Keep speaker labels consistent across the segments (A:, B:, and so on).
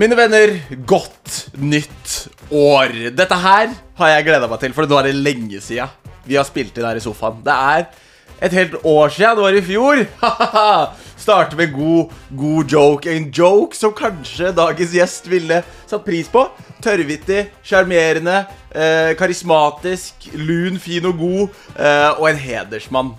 A: Mine venner, godt nytt år. Dette her har jeg gleda meg til, for nå er det lenge sida vi har spilt inn her i sofaen. Det er et helt år sia. Det var i fjor. Starte med god, god joke. En joke som kanskje dagens gjest ville satt pris på. Tørrvittig, sjarmerende, eh, karismatisk, lun, fin og god. Eh, og en hedersmann.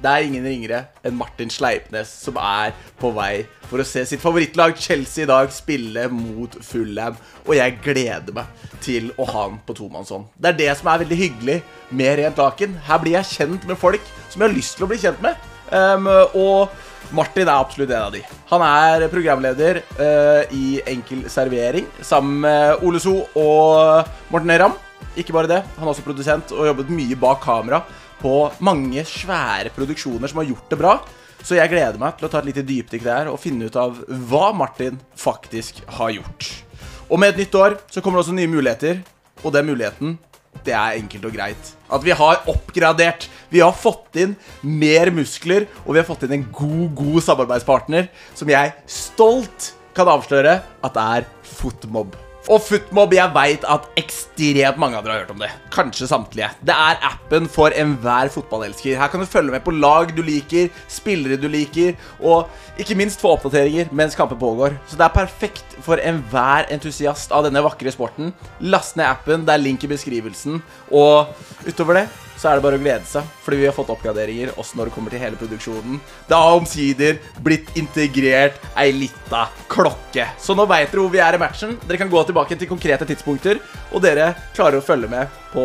A: Det er ingen ringere enn Martin Sleipnes som er på vei for å se sitt favorittlag Chelsea i dag spille mot Fulham. Og jeg gleder meg til å ha han på tomannshånd. Det er det som er veldig hyggelig med Rent Laken. Her blir jeg kjent med folk som jeg har lyst til å bli kjent med. Ehm, og Martin er absolutt en av de. Han er programleder eh, i Enkel servering sammen med Ole So og Morten Ramm. Ikke bare det, han er også produsent og har jobbet mye bak kamera på mange svære produksjoner som har gjort det bra. Så jeg gleder meg til å ta et lite dypdykk der og finne ut av hva Martin faktisk har gjort. Og med et nytt år så kommer det også nye muligheter, og den muligheten det er enkelt og greit. At vi har oppgradert. Vi har fått inn mer muskler, og vi har fått inn en god, god samarbeidspartner som jeg stolt kan avsløre at er Fotmob. Og Footmob, jeg veit at ekstremt mange av dere har hørt om det. Kanskje samtlige. Det er appen for enhver fotballelsker. Her kan du følge med på lag du liker, spillere du liker, og ikke minst få oppdateringer mens kamper pågår. Så det er perfekt for enhver entusiast av denne vakre sporten. Last ned appen, det er link i beskrivelsen. Og utover det så er det bare å glede seg, fordi vi har fått oppgraderinger også når det kommer til hele produksjonen. Det har omsider blitt integrert ei lita klokke. Så nå veit dere hvor vi er i matchen. Dere kan gå tilbake til konkrete tidspunkter, og dere klarer å følge med på,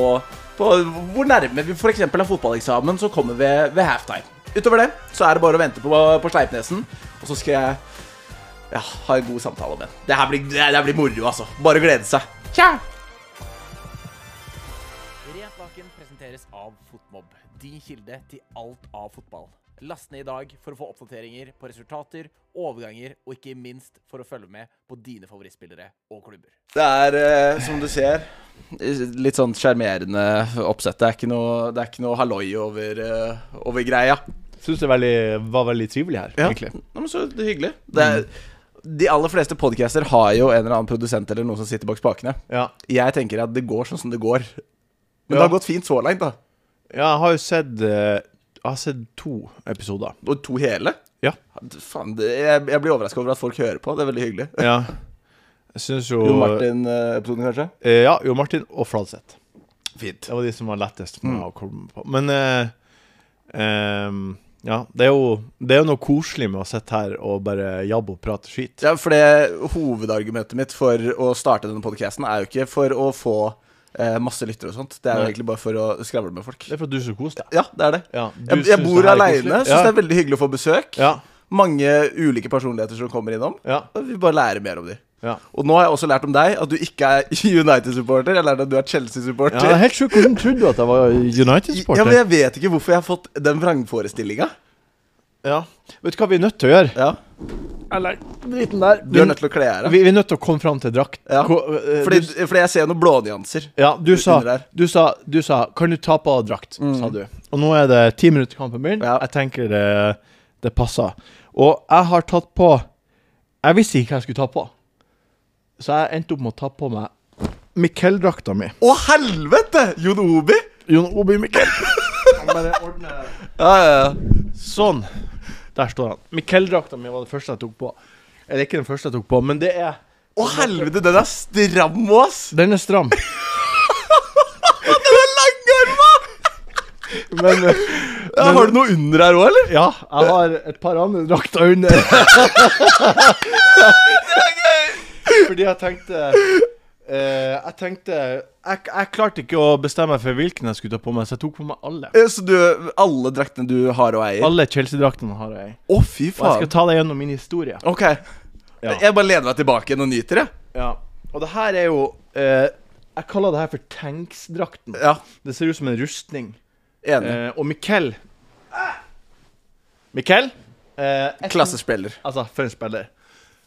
A: på hvor nærme vi f.eks. har fotballeksamen som kommer ved, ved halftime. Utover det så er det bare å vente på, på Sleipnesen, og så skal jeg ja, ha en god samtale med ham. Det her blir, det her blir moro, altså. Bare å glede seg. Tja! Rent laken presenteres av Fotmob, din kilde til alt av fotball. Last ned i dag for å få oppdateringer på resultater, overganger og ikke minst for å følge med på dine favorittspillere og klubber. Det er, eh, som du ser, litt sånn sjarmerende oppsett. Det er ikke noe, det er ikke noe halloi over, eh, over greia.
B: Syns det er veldig, var veldig trivelig her, egentlig.
A: Ja, men så hyggelig. Det er, de aller fleste podcaster har jo en eller annen produsent eller noen som sitter bak spakene.
B: Ja.
A: Jeg tenker at det går sånn som det går. Men det
B: Ja.
A: har gått fint så langt, da.
B: ja, jeg har jo sett eh, Jeg har sett to episoder.
A: Og to hele?
B: Ja.
A: Faen, det, jeg, jeg blir overraska over at folk hører på. Det er veldig hyggelig.
B: ja. Jeg syns jo
A: Jo Martin-episoden, kanskje?
B: eh, Ja, Jo Martin og Fladseth.
A: Fint.
B: Det var de som var lettest for
A: Mm.
B: meg å komme på. Men eh, ehm, ja, det er, jo, det er jo noe koselig med å sitte her og bare jabbe og prate skit.
A: Ja, for det Hovedargumentet mitt for å starte denne podkasten er jo ikke for å få eh, masse lyttere og sånt. Det er jo
B: Nei.
A: egentlig bare for å skravle med folk.
B: Det er for at du så koser deg.
A: Ja, det er det.
B: Ja, du
A: Jeg, jeg
B: synes
A: bor
B: det her er
A: aleine.
B: koselig.
A: Syns det er veldig hyggelig å få besøk.
B: Ja.
A: Mange ulike personligheter som kommer innom.
B: Ja.
A: Og Vi bare lærer mer om dem.
B: ja.
A: Og nå har jeg også lært om deg at du ikke er United-supporter. Jeg lærte at du er
B: Ja, det er
A: Chelsea-supporter.
B: helt sjukt hvordan trodde du at jeg var
A: ja, men
B: United-sporter.
A: jeg vet ikke hvorfor jeg har fått den vrangforestillinga.
B: Ja. Vet du hva vi er nødt til å gjøre?
A: Ja.
B: Eller driten der.
A: Du er nødt til å kle av deg.
B: Vi, vi er nødt til å komme fram til drakt.
A: Ja.
B: Ko- eh,
A: Fordi,
B: du,
A: fordi jeg ser noen blånyanser.
B: ja, du, sa,
A: under der. Mm.
B: du, sa, du sa Kan du ta på deg drakt? sa du. Og nå er det ti minutter til kampen begynner.
A: Ja.
B: Jeg tenker det, det passer. Og jeg har tatt på Jeg visste ikke hva jeg skulle ta på, så jeg endte opp med å ta på meg Mikkel-drakta mi.
A: Å, helvete! Jon Obi?
B: Jon Obi Mikkel. Bare ordne
A: Ja, ja, ja.
B: Sånn. Der står han. Mikkel-drakta mi var det første jeg tok på. Eller ikke den første jeg tok på, men det er
A: Å, helvete, den er stram, ass!
B: Den er stram.
A: Den er langarma!
B: Men eh,
A: Ja, har du noe under her òg, eller?
B: Ja, jeg har et par andre drakter under. Fordi jeg tenkte eh, Jeg tenkte jeg, jeg klarte ikke å bestemme meg for hvilken jeg skulle ta på meg, så jeg tok på meg alle.
A: Eh, Så du, alle draktene du har og eier? Å,
B: Alle Chelsea-draktene har jeg.
A: fy
B: Og jeg skal
A: faen.
B: ta deg gjennom min historie.
A: Ok.
B: Ja.
A: Jeg bare lener meg tilbake igjen og nyter, jeg.
B: Ja. Og det her er jo eh, Jeg kaller det her for tanks-drakten.
A: Ja.
B: Det ser ut som en rustning.
A: Enig.
B: Eh, og Mikkel Mikkel? Eh, et-
A: Klassespiller.
B: Altså, for en spiller.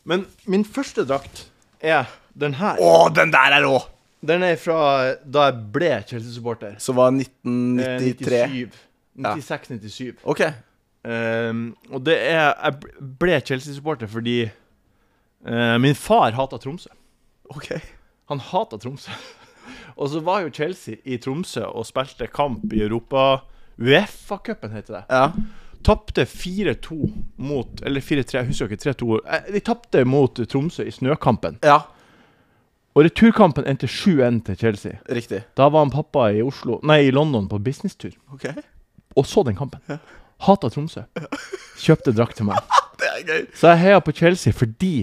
B: Men min første drakt er den her.
A: Å, den der er rå!
B: Den er fra da jeg ble Chelsea-supporter.
A: Så var
B: Eh,
A: 1993.
B: 97. 96-97.
A: Ok.
B: Ehm, og det er Jeg ble Chelsea-supporter fordi Eh, min far hata Tromsø.
A: Ok.
B: Han hata Tromsø. og så var jo Chelsea i Tromsø og spilte kamp i Europa. Uefa-cupen heter det.
A: Ja.
B: Tapte 4-2 mot Eller 4-3, jeg husker ikke. 3-2 Eh, De tapte mot Tromsø i snøkampen.
A: ja.
B: Og returkampen endte 7-1 til Chelsea.
A: Riktig.
B: Da var han pappa i Oslo Nei, i London på businesstur
A: Ok.
B: og så den kampen. Hata Tromsø. Kjøpte drakt til meg.
A: Det er gøy.
B: Så jeg heia på Chelsea fordi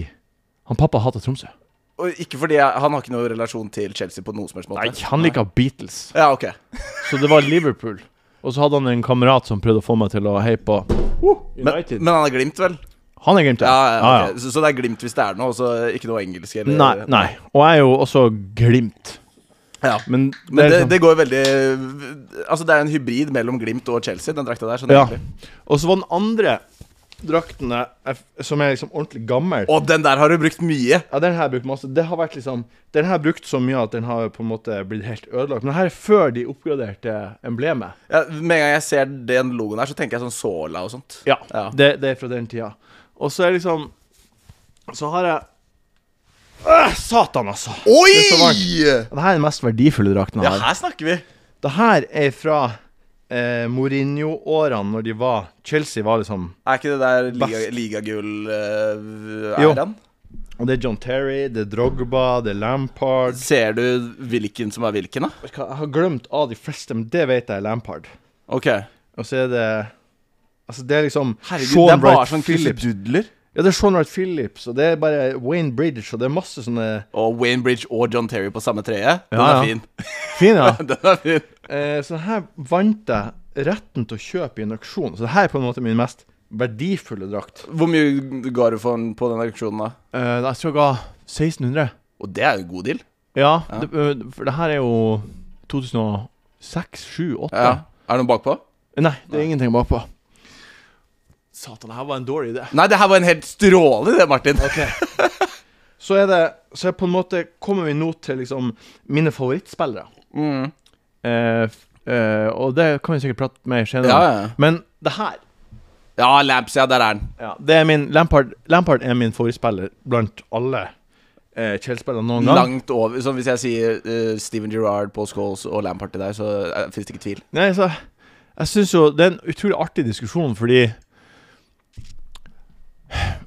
B: han pappa hata Tromsø.
A: Og ikke fordi jeg, han har ikke noe relasjon til Chelsea på noen som helst måte.
B: Nei, han liker Beatles.
A: Ja, ok.
B: Så det var Liverpool. Og så hadde han en kamerat som prøvde å få meg til å heie på uh,
A: Men,
B: United.
A: men han er Glimt, vel?
B: han er Glimt,
A: Ja, ja,
B: Ah, Ja,
A: ok. Så, så det er Glimt hvis det er noe, og så ikke noe engelsk? Eller,
B: Nei, nei. Og jeg er jo også Glimt.
A: Ja.
B: Men det,
A: Men
B: er
A: det,
B: liksom-
A: det går veldig Altså, det er en hybrid mellom Glimt og Chelsea, den drakta der. Sånn
B: Ja.
A: egentlig.
B: Og så var den andre drakten jeg- jeg- som er liksom ordentlig gammel
A: Og den der har du brukt mye.
B: Ja, den her har jeg brukt masse. Det har vært liksom Den her har jeg brukt så mye at den har på en måte blitt helt ødelagt. Men den her er før de oppgraderte emblemet.
A: Ja, med en gang jeg ser den logoen her, så tenker jeg sånn Sola og sånt.
B: Ja,
A: Ja.
B: Det, det er fra den tida. Og så er liksom Så har jeg Øh, Satan, altså! Det er så
A: Oi!
B: Dette er den mest verdifulle drakten jeg
A: Ja,
B: har.
A: her snakker vi.
B: Det her er fra eh, Mourinho-årene, når de var Chelsea var liksom
A: Er ikke det der liga- eh,
B: Best. Jo.
A: ligagull-æren?
B: Og det er John Terry, det er Drogba, det er Lampard
A: Ser du hvilken som er hvilken, da?
B: Vet du hva, Jeg har glemt av de fleste, men det vet jeg er Lampard.
A: Ok.
B: Og så er det Altså, det er liksom
A: Herregud,
B: Sean
A: det er bare
B: Wright
A: sånn
B: Phillips.
A: krusedudler.
B: Ja, det er Sean Wright Phillips, og det er bare Wayne Bridge, og det er masse sånne
A: Og Wayne Bridge og John Terry på samme treet. Den
B: Ja,
A: er
B: ja.
A: fin.
B: Fin, ja.
A: Den er fin.
B: Eh, så her vant jeg retten til å kjøpe i en auksjon, så det her er på en måte min mest verdifulle drakt.
A: Hvor mye ga du for den på den auksjonen, da?
B: Eh, jeg tror jeg ga 1600.
A: Og det er jo en god deal.
B: Ja,
A: Ja.
B: Det, ø, for det her er jo 2006, 7, 8
A: Ja. Er det noen bakpå?
B: Nei, det er ingenting bakpå. Satan, det her var en dårlig idé.
A: Nei, det her var en helt strålende idé, Martin.
B: Så er det Så er på en måte kommer vi nå til liksom mine favorittspillere.
A: Mm.
B: Eh, f- eh, og det kan vi sikkert prate mer senere.
A: Ja,
B: om.
A: ja.
B: Men det her
A: ja, Lamps, ja, der er den.
B: ja, Det er min Lampard, Lampard er min favorittspiller blant alle eh, Chelsea-spillere noen gang.
A: Langt over. Sånn hvis jeg sier eh, Steven Gerrard, Paul Scholes og Lampard til deg, så uh, fins det ikke tvil.
B: Nei, så Jeg syns jo det er en utrolig artig diskusjon, fordi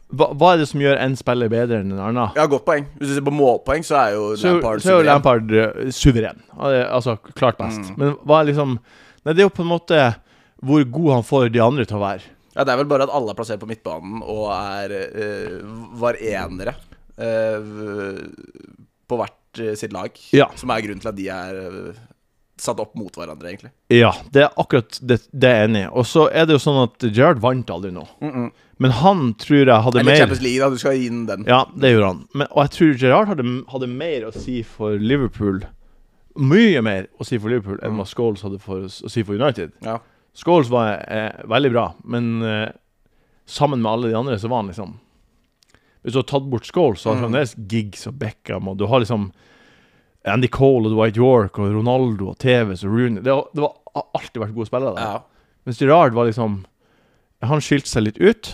B: hva, hva er det som gjør en spiller bedre enn en annen?
A: Ja, godt poeng. Hvis du ser på målpoeng, så er jo
B: Så,
A: Lampard
B: så er jo
A: suveren.
B: Lampard eh, suveren. Han er, Altså klart best.
A: Mm.
B: Men hva er liksom Nei, det er jo på en måte hvor god han får de andre til å være.
A: Ja, det er vel bare at alle er plassert på midtbanen og er eh, var enere eh, v- på hvert eh, sitt lag,
B: Ja.
A: som er grunnen til at de er eh, satt opp mot hverandre, egentlig.
B: Ja, det er akkurat det, det er jeg enig i. Og så er det jo sånn at Gerrard vant aldri nå. Men han tror jeg hadde
A: Eller
B: mer
A: Champions League, da. Du skal gi den den.
B: Ja, det gjorde han. Men, og jeg tror Gerrard hadde, hadde mer å si for Liverpool Mye mer å si for Liverpool
A: Mm.
B: enn hva Scholes hadde for, å si for United.
A: Ja.
B: Scholes var eh, veldig bra, men eh, sammen med alle de andre så var han liksom Hvis du har tatt bort Scholes, så har
A: Mm.
B: han fremdeles Giggs og Beckham, og du har liksom Andy Cole og Dwight York og Ronaldo og TVs og Rooney Det, var- det var, har alltid vært gode spillere der.
A: ja.
B: Mens Gerard var liksom Han skilte seg litt ut,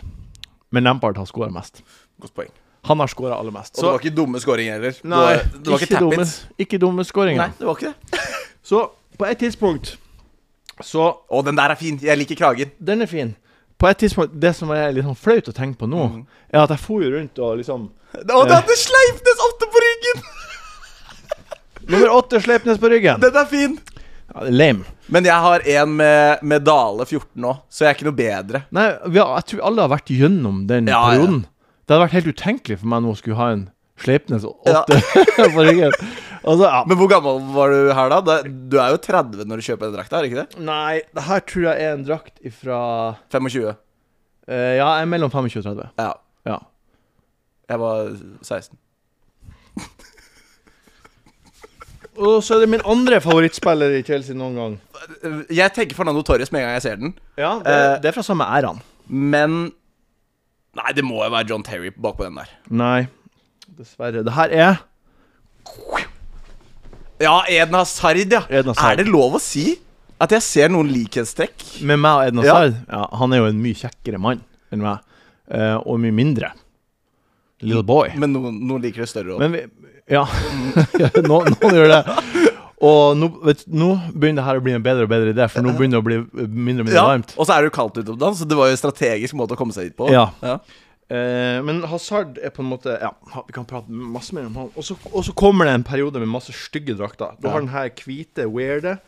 B: men Lampard har skåra mest.
A: Godt poeng.
B: Han har skåra aller mest.
A: Og det var ikke dumme skåringer heller. Det
B: Nei,
A: var- det var ikke
B: dumme,
A: tap-ins.
B: ikke dumme
A: Nei,
B: skåringer.
A: det var ikke det.
B: Så på et tidspunkt så
A: Å, den der er fin. Jeg liker kragen.
B: Den er fin. På et tidspunkt, Det som er litt sånn flaut å tenke på nå, er at jeg for jo rundt og liksom
A: Og den hadde Sleipnes åtte på ryggen!
B: Nummer åtte Sleipnes på ryggen!
A: Den er fin!
B: Ja, det er lame.
A: Men jeg har en med, med Dale 14 nå, så jeg er ikke noe bedre.
B: Nei, vi har, jeg tror alle har vært gjennom den
A: Ja, ja.
B: perioden. Det hadde vært helt utenkelig for meg nå å skulle ha en Sleipnes og
A: Ja.
B: åtte på ryggen. Og så, ja.
A: Men hvor gammel var du her, da? Da- Du er jo 30 når du kjøper den drakta, er det ikke det?
B: Nei, det her tror jeg er en drakt ifra
A: 25.
B: eh, Ja, jeg er mellom 25 og 30.
A: Ja.
B: Ja.
A: Jeg var 16.
B: Og så er det min andre favorittspiller i Chelsea noen gang.
A: Jeg tenker Fernando Torres med en gang jeg ser den,
B: Ja, det,
A: Eh,
B: det er fra samme æraen.
A: men Nei, det må jo være John Terry bakpå den der.
B: Nei, dessverre. Det her er
A: Ja, Eden Hazard, ja.
B: Eden Hazard.
A: Er det lov å si at jeg ser noen likhetstrekk?
B: Med meg og Edna
A: Ja.
B: Hazard ja. Han er jo en mye kjekkere mann enn meg, eh, og mye mindre. Little boy.
A: Men noen, noen liker det større òg.
B: Men vi, ja, Nå- noen gjør det. Og nå, vet, du, nå begynner det her å bli en bedre og bedre idé, for nå begynner det å bli mindre og mindre
A: Ja,
B: varmt.
A: og så er det jo kaldt ute om dagen, så det var jo en strategisk måte å komme seg dit på.
B: Ja.
A: Ja.
B: Eh, men Hazard er på en måte Ja, vi kan prate masse mer om han. Og så- Og så kommer det en periode med masse stygge drakter. Du har den her hvite, weirde.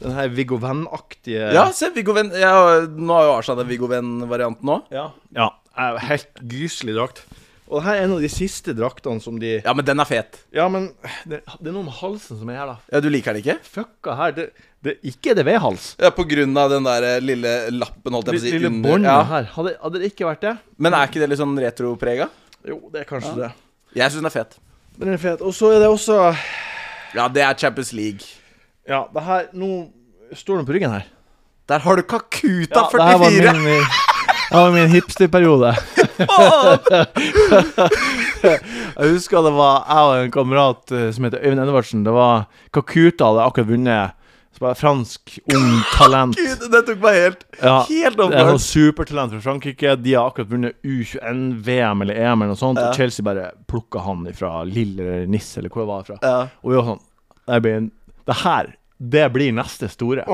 B: Den her Viggo Venn-aktige
A: Ja, se, Viggo Venn ja, Nå har jo Arsenal den Viggo Venn-varianten òg.
B: Ja. ja. er Helt gyselig drakt. Og det her er en av de siste draktene som de
A: Ja, men den er fet.
B: Ja, men det, det er noe med halsen som er her, da.
A: Ja, Du liker den ikke?
B: Fucka her. Det, det, ikke er det vedhals.
A: Ja, På grunn av den der eh, lille lappen, holdt jeg på å si.
B: Lille
A: under-
B: båndet
A: ja.
B: her. Hadde, hadde det ikke vært det?
A: Men er ikke det litt sånn retroprega?
B: Jo, det er kanskje det.
A: Jeg syns den er fet.
B: Men den er fet. Og så er det også
A: Ja, det er Champions League.
B: Ja, det her Nå står den på ryggen her.
A: Der har du Kakuta
B: det her
A: 44!
B: var min, eh, det var min hipsterperiode.
A: Faen!
B: Jeg husker det var jeg og en kamerat eh, som heter Øyvind Edvardsen. Det var Kakuta hadde akkurat vunnet. Så bare Fransk ung talent.
A: Gud, det tok meg helt
B: Ja,
A: Helt
B: Det er noe
A: overbart.
B: supertalent fra Frankrike. De har akkurat vunnet U21-VM eller EM eller noe sånt.
A: Ja.
B: Og Chelsea bare plukka han fra Lille eller Nis eller hvor det var fra.
A: Ja.
B: Og vi var sånn Det blir en Det her, det blir neste store.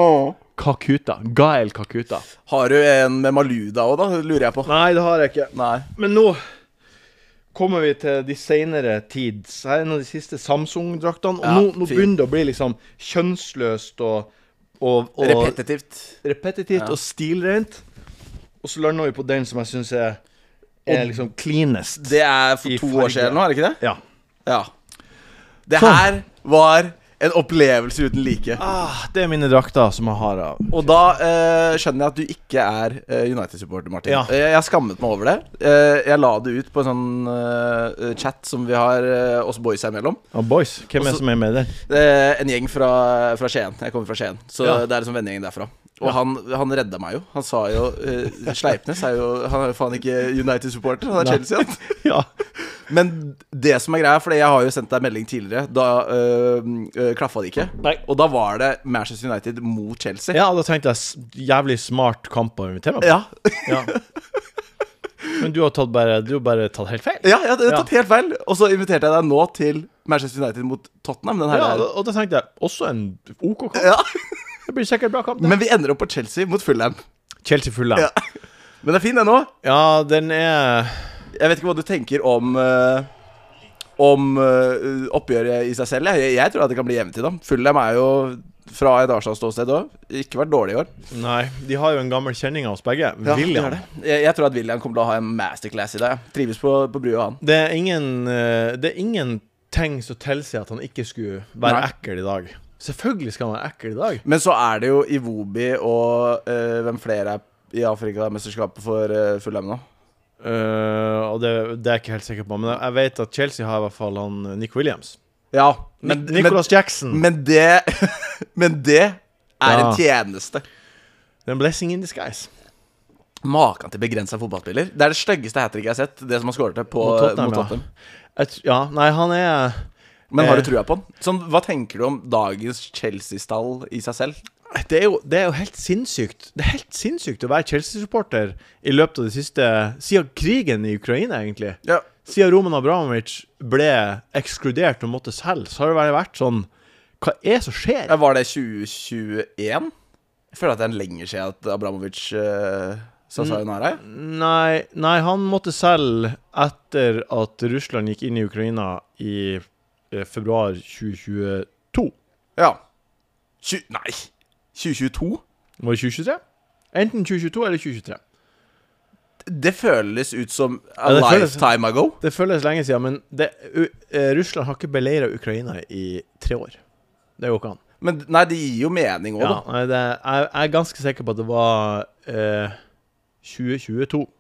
B: Kakuta. Gael Kakuta.
A: Har du en med Maluda òg, da? Lurer jeg på.
B: Nei, det har jeg ikke.
A: Nei.
B: Men nå kommer vi til de senere tids. Her er en av de siste Samsung-draktene. Og
A: Ja,
B: nå, nå
A: fint.
B: begynner det å bli liksom kjønnsløst og, og, og
A: Repetitivt.
B: repetitivt
A: Ja.
B: og stilrent. Og så lander vi på den som jeg syns er, er liksom cleanest.
A: Det er for
B: I
A: to
B: farge.
A: år siden nå, er det ikke det?
B: Ja.
A: Ja. Det
B: Sånn.
A: her var en opplevelse uten like.
B: Ah, det er mine drakter som jeg har av
A: Og da eh, skjønner jeg at du ikke er eh, United-supporter, Martin.
B: Ja.
A: Eh, Jeg skammet meg over det. Eh, jeg la det ut på en sånn eh, chat som vi har eh, oss boys her imellom.
B: av boys. Hvem er
A: Også-
B: det som er med der?
A: Eh, en gjeng fra, fra Skien. Jeg kommer fra Skien, så
B: Ja.
A: det er liksom vennegjengen derfra. Og han, han redda meg jo. Han sa jo eh, Sleipnes er jo Han er jo faen ikke United-supporter, han er
B: Nei.
A: Chelsea. han.
B: Ja.
A: Men det som er greia, for jeg har jo sendt deg melding tidligere, da øh, klaffa det ikke.
B: Nei.
A: Og da var det Manchester United mot Chelsea.
B: ja, da tenkte jeg s- jævlig smart kamp å invitere meg på.
A: Ja,
B: Ja. Men du har tatt bare, du har bare tatt helt feil.
A: ja jeg hadde tatt helt feil. Og så inviterte jeg deg nå til Manchester United mot Tottenham. Den her
B: Ja,
A: er-
B: og da tenkte jeg også en OK kamp.
A: Ja.
B: Det blir sikkert bra kamp. det.
A: Men vi ender opp på Chelsea mot Fulham.
B: Chelsea Fulham.
A: Ja.
B: Ja.
A: Men det er fin, den òg.
B: den er
A: Jeg vet ikke hva du tenker om øh, om øh, oppgjøret i seg selv. Jeg, jeg tror at det kan bli jevnt i dem. Fulham er jo fra et Arsenal-ståsted òg. Ikke vært dårlig i år.
B: Nei, de har jo en gammel kjenning av oss begge.
A: Ja,
B: William.
A: det gjør det. Jeg, jeg tror at William kommer til å ha en masterclass i dag. ja. Trives på, på brua, han.
B: Det er ingen eh, Det er ingenting som tilsier at han ikke skulle være
A: Nei.
B: ekkel i dag. Selvfølgelig skal han være ekkel i dag.
A: Men så er det jo Iwobi og eh, hvem flere er i Afrikamesterskapet for uh, Fulham nå.
B: Eh, og det, det er jeg ikke helt sikker på, men jeg vet at Chelsea har i hvert fall han eh, Nick Williams.
A: Ja,
B: Men,
A: men, men,
B: Nicholas Jackson.
A: men det Men det er en
B: Mm. Ja.
A: tjeneste.
B: Det er en blessing in disguise.
A: Maken til begrensa fotballspiller. Det er det styggeste hat tricket jeg har sett. Det som han skåret på
B: Mot
A: mot
B: Tottenham,
A: Tottenham.
B: ja. Jeg tr- ja, nei, han er
A: Men har du
B: Eh.
A: trua på han? Sånn, hva tenker du om dagens Chelsea-stall i seg selv?
B: det er, jo, det er jo helt sinnssykt Det er helt sinnssykt å være Chelsea-supporter i løpet av det siste Siden krigen i Ukraina, egentlig.
A: Ja,
B: Siden Roman Abramovic ble ekskludert og måtte selge, så har det bare vært sånn Hva er det som skjer?
A: Ja, Var det 2021? Jeg føler at det er en lenger siden at Abramovic uh, sa
B: Mm.
A: sayonara. jeg.
B: Nei, nei, han måtte selge etter at Russland gikk inn i Ukraina i eh, februar 2022.
A: Ja. Tju- nei! 2022?
B: Var det 2023? Enten 2022 eller 2023.
A: Det føles ut som a
B: Ja, det føles-
A: lifetime ago.
B: Det føles lenge siden, men det, U eh, Russland har ikke beleiret Ukraina i tre år. Det går ikke an.
A: Men nei, det gir jo mening òg,
B: Ja, nei, det, jeg, jeg er ganske sikker på at det var eh, 2022.
A: da.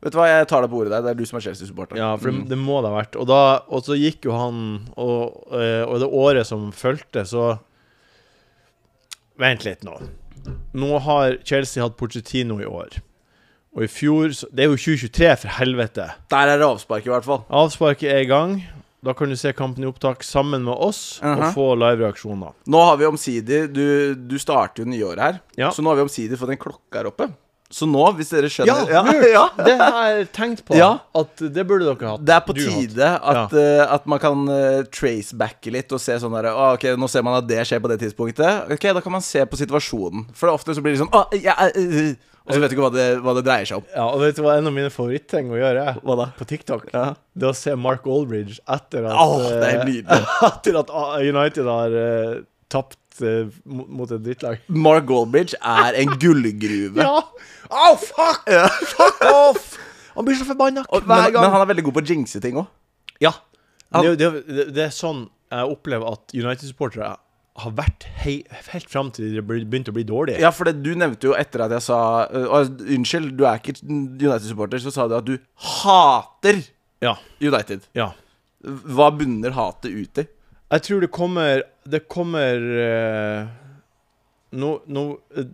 A: Vet du hva, jeg tar deg på ordet der. Det er du som er Chelsea-supporter.
B: Ja, for det, det må det ha vært. Og, da, og så gikk jo han, og, eh, og det året som fulgte, så Vent litt nå. Nå har Chelsea hatt Pochettino i år. Og i fjor så, Det er jo 2023, for helvete.
A: Der er det avspark, i hvert fall.
B: Avsparket er i gang. Da kan du se kampen i opptak sammen med oss
A: Mhm.
B: og få live-reaksjoner.
A: Nå har vi omsider Du, du starter jo nyåret her,
B: Ja.
A: så nå har vi omsider fått en klokke her oppe. Så nå, hvis dere skjønner
B: Ja, lurt!
A: ja.
B: Det har jeg tenkt på.
A: Ja.
B: At det burde dere hatt.
A: Det er på
B: Du hatt.
A: tide at, eh, at man kan eh, tracebacke litt og se sånn der ah, Ok, nå ser man at det skjer på det tidspunktet. Ok, Da kan man se på situasjonen. For det er ofte så blir det sånn ah, ja, eh, eh», Og så vet du ikke hva det, hva det dreier seg om.
B: Ja, og vet du hva en av mine favorittting å gjøre er?
A: Hva da?
B: På TikTok?
A: Ja.
B: Det å se Mark Aldridge etter at
A: Åh, det er
B: eh,
A: nydelig.
B: Etter at ah, United har eh, tapt eh, mot mot et drittlag.
A: Mark Goldbridge er en gullgruve.
B: Ja! Au, fuck! Fuck off! Han blir så forbanna
A: Og, men,
B: hver gang.
A: men han er veldig god på å jinxe ting òg.
B: Ja.
A: Han-
B: Det, er jo- det, er jo- det er sånn jeg opplever at United-supportere har vært hei, helt fram til de ble- begynte å bli dårlige.
A: Ja, for det, du nevnte jo etter at jeg sa eh, «Å, Unnskyld, du er ikke United-supporter, så sa du at du hater
B: Ja.
A: United.
B: ja.
A: Hva bunner hatet ut i?
B: Jeg tror det kommer Det kommer eh, nå, nå,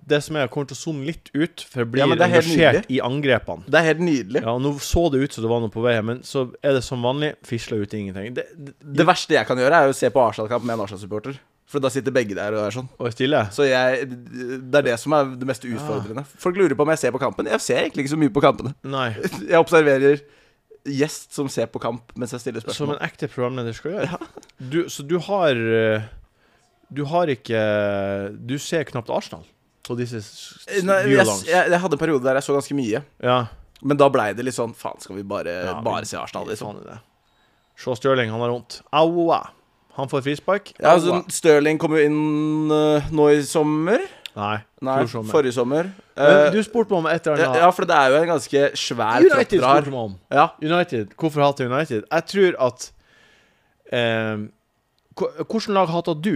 B: Det som er, jeg kommer til å zoome litt ut, for jeg blir
A: Ja, men det er helt
B: engasjert i angrepene.
A: Det er helt nydelig.
B: Ja, Nå så det ut som det var noe på vei, men så er det som vanlig fisla ut i ingenting. Det, det,
A: Det verste jeg kan gjøre, er å se på Arsenal-kamp med en Arsenal-supporter. For da sitter begge der og er sånn.
B: og er stille.
A: Så jeg, Det er det som er det mest utfordrende. Folk lurer på om jeg ser på kampen. Jeg ser egentlig ikke så mye på kampene.
B: Nei.
A: Jeg observerer gjest som ser på kamp mens jeg stiller
B: Som
A: spørsmål.
B: en ekte programleder skal gjøre. Du, så du har eh, Du har ikke Du ser knapt Arsenal på disse s- s-
A: Nei, jeg,
B: duellene.
A: jeg, jeg hadde en periode der jeg så ganske mye.
B: Ja.
A: Men da blei det litt sånn Faen, skal vi bare,
B: Ja,
A: bare se Arsenal? Liksom.
B: Faen i det. Se Stirling, han har vondt. Au, au. Han får frispark.
A: Ja,
B: Au,
A: altså,
B: au.
A: Stirling kom jo inn øh, nå i sommer.
B: Nei,
A: Nei,
B: fjor sommer.
A: forrige sommer. Eh,
B: Men du spurte meg om et eller
A: ja,
B: annet.
A: ja, for det er jo en ganske svær
B: United
A: kropp dere har.
B: spurte meg om.
A: Ja.
B: United. Hvorfor hater United? Jeg tror at eh, Hvilket lag hater du?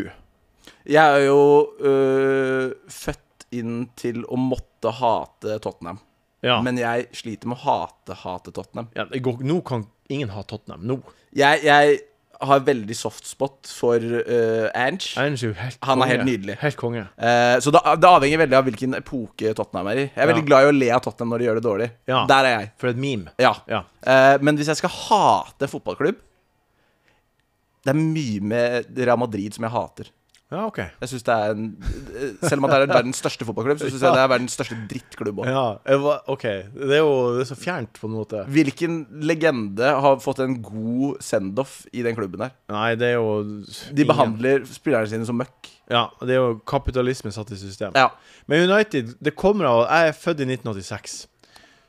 A: Jeg er jo øh, født inn til å måtte hate Tottenham.
B: Ja.
A: Men jeg sliter med å hate hate Tottenham.
B: ja det går, nå kan ingen ha Tottenham. Nå.
A: Jeg, jeg har veldig softspot for øh, Ange.
B: Ange er jo helt
A: Han er
B: konge.
A: helt nydelig.
B: Helt konge.
A: Eh, så det, det avhenger veldig av hvilken epoke Tottenham er i. Jeg er
B: Ja.
A: veldig glad i å le av Tottenham når de gjør det dårlig.
B: Ja.
A: Der er jeg.
B: For et meme.
A: Ja.
B: Ja.
A: Eh, men hvis jeg skal hate en fotballklubb Det er mye med Real Madrid som jeg hater.
B: Ja, OK.
A: Jeg synes det er en, eh, Selv om det er verdens største fotballklubb, så syns jeg det er verdens største drittklubb òg.
B: Ja, jeg var- OK. Det er jo det er så fjernt, på en måte.
A: Hvilken legende har fått en god send-off i den klubben her?
B: Nei, det er jo
A: De
B: ingen-
A: behandler spillerne sine som møkk.
B: Ja, det er jo kapitalisme satt i system.
A: Ja.
B: Men United, det kommer av Jeg er født i 1986.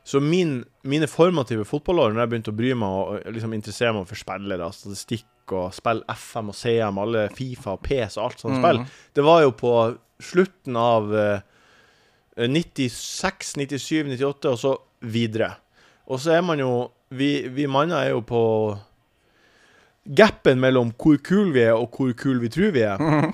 B: Så min, mine formative fotballår, når jeg begynte å bry meg og og liksom interessere meg for spillere, statistikk og spill FM og CM, alle Fifa og PS og alt sånt spill, det var jo på slutten av eh, 96, 97, 98 og så videre. Og så er man jo Vi, vi manner er jo på Gapen mellom hvor kul vi er og hvor kul vi tror vi er,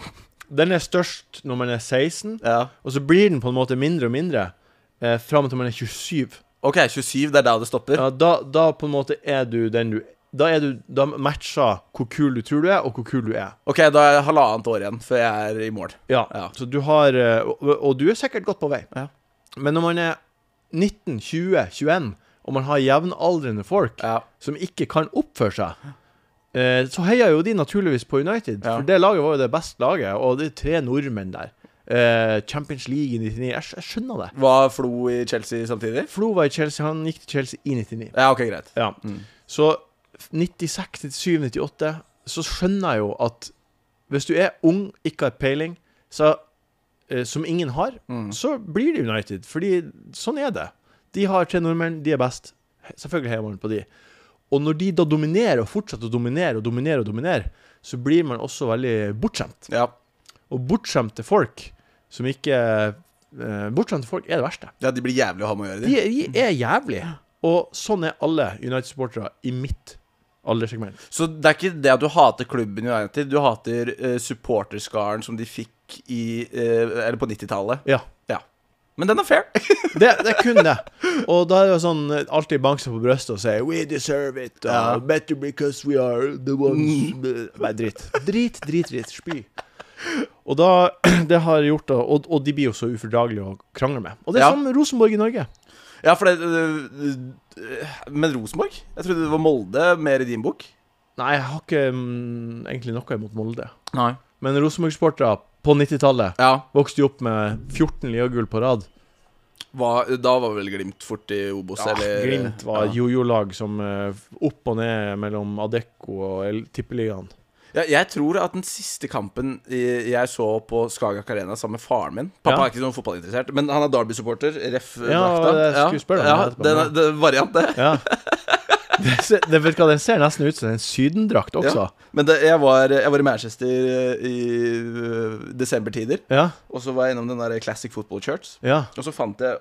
B: den er størst når man er 16.
A: ja.
B: Og så blir den på en måte mindre og mindre eh, fram til man er 27.
A: OK, 27. Det er da det stopper?
B: Ja, da, da på en måte er du den du Da, er du, da matcher hvor kul du tror du er, og hvor kul du er.
A: OK, da er det halvannet år igjen før jeg er i mål.
B: Ja,
A: Ja.
B: Så du har eh, og, og du er sikkert godt på vei.
A: Ja.
B: Men når man er 19, 20, 21, og man har jevnaldrende folk
A: Ja.
B: som ikke kan oppføre seg, eh, så heier jo de naturligvis på United.
A: Ja.
B: For det laget var jo det beste laget, og det er tre nordmenn der. Eh, Champions League i 99. Jeg, skj- jeg skjønner det.
A: Var Flo i Chelsea samtidig?
B: Flo var i Chelsea, han gikk til Chelsea i 99.
A: Ja, OK, greit.
B: Ja. Så 96, 97, 98 Så skjønner jeg jo at hvis du er ung, ikke har peiling, så, eh, som ingen har, så blir det United. Fordi sånn er det. De har tre nordmenn, de er best. He- Selvfølgelig heier man på de. Og når de da dominerer, og fortsetter å dominere og dominere, og dominere, så blir man også veldig bortskjemt.
A: Ja.
B: Og bortskjemte folk som ikke eh, Bortskjemte folk er det verste.
A: ja, de blir jævlig å ha med å gjøre, de.
B: De, de er jævlige. Og sånn er alle United-supportere i mitt alderssegment.
A: Så det er ikke det at du hater klubben United, du hater eh, supporterskaren som de fikk i eh, Eller på 90-tallet.
B: Ja.
A: Ja. Men den er fair.
B: Det, det er kun det. Og da er det jo sånn eh, alltid banke seg på brystet og si We deserve it. og
A: Ja.
B: Better because we are the ones Nei, drit. Drit, drit, drit. Spy. Og da, det har gjort da- og, og de blir jo så ufordragelige å krangle med. Og det er
A: Ja.
B: som Rosenborg i Norge.
A: ja, for det eh, eh, Men Rosenborg? Jeg trodde det var Molde mer i din bok.
B: Nei, jeg har ikke mm, egentlig noe imot Molde.
A: Nei.
B: Men Rosenborg-sportere på 90-tallet
A: Ja.
B: vokste jo opp med 14 ligagull på rad.
A: Hva- da var vel Glimt fort i Obos,
B: Ja,
A: eller
B: Glimt var
A: ja.
B: jojo-lag som eh, opp og ned mellom Adecco og El- Tippeligaen.
A: Ja, Jeg tror at den siste kampen i- jeg så på Skagak Arena sammen med faren min Pappa
B: Ja.
A: er ikke sånn fotballinteressert, men han er Derby-supporter. Ref.
B: Ja, det skulle jeg spørre om
A: ja,
B: etterpå,
A: den,
B: ja.
A: den variant, det.
B: Ja. Det, ser- det, vet du hva, den ser nesten ut som en sydendrakt også.
A: Ja. Men det, jeg, var, jeg var i Manchester eh, i eh, desembertider,
B: Ja,
A: og så var jeg innom den der Classic Football Church.
B: ja.
A: Og så fant jeg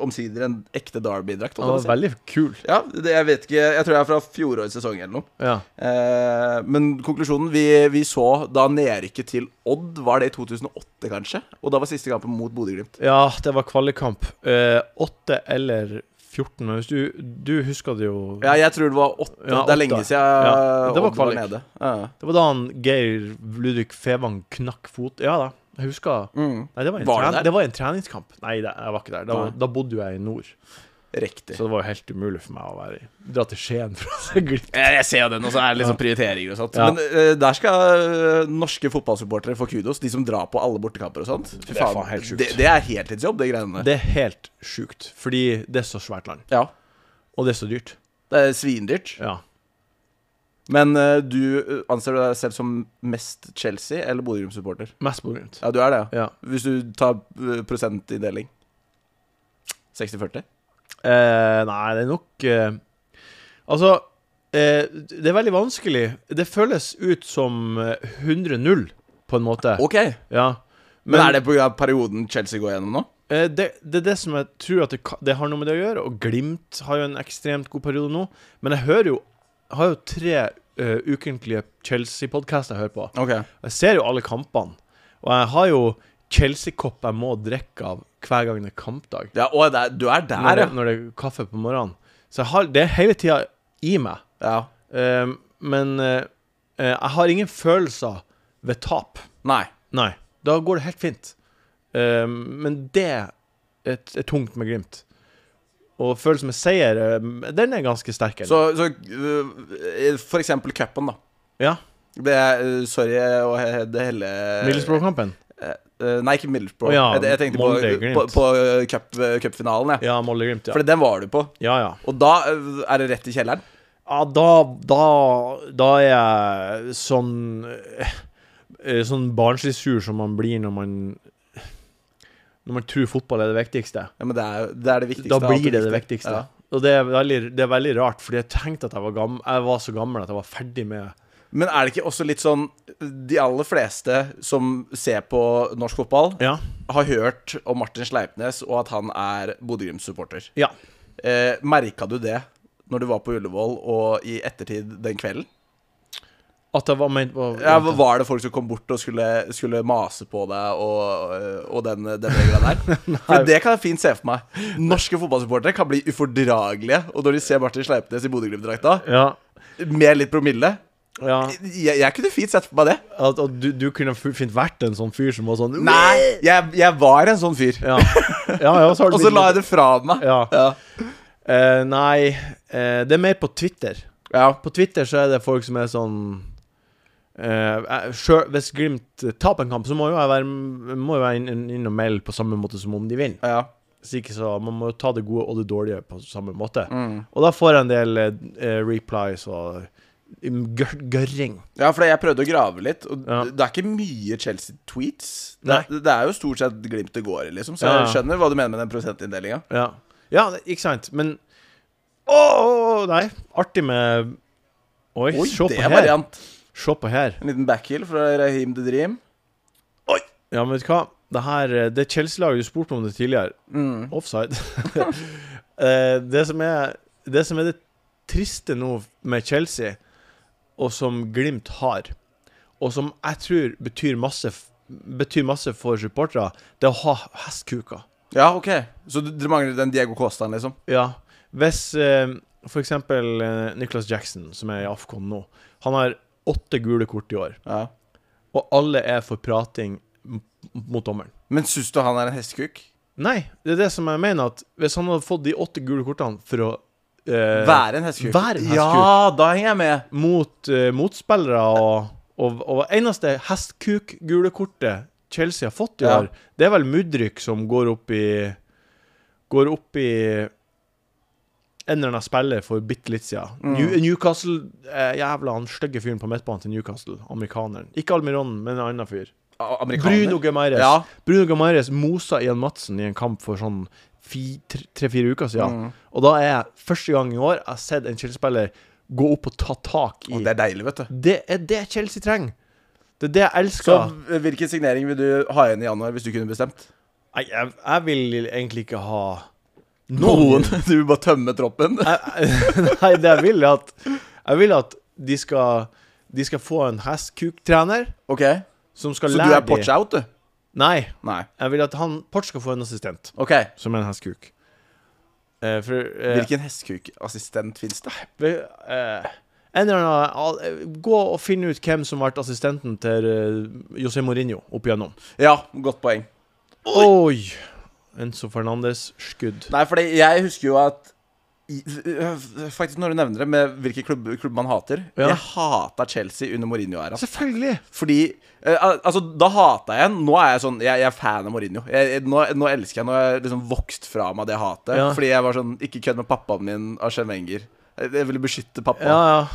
A: omsider en ekte Derby-drakt.
B: Den var
A: holdt jeg på å si.
B: veldig kul.
A: Ja, det, jeg vet ikke Jeg tror jeg er fra fjorårets sesong eller noe.
B: Ja.
A: Eh, men konklusjonen vi, vi så da nedrykket til Odd, var det i 2008, kanskje? Og da var siste kampen mot Bodø-Glimt.
B: Ja, det var kvalikkamp. Eh, 8 eller 14, men hvis du, du husker det jo
A: Ja, jeg tror det var åtte.
B: Ja,
A: det
B: åtte.
A: er lenge siden
B: Ja, det var
A: Odd
B: kvalik.
A: var nede. Ja.
B: Det var da han Geir Ludvig Fevang knakk fot Ja da, jeg husker
A: Mm.
B: Nei, det var en,
A: Var du
B: tren
A: der?
B: det var en treningskamp. Nei, det, jeg var ikke der. Da,
A: Nei.
B: da bodde jo jeg i nord,
A: Riktig.
B: så det var jo helt umulig for meg å være i. Dra til Skien for å se Glimt.
A: Eh, Jeg ser jo den, og så er det liksom prioriteringer og sånt.
B: Ja.
A: Men eh, der skal eh, norske fotballsupportere få kudos. De som drar på alle bortekamper og sånt. Fy
B: Det er faen helt sjukt.
A: Det, det er heltidsjobb, de greiene der.
B: Det er helt sjukt, fordi det er så svært land,
A: Ja.
B: og det er så dyrt.
A: Det er svindyrt.
B: Ja.
A: Men eh, du eh, anser du deg selv som mest Chelsea eller Bodø-Glimt-supporter?
B: Mest på Glimt.
A: Ja, du er det, ja.
B: Ja.
A: Hvis du tar eh, prosentinndeling 60-40?
B: Eh, nei, det er nok eh, Altså, eh, det er veldig vanskelig. Det føles ut som eh, 100-0, på en måte.
A: OK.
B: Ja.
A: Men, er det pga. perioden Chelsea går gjennom nå?
B: Eh, det, det er det som jeg tror at det, ka- det har noe med det å gjøre, og Glimt har jo en ekstremt god periode nå. Men jeg hører jo har jo tre eh, ukentlige Chelsea-podkaster jeg hører på.
A: Ok
B: Jeg ser jo alle kampene. Og jeg har jo Chelsea-kopp jeg må drikke av hver gang det er kampdag.
A: ja, Å, det er, du er
B: Når
A: der,
B: det,
A: ja.
B: når det er kaffe på morgenen. Så jeg har, det er hele tida i meg.
A: ja.
B: Eh, men eh, eh, jeg har ingen følelser ved tap.
A: Nei.
B: Nei, da går det helt fint. Eh, men det er, er tungt med Glimt. Og følelsen med seier, eh, den er ganske sterk.
A: Så,
B: eller?
A: så eh, for eksempel cupen, da.
B: ja,
A: Det er, eh, sorry og he- det hele
B: Middlesbrough-kampen.
A: Eh, Nei, ikke Middlesbrough.
B: Å ja,
A: jeg, jeg tenkte på,
B: Molde, Glimt.
A: på, på eh, cup- cupfinalen, jeg.
B: Ja, Molde-Glimt, ja.
A: For den var du på.
B: ja, ja.
A: Og da eh, er det rett i kjelleren.
B: ja da, da, da er jeg sånn eh, eh, Sånn barnslig sur som man blir når man Når man tror fotball er det viktigste.
A: Ja, men det er, det er det viktigste.
B: Da
A: av alt
B: blir det det viktigste.
A: Ja.
B: Og det er, veldig, det er veldig rart, fordi jeg tenkte at jeg var, gammel, jeg var så gammel at jeg var ferdig med
A: Men er det ikke også litt sånn De aller fleste som ser på norsk fotball,
B: Ja.
A: har hørt om Martin Sleipnes og at han er Bodø-Glimt-supporter.
B: ja.
A: Eh, Merka du det når du var på Ullevål og i ettertid den kvelden?
B: At jeg var ment var,
A: Ja, var det folk som kom bort og skulle, skulle mase på deg og, og den, den regla der? For det kan jeg fint se for meg. Norske fotballsupportere kan bli ufordragelige. Og når de ser Martin Sleipnes i Bodø-Glimt-drakta,
B: Ja,
A: med litt promille
B: ja.
A: jeg, jeg kunne fint sett for meg det.
B: At, at du, du kunne fu- fint vært en sånn fyr som var sånn
A: Nei, jeg, jeg var en sånn fyr.
B: Ja, ja, ja så har
A: Og
B: du
A: så
B: blitt
A: la
B: litt-
A: jeg det fra meg.
B: ja.
A: Ja.
B: Eh, Nei, eh, det er mer på Twitter.
A: ja.
B: På Twitter så er det folk som er sånn eh, jeg- sjø- Hvis Glimt taper en kamp, så må jo jeg, være, må jo jeg inn, inn, inn og melde på samme måte som om de vinner.
A: ja.
B: Så ikke så, Man må jo ta det gode og det dårlige på samme måte.
A: Mm.
B: Og da får jeg en del eh, eh, replies og mm, gør- gørring.
A: Ja, for jeg prøvde å grave litt, og
B: Ja.
A: det er ikke mye Chelsea-tweets. Det,
B: Nei.
A: det er jo stort sett Glimt det går i, liksom, så
B: Ja,
A: jeg
B: ja.
A: skjønner hva du mener med den prosentinndelinga.
B: Ja, ja det- ikke sant, men Å, å, å, nei. Artig med Oi,
A: Oi,
B: se på
A: det er
B: her.
A: variant.
B: Se på her.
A: En liten backheel fra Raheem the Dream.
B: Ja, men vet du hva? Det her eh, Det Chelsea-laget du spurte om det tidligere,
A: Mm.
B: offside Eh, det, som er, det som er det triste nå med Chelsea, og som Glimt har, og som jeg tror betyr masse, f- betyr masse for supportere, det er å ha hestkuker.
A: Ja, OK. Så du- dere mangler den Diego Costaen, liksom?
B: Ja. Hvis eh, for eksempel eh, Nicholas Jackson, som er i Afcon nå, han har åtte gule kort i år,
A: Ja.
B: og alle er for prating m- mot dommeren.
A: Men syns du han er en hestekuk?
B: Nei, det er det som jeg mener, at hvis han hadde fått de åtte gule kortene for å eh,
A: Være en hestekuk?
B: være en hestekuk.
A: Ja, da henger jeg med.
B: mot eh, motspillere og, og, og eneste hestkuk-gule kortet Chelsea har fått i
A: Ja.
B: år, det er vel Mudryk som går opp i går opp i en eller annen spiller for bitte litt siden.
A: Mm.
B: New, Newcastle eh, Jævla han stygge fyren på midtbanen til Newcastle. Amerikaneren. Ikke Almiron, men en annen fyr.
A: A- Amerikaner.
B: Bruno Gemaires.
A: Ja.
B: Bruno Gemaires mosa Ian Madsen i en kamp for sånn tre-fire uker siden.
A: Mm.
B: Og da er jeg første gang i år jeg har sett en Chelsea-spiller gå opp og ta tak i
A: Og det
B: det.
A: er deilig, vet du.
B: er det Chelsea trenger. Det er det jeg
A: Så
B: elsker.
A: eh, hvilken signering vil du ha igjen i januar, hvis du kunne bestemt?
B: Nei, jeg, jeg vil egentlig ikke ha
A: Noen. Du vil bare tømme troppen?
B: Jeg- Nei, det jeg vil er at Jeg vil at de skal De skal få en hestkuk-trener
A: Ok.
B: som skal
A: Så du
B: lære
A: er Poch out, du?
B: Nei,
A: Nei.
B: jeg vil at han Poch skal få en assistent
A: Ok.
B: som er en hestkuk. Eh, for eh,
A: Hvilken hestekukassistent fins det?
B: vi- eh, en eller annen, al- eh, gå og finn ut hvem som ble assistenten til eh, José Mourinho opp igjennom.
A: Ja, godt poeng.
B: Oi! Enzo Fernandes skudd.
A: Nei, fordi jeg husker jo at i- øh, Faktisk når du nevner det med hvilke klubb, klubb man hater
B: Ja.
A: Jeg hata Chelsea under Mourinho-æra.
B: Selvfølgelig!
A: Fordi eh, al- Altså, da hata jeg den. Nå er jeg sånn Jeg, jeg er fan av Mourinho. Jeg, jeg, nå, nå elsker jeg Nå har jeg liksom vokst fra meg det hatet.
B: Ja.
A: Fordi jeg var sånn Ikke kødd med pappaen min, Arsen Wenger. Jeg, jeg ville beskytte pappa.
B: Ja, ja.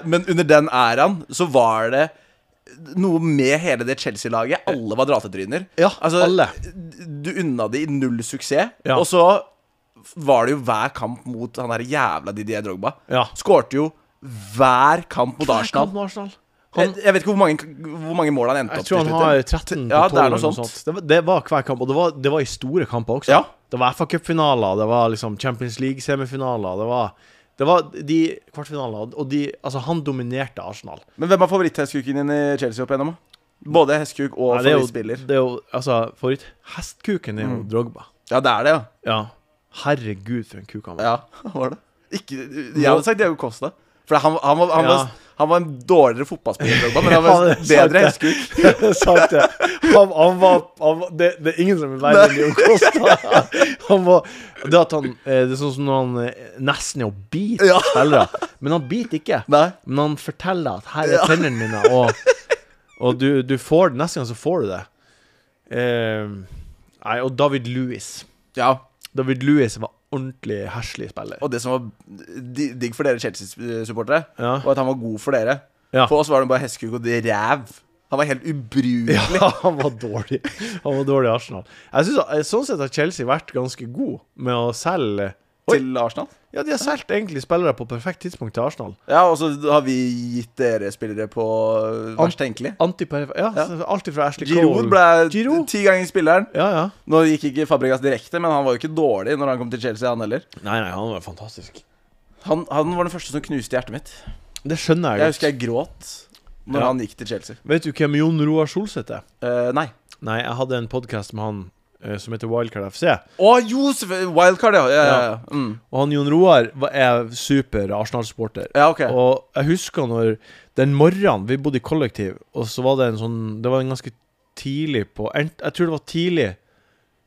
A: Eh, men under den æraen så var det noe med hele det Chelsea-laget. Alle var dratetryner. Altså,
B: Ja, alle.
A: Du unna de null suksess.
B: Ja.
A: Og så var det jo hver kamp mot han der jævla Didier Drogba.
B: Ja.
A: Skårte jo hver kamp mot Arsenal.
B: Kampen Arsenal.
A: Jeg,
B: Han,
A: jeg vet ikke hvor mange, hvor mange mål han endte
B: jeg
A: opp
B: tror han
A: til
B: har
A: slutt.
B: 13 på 12
A: Ja, det er
B: eller
A: noe
B: noe
A: sånt.
B: sånt. Det var, det var hver kamp, og det var, det var i store kamper også.
A: Ja.
B: Det var FA-cupfinaler, det var liksom Champions League-semifinaler, det var det var de kvartfinalene, og de Altså, han dominerte Arsenal.
A: Men hvem er favoritthestkuken din i Chelsea opp igjennom? da? Både hestkuk og
B: Nei, det er jo-
A: favorittspiller.
B: Det er jo, altså, favoritt Hestkuken er jo Drogba.
A: Ja, det er det, ja.
B: Ja. Herregud, for en kuk han var.
A: Ja, var det? Ikke, jeg hadde sagt Diego Costa. For han, han, var, han,
B: Ja.
A: var, han var en dårligere fotballspiller, Drogba, men han
B: Ja,
A: var
B: det er
A: en
B: sant,
A: bedre
B: det.
A: hestkuk.
B: Sant det. Han, han var, han var det, det er ingen som er verre enn Leon Costa. Han var, det, at han, eh, det er sånn som når han eh, nesten er å bite
A: Ja.
B: spillere. Men han biter ikke.
A: Nei.
B: Men han forteller at 'her er tennene mine', og, og du, du får det. Neste gang så får du det. Eh, nei, og David Lewis.
A: Ja,
B: David Lewis var ordentlig herselig spiller.
A: og det som var di- digg for dere Chelsea-supportere,
B: Ja.
A: var at han var god for dere.
B: Ja.
A: For oss var han bare hestkuk og ræv. Han var helt ubrukelig.
B: Ja, han var dårlig. Han var dårlig i Arsenal. Jeg synes, eh, Sånn sett har Chelsea vært ganske god med å selge
A: Til Arsenal.
B: Ja, de har solgt egentlig spillere på perfekt tidspunkt til Arsenal.
A: Ja, Og så har vi gitt dere spillere på verst tenkelig.
B: Antiperf... Ja, alt fra Ashley
A: Giroud
B: Cole
A: ble
B: Giroud?
A: ti ganger spilleren.
B: Ja, ja.
A: Nå gikk ikke Fabregas direkte, men han var jo ikke dårlig når han kom til Chelsea, han heller.
B: Nei, nei, han var fantastisk.
A: Han, han var den første som knuste hjertet mitt.
B: Det
A: Jeg
B: skjønner jeg
A: husker
B: godt.
A: jeg gråt når
B: Ja.
A: han gikk til Chelsea.
B: Vet du hvem Jon Roar Solseth er?
A: Eh, nei.
B: Nei, jeg hadde en podkast med han eh, som heter Wildcard FC.
A: Å, Josef! eh, Wildcard, ja. Ja, ja, ja. Mm.
B: Og han Jon Roar var- er super Arsenal-supporter.
A: ja ok.
B: Og jeg husker når den morgenen vi bodde i kollektiv, og så var det en sånn Det var en ganske tidlig på ent- Jeg tror det var tidlig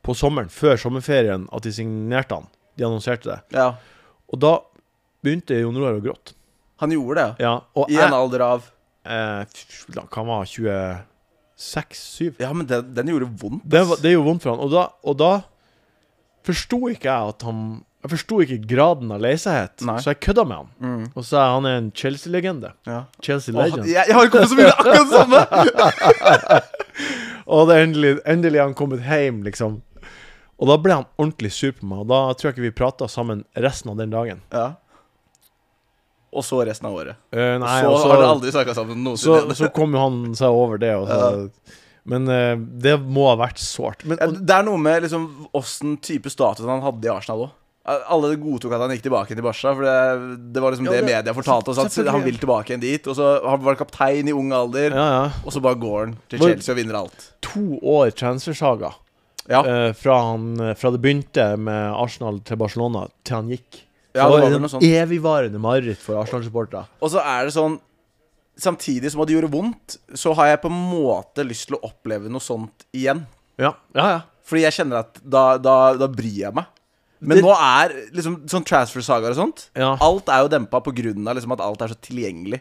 B: på sommeren, før sommerferien, at de signerte han. De annonserte det.
A: ja.
B: Og da begynte Jon Roar å gråte.
A: Han gjorde det,
B: Ja, og
A: ja. I
B: jeg
A: en alder av
B: eh, f- f- Hva var han? 26-7?
A: Ja, men den, den gjorde vondt.
B: Det,
A: ass.
B: var- det gjorde vondt for han. Og da, og da forsto ikke jeg at han Jeg forsto ikke graden av lei seghet,
A: Nei.
B: så jeg kødda med han.
A: mm.
B: Og sa han er en Chelsea-legende.
A: ja. Å,
B: Chelsea-legend.
A: han- jeg, jeg har jo kommet så mye akkurat det samme!
B: Og det er endelig, endelig er han kommet hjem, liksom. Og da ble han ordentlig sur på meg, og da tror jeg ikke vi prata sammen resten av den dagen.
A: Ja. Og så resten av året.
B: Eh, nei,
A: så,
B: og så,
A: har dere aldri snakka sammen
B: så,
A: noensinne.
B: så kom jo han seg over det. Og så, Men eh, det må ha vært sårt. Men
A: Ja,
B: og,
A: Det er noe med liksom åssen type status han hadde i Arsenal òg. Alle godtok at han gikk tilbake til Barca, for det, det var liksom
B: Ja,
A: det,
B: det-
A: media fortalte oss. At
B: selvfølgelig.
A: han vil tilbake igjen dit. Og så han var kaptein i ung alder,
B: ja, ja.
A: og så bare går han til
B: Hvor-
A: Chelsea og vinner alt.
B: To år transfersaga.
A: Ja,
B: eh, fra, han, fra det begynte med Arsenal til Barcelona, til han gikk.
A: ja det
B: var
A: var vel
B: en
A: noe sånt.
B: evigvarende mareritt for Arsenal-supportere.
A: Og så er det sånn Samtidig som det gjorde vondt, så har jeg på en måte lyst til å oppleve noe sånt igjen.
B: Ja, ja, ja.
A: Fordi jeg kjenner at da, da, da bryr jeg meg. Men
B: Det-
A: nå er liksom sånn transfer-sagaer og sånt
B: Ja.
A: Alt er jo dempa på grunn av liksom at alt er så tilgjengelig.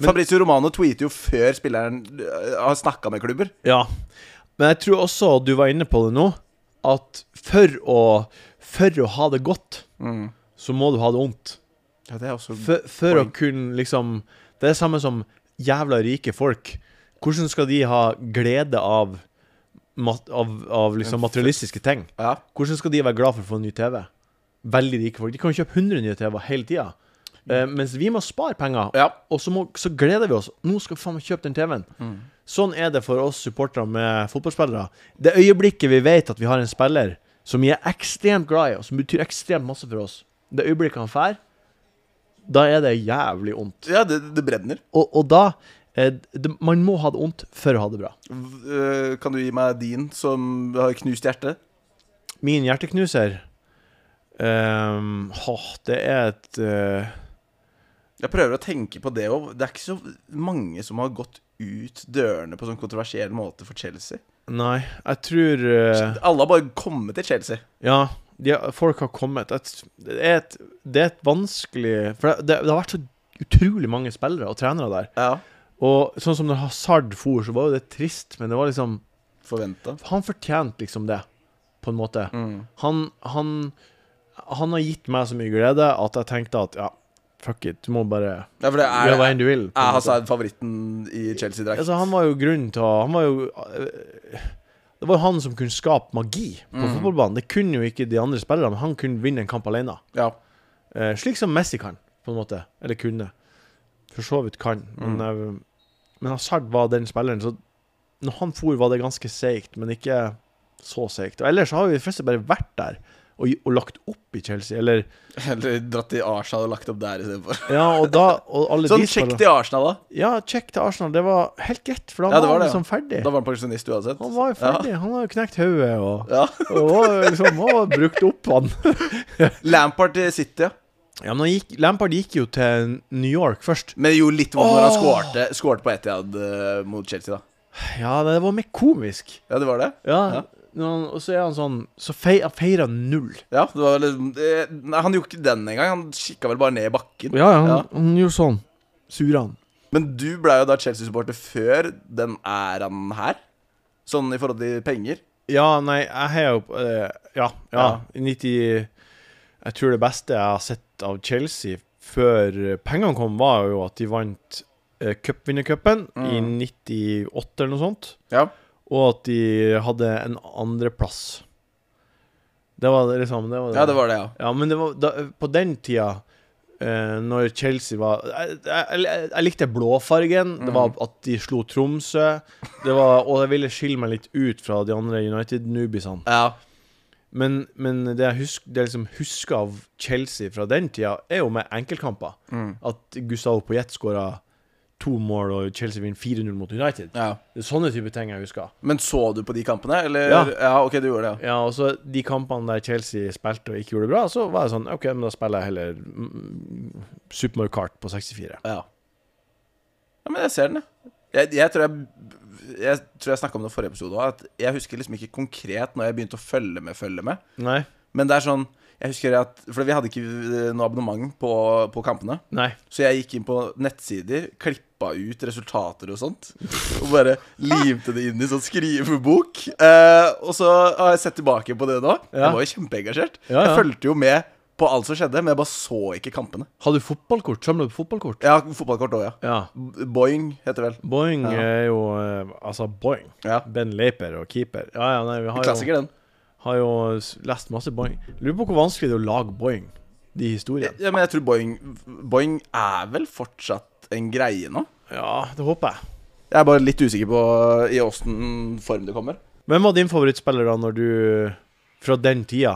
A: Fabrizio Romano tweeter jo før spilleren øh, har snakka med klubber.
B: Ja. Men jeg tror også du var inne på det nå. at for å, for å ha det godt, så må du ha det vondt.
A: Ja, det er også
B: For, for å kunne liksom Det er det samme som jævla rike folk. Hvordan skal de ha glede av, mat, av, av liksom materialistiske ting?
A: Ja.
B: Hvordan skal de være glad for å få en ny TV? Veldig rike folk. De kan jo kjøpe 100 nye TV-er hele tida. Eh, mens vi må spare penger,
A: Ja.
B: og så, må, så gleder vi oss. Nå skal vi faen meg kjøpe den TV-en. Sånn er det for oss supportere med fotballspillere. Det øyeblikket vi vet at vi har en spiller som vi er ekstremt glad i, og som betyr ekstremt masse for oss, det øyeblikket han drar, da er det jævlig vondt.
A: ja det, det brenner.
B: Og, og da eh, det, Man må ha det vondt for å ha det bra.
A: V- øh, Kan du gi meg din, som har knust hjerte?
B: Min hjerteknuser ehm, åh, Det er et eh,
A: Jeg prøver å tenke på det òg. Det er ikke så mange som har gått ut dørene på sånn kontroversiell måte for Chelsea.
B: Nei, jeg tror eh,
A: Alle har bare kommet til Chelsea.
B: Ja, de, folk har kommet. Et, det, er et, det er et vanskelig For det, det, det har vært så utrolig mange spillere og trenere der.
A: Ja,
B: Og sånn som når Hazard for, så var jo det trist, men det var liksom
A: Forventa.
B: Han fortjente liksom det, på en måte. Han, han, han har gitt meg så mye glede at jeg tenkte at ja, fuck it, du må bare
A: Ja, for det
B: gjøre hva
A: er,
B: enn du vil. på
A: er
B: en måte.
A: Hazard favoritten i Chelsea-drakt.
B: Altså, han var jo grunnen til å Han var jo øh, Det var jo han som kunne skape magi på fotballbanen. Det kunne jo ikke de andre spillerne, men han kunne vinne en kamp alene.
A: Ja.
B: Eh, slik som Messi kan, på en måte. Eller kunne. For så vidt kan. Men,
A: Mm.
B: eh, men Hazard var den spilleren, så når han for, var det ganske seigt, men ikke så seigt. Og ellers har jo de fleste bare vært der og, og lagt opp i Chelsea, eller
A: Eller dratt til Arsenal og lagt opp der istedenfor.
B: Ja, og da og alle
A: Sånn
B: de
A: sjekk
B: spillerne-
A: til Arsenal, da.
B: Ja, check til Arsenal. Det var helt greit, for da
A: Ja, det var
B: var han
A: det, ja.
B: liksom ferdig.
A: Da var han pensjonist uansett.
B: Han var jo ferdig. Han har jo knekt hodet og,
A: Ja.
B: og var liksom, og brukt opp han.
A: ja. Lampard til City, ja.
B: Ja, men han gikk, Lampard gikk jo til New York først.
A: Men det gjorde litt vondt når han
B: Åh!
A: skårte, skårte på Etiad eh, mot Chelsea, da.
B: Ja, det var mer komisk.
A: Ja, det var det? Ja.
B: Ja, når han, Og så er han sånn Så fei, han feirer han null.
A: Ja, det var liksom eh, Nei, han gjorde ikke den engang. Han kikka vel bare ned i bakken.
B: Ja, han,
A: Ja.
B: han gjorde sånn. Sura han.
A: Men du ble jo da Chelsea-supporter før den æraen her. Sånn i forhold til penger.
B: Ja, nei, jeg heier jo på eh, Ja, ja.
A: Ja.
B: 90 Jeg tror det beste jeg har sett av Chelsea før eh, pengene kom, var jo at de vant eh, cupvinnercupen i 98 eller noe sånt.
A: Ja.
B: Og at de hadde en andreplass. Det var det liksom det var det.
A: ja, det var det, ja.
B: Ja, men det var da, på den tida eh, når Chelsea var Jeg, jeg, jeg, jeg likte blåfargen. Det var at de slo Tromsø. Det var, og jeg ville skille meg litt ut fra de andre United-nubisene.
A: Ja,
B: Men, men det jeg husker, det jeg liksom husker av Chelsea fra den tida, er jo med enkeltkamper. At Gustavo Poyet skåra to mål, og Chelsea vinner 4-0 mot United.
A: ja.
B: Det er sånne type ting jeg husker.
A: Men så du på de kampene, eller?
B: Ja.
A: ok, du gjorde det, ja.
B: Ja, og så de kampene der Chelsea spilte og ikke gjorde det bra, så var jeg sånn OK, men da spiller jeg heller mm, Super Mario Kart på 64.
A: Ja, ja men jeg ser den, ja. jeg. Jeg tror jeg, jeg, tror jeg snakka om det i forrige episode òg, at jeg husker liksom ikke konkret når jeg begynte å følge med, følge med.
B: Nei.
A: Men det er sånn Jeg husker at For vi hadde ikke eh, noe abonnement på, på kampene.
B: Nei.
A: Så jeg gikk inn på nettsider, klippa ut resultater og sånt. Og bare limte det inn i sånn skrivebok. Eh, og så har jeg sett tilbake på det nå.
B: Ja.
A: Jeg var jo kjempeengasjert.
B: Ja, ja.
A: Jeg fulgte jo med på alt som skjedde, men jeg bare så ikke kampene.
B: Har du fotballkort? Samler du på fotballkort?
A: Ja, fotballkort òg, ja.
B: Ja.
A: B- Boing heter det vel.
B: Boing
A: Ja.
B: er jo eh, Altså, Boing.
A: Ja.
B: Ben Leiper og keeper. Ja, ja, nei, vi har jo,
A: Klassiker, den.
B: har jo s- lest masse Boing. Lurer på hvor vanskelig det er å lage Boing, de historiene.
A: Ja, men jeg tror Boing Boing er vel fortsatt en greie nå?
B: Ja, det håper jeg.
A: Jeg er bare litt usikker på i åssen form det kommer.
B: Hvem var din favorittspiller da når du Fra den tida?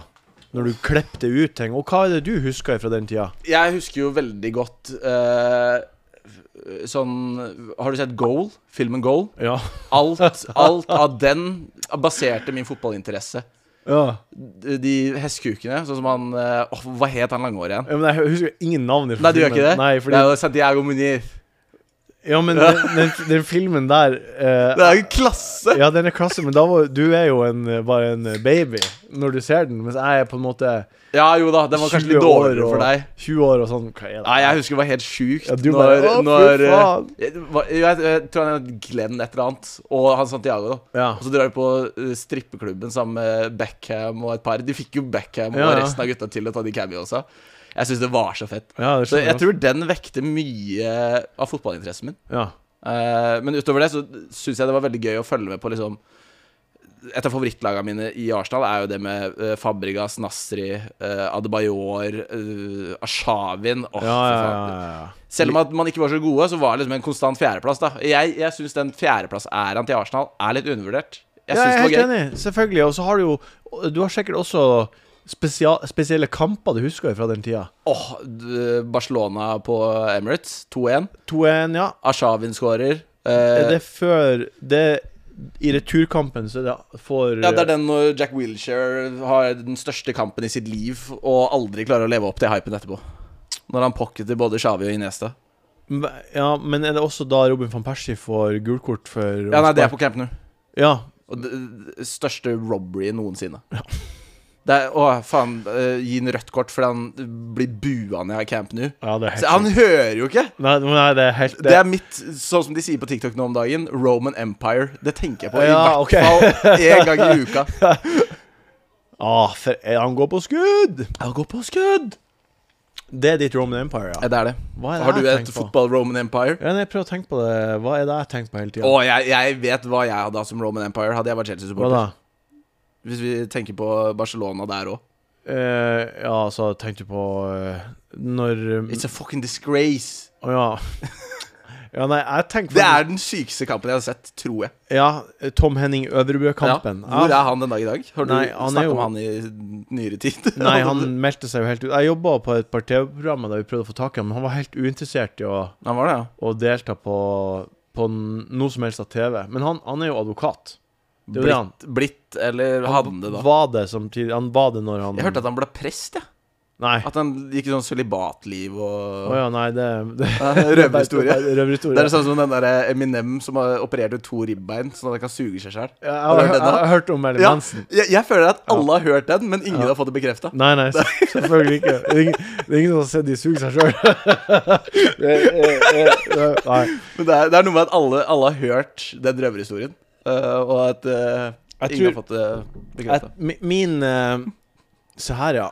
B: Når du klepte ut ting? Og hva er det du husker fra den tida?
A: Jeg husker jo veldig godt eh, Sånn Har du sett Goal? Filmen Goal?
B: Ja.
A: Alt, alt av den baserte min fotballinteresse.
B: ja.
A: De hestkukene, sånn som han eh, åh, Hva het han langhårige igjen?
B: Ja, men jeg husker ingen navn.
A: Nei, du gjør ikke det?
B: Nei, fordi
A: Det er jo Santiago Munir.
B: Ja, men den, den, den filmen der eh,
A: Det er jo en klasse!
B: Ja, den er klasse, men da var, du er jo en, eh, bare en baby når du ser den. Mens jeg er på en måte
A: Ja jo da, den var kanskje
B: 20
A: litt
B: år
A: dårligere for
B: og-
A: deg.
B: 20 år og sånn. Hva er det?
A: Nei, jeg husker det var helt sjukt.
B: Ja, du bare,
A: når,
B: «Å, fy
A: når eh,
B: faen!»
A: jeg, var- jeg, jeg tror han het Glenn et eller annet. Og han Santiago, da.
B: Ja.
A: Og så drar de på eh, strippeklubben sammen med Beckham og et par. De fikk jo Beckham
B: Ja,
A: og
B: ja.
A: resten av gutta til å ta de cameosa. Jeg syns det var så fett.
B: Ja, det
A: Så
B: skjønner
A: jeg
B: jeg.
A: tror den vekte mye av fotballinteressen min.
B: Ja.
A: Eh, men utover det så syns jeg det var veldig gøy å følge med på liksom Et av favorittlagene mine i Arsenal er jo det med eh, Fabregas, Nasri, uh, Adebayor, uh, Ashavin Åh,
B: Ja,
A: for
B: ja,
A: faen.
B: ja, ja, ja.
A: Selv om at man ikke var så gode, så var det liksom en konstant fjerdeplass. da Jeg, jeg syns den fjerdeplassæraen til Arsenal er litt undervurdert. Jeg
B: Ja,
A: syns
B: jeg
A: det
B: er helt
A: var gøy.
B: enig. Selvfølgelig. Og så har du jo Du har sikkert også spesia- spesielle kamper du husker fra den tida.
A: Åh, d- Barcelona på Emirates 2-1.
B: 2-1, ja.
A: Ashavin skårer.
B: Er
A: Eh,
B: det før det I returkampen så er det for
A: ja, det er den når Jack Wilshere har den største kampen i sitt liv og aldri klarer å leve opp til hypen etterpå. Når han pocketer både Shavi og Iniesta.
B: Ja, men er det også da Robin van Persie får gult kort for
A: Ja, nei, det er på Camp Nou.
B: Ja.
A: Og det, det største robbery noensinne. Det er, å, faen, eh, gi en rødt kort fordi han blir bua ned av Camp Nou.
B: ja, det er
A: Så han
B: sjukt.
A: hører jo ikke!
B: Nei, nei, det er helt
A: Det er mitt, sånn som de sier på TikTok nå om dagen, Roman Empire. Det tenker jeg på i
B: Ja,
A: hvert
B: ok.
A: fall én gang i uka.
B: Ah, for eh, han går på skudd!
A: Ja, gå på skudd!
B: Det er ditt Roman Empire,
A: Ja,
B: ja.
A: det er det.
B: Hva er det
A: Har du
B: jeg
A: et
B: tenker på?
A: fotball-Roman Empire?
B: ja nei, jeg prøver å tenke på det. Hva er det jeg tenker på hele tida?
A: Å, jeg, jeg vet hva jeg hadde hatt som Roman Empire, hadde jeg vært
B: Hva da?
A: Chelsea-supporter. Hvis vi tenker på Barcelona der òg.
B: Eh, ja, så tenkte jeg på eh, Når eh,
A: It's a fucking disgrace.
B: Å ja. ja, nei, jeg tenker
A: Det er den sykeste kampen jeg har sett, tror jeg.
B: Ja, Tom Henning Øvrebø-kampen.
A: Ja. Hvor er han den dag i dag? Har du
B: Nei, han er
A: snakket
B: jo-
A: om han i nyere tid?
B: Nei, han meldte seg jo helt ut. Jeg jobba på et par TV-programmer der vi prøvde å få tak i ham, men han var helt uinteressert i å,
A: Han var det, ja.
B: å delta på, på n- noe som helst av TV. Men han, han er jo advokat. Det er jo det han.
A: Blitt, blitt, eller hadde det, da.
B: Var det samtidig Han var det når han
A: Jeg hørte at han ble prest, jeg.
B: Nei.
A: At han gikk i sånn sølibatliv
B: Å
A: og
B: ja, nei, det, det
A: Ja, Røverhistorie. Det
B: Røverhistorie.
A: er sånn som den der Eminem som har operert ut to ribbein, sånn at han kan suge seg sjøl.
B: Jeg
A: Har du
B: har
A: hørt
B: jeg
A: den da?
B: har hørt om Merlin
A: Ja,
B: Manson.
A: jeg, jeg føler at alle har hørt den, men ingen
B: Ja.
A: har fått det bekrefta.
B: Nei, nei, se- selvfølgelig ikke. Det er ingen, det er ingen som har sett de suge seg sjøl. Nei.
A: Men det er, det er noe med at alle, alle har hørt den røverhistorien, eh, og at eh, ingen
B: Jeg
A: har
B: tror-
A: fått det
B: Jeg,
A: bekrefta.
B: mi- min eh, Se her, ja.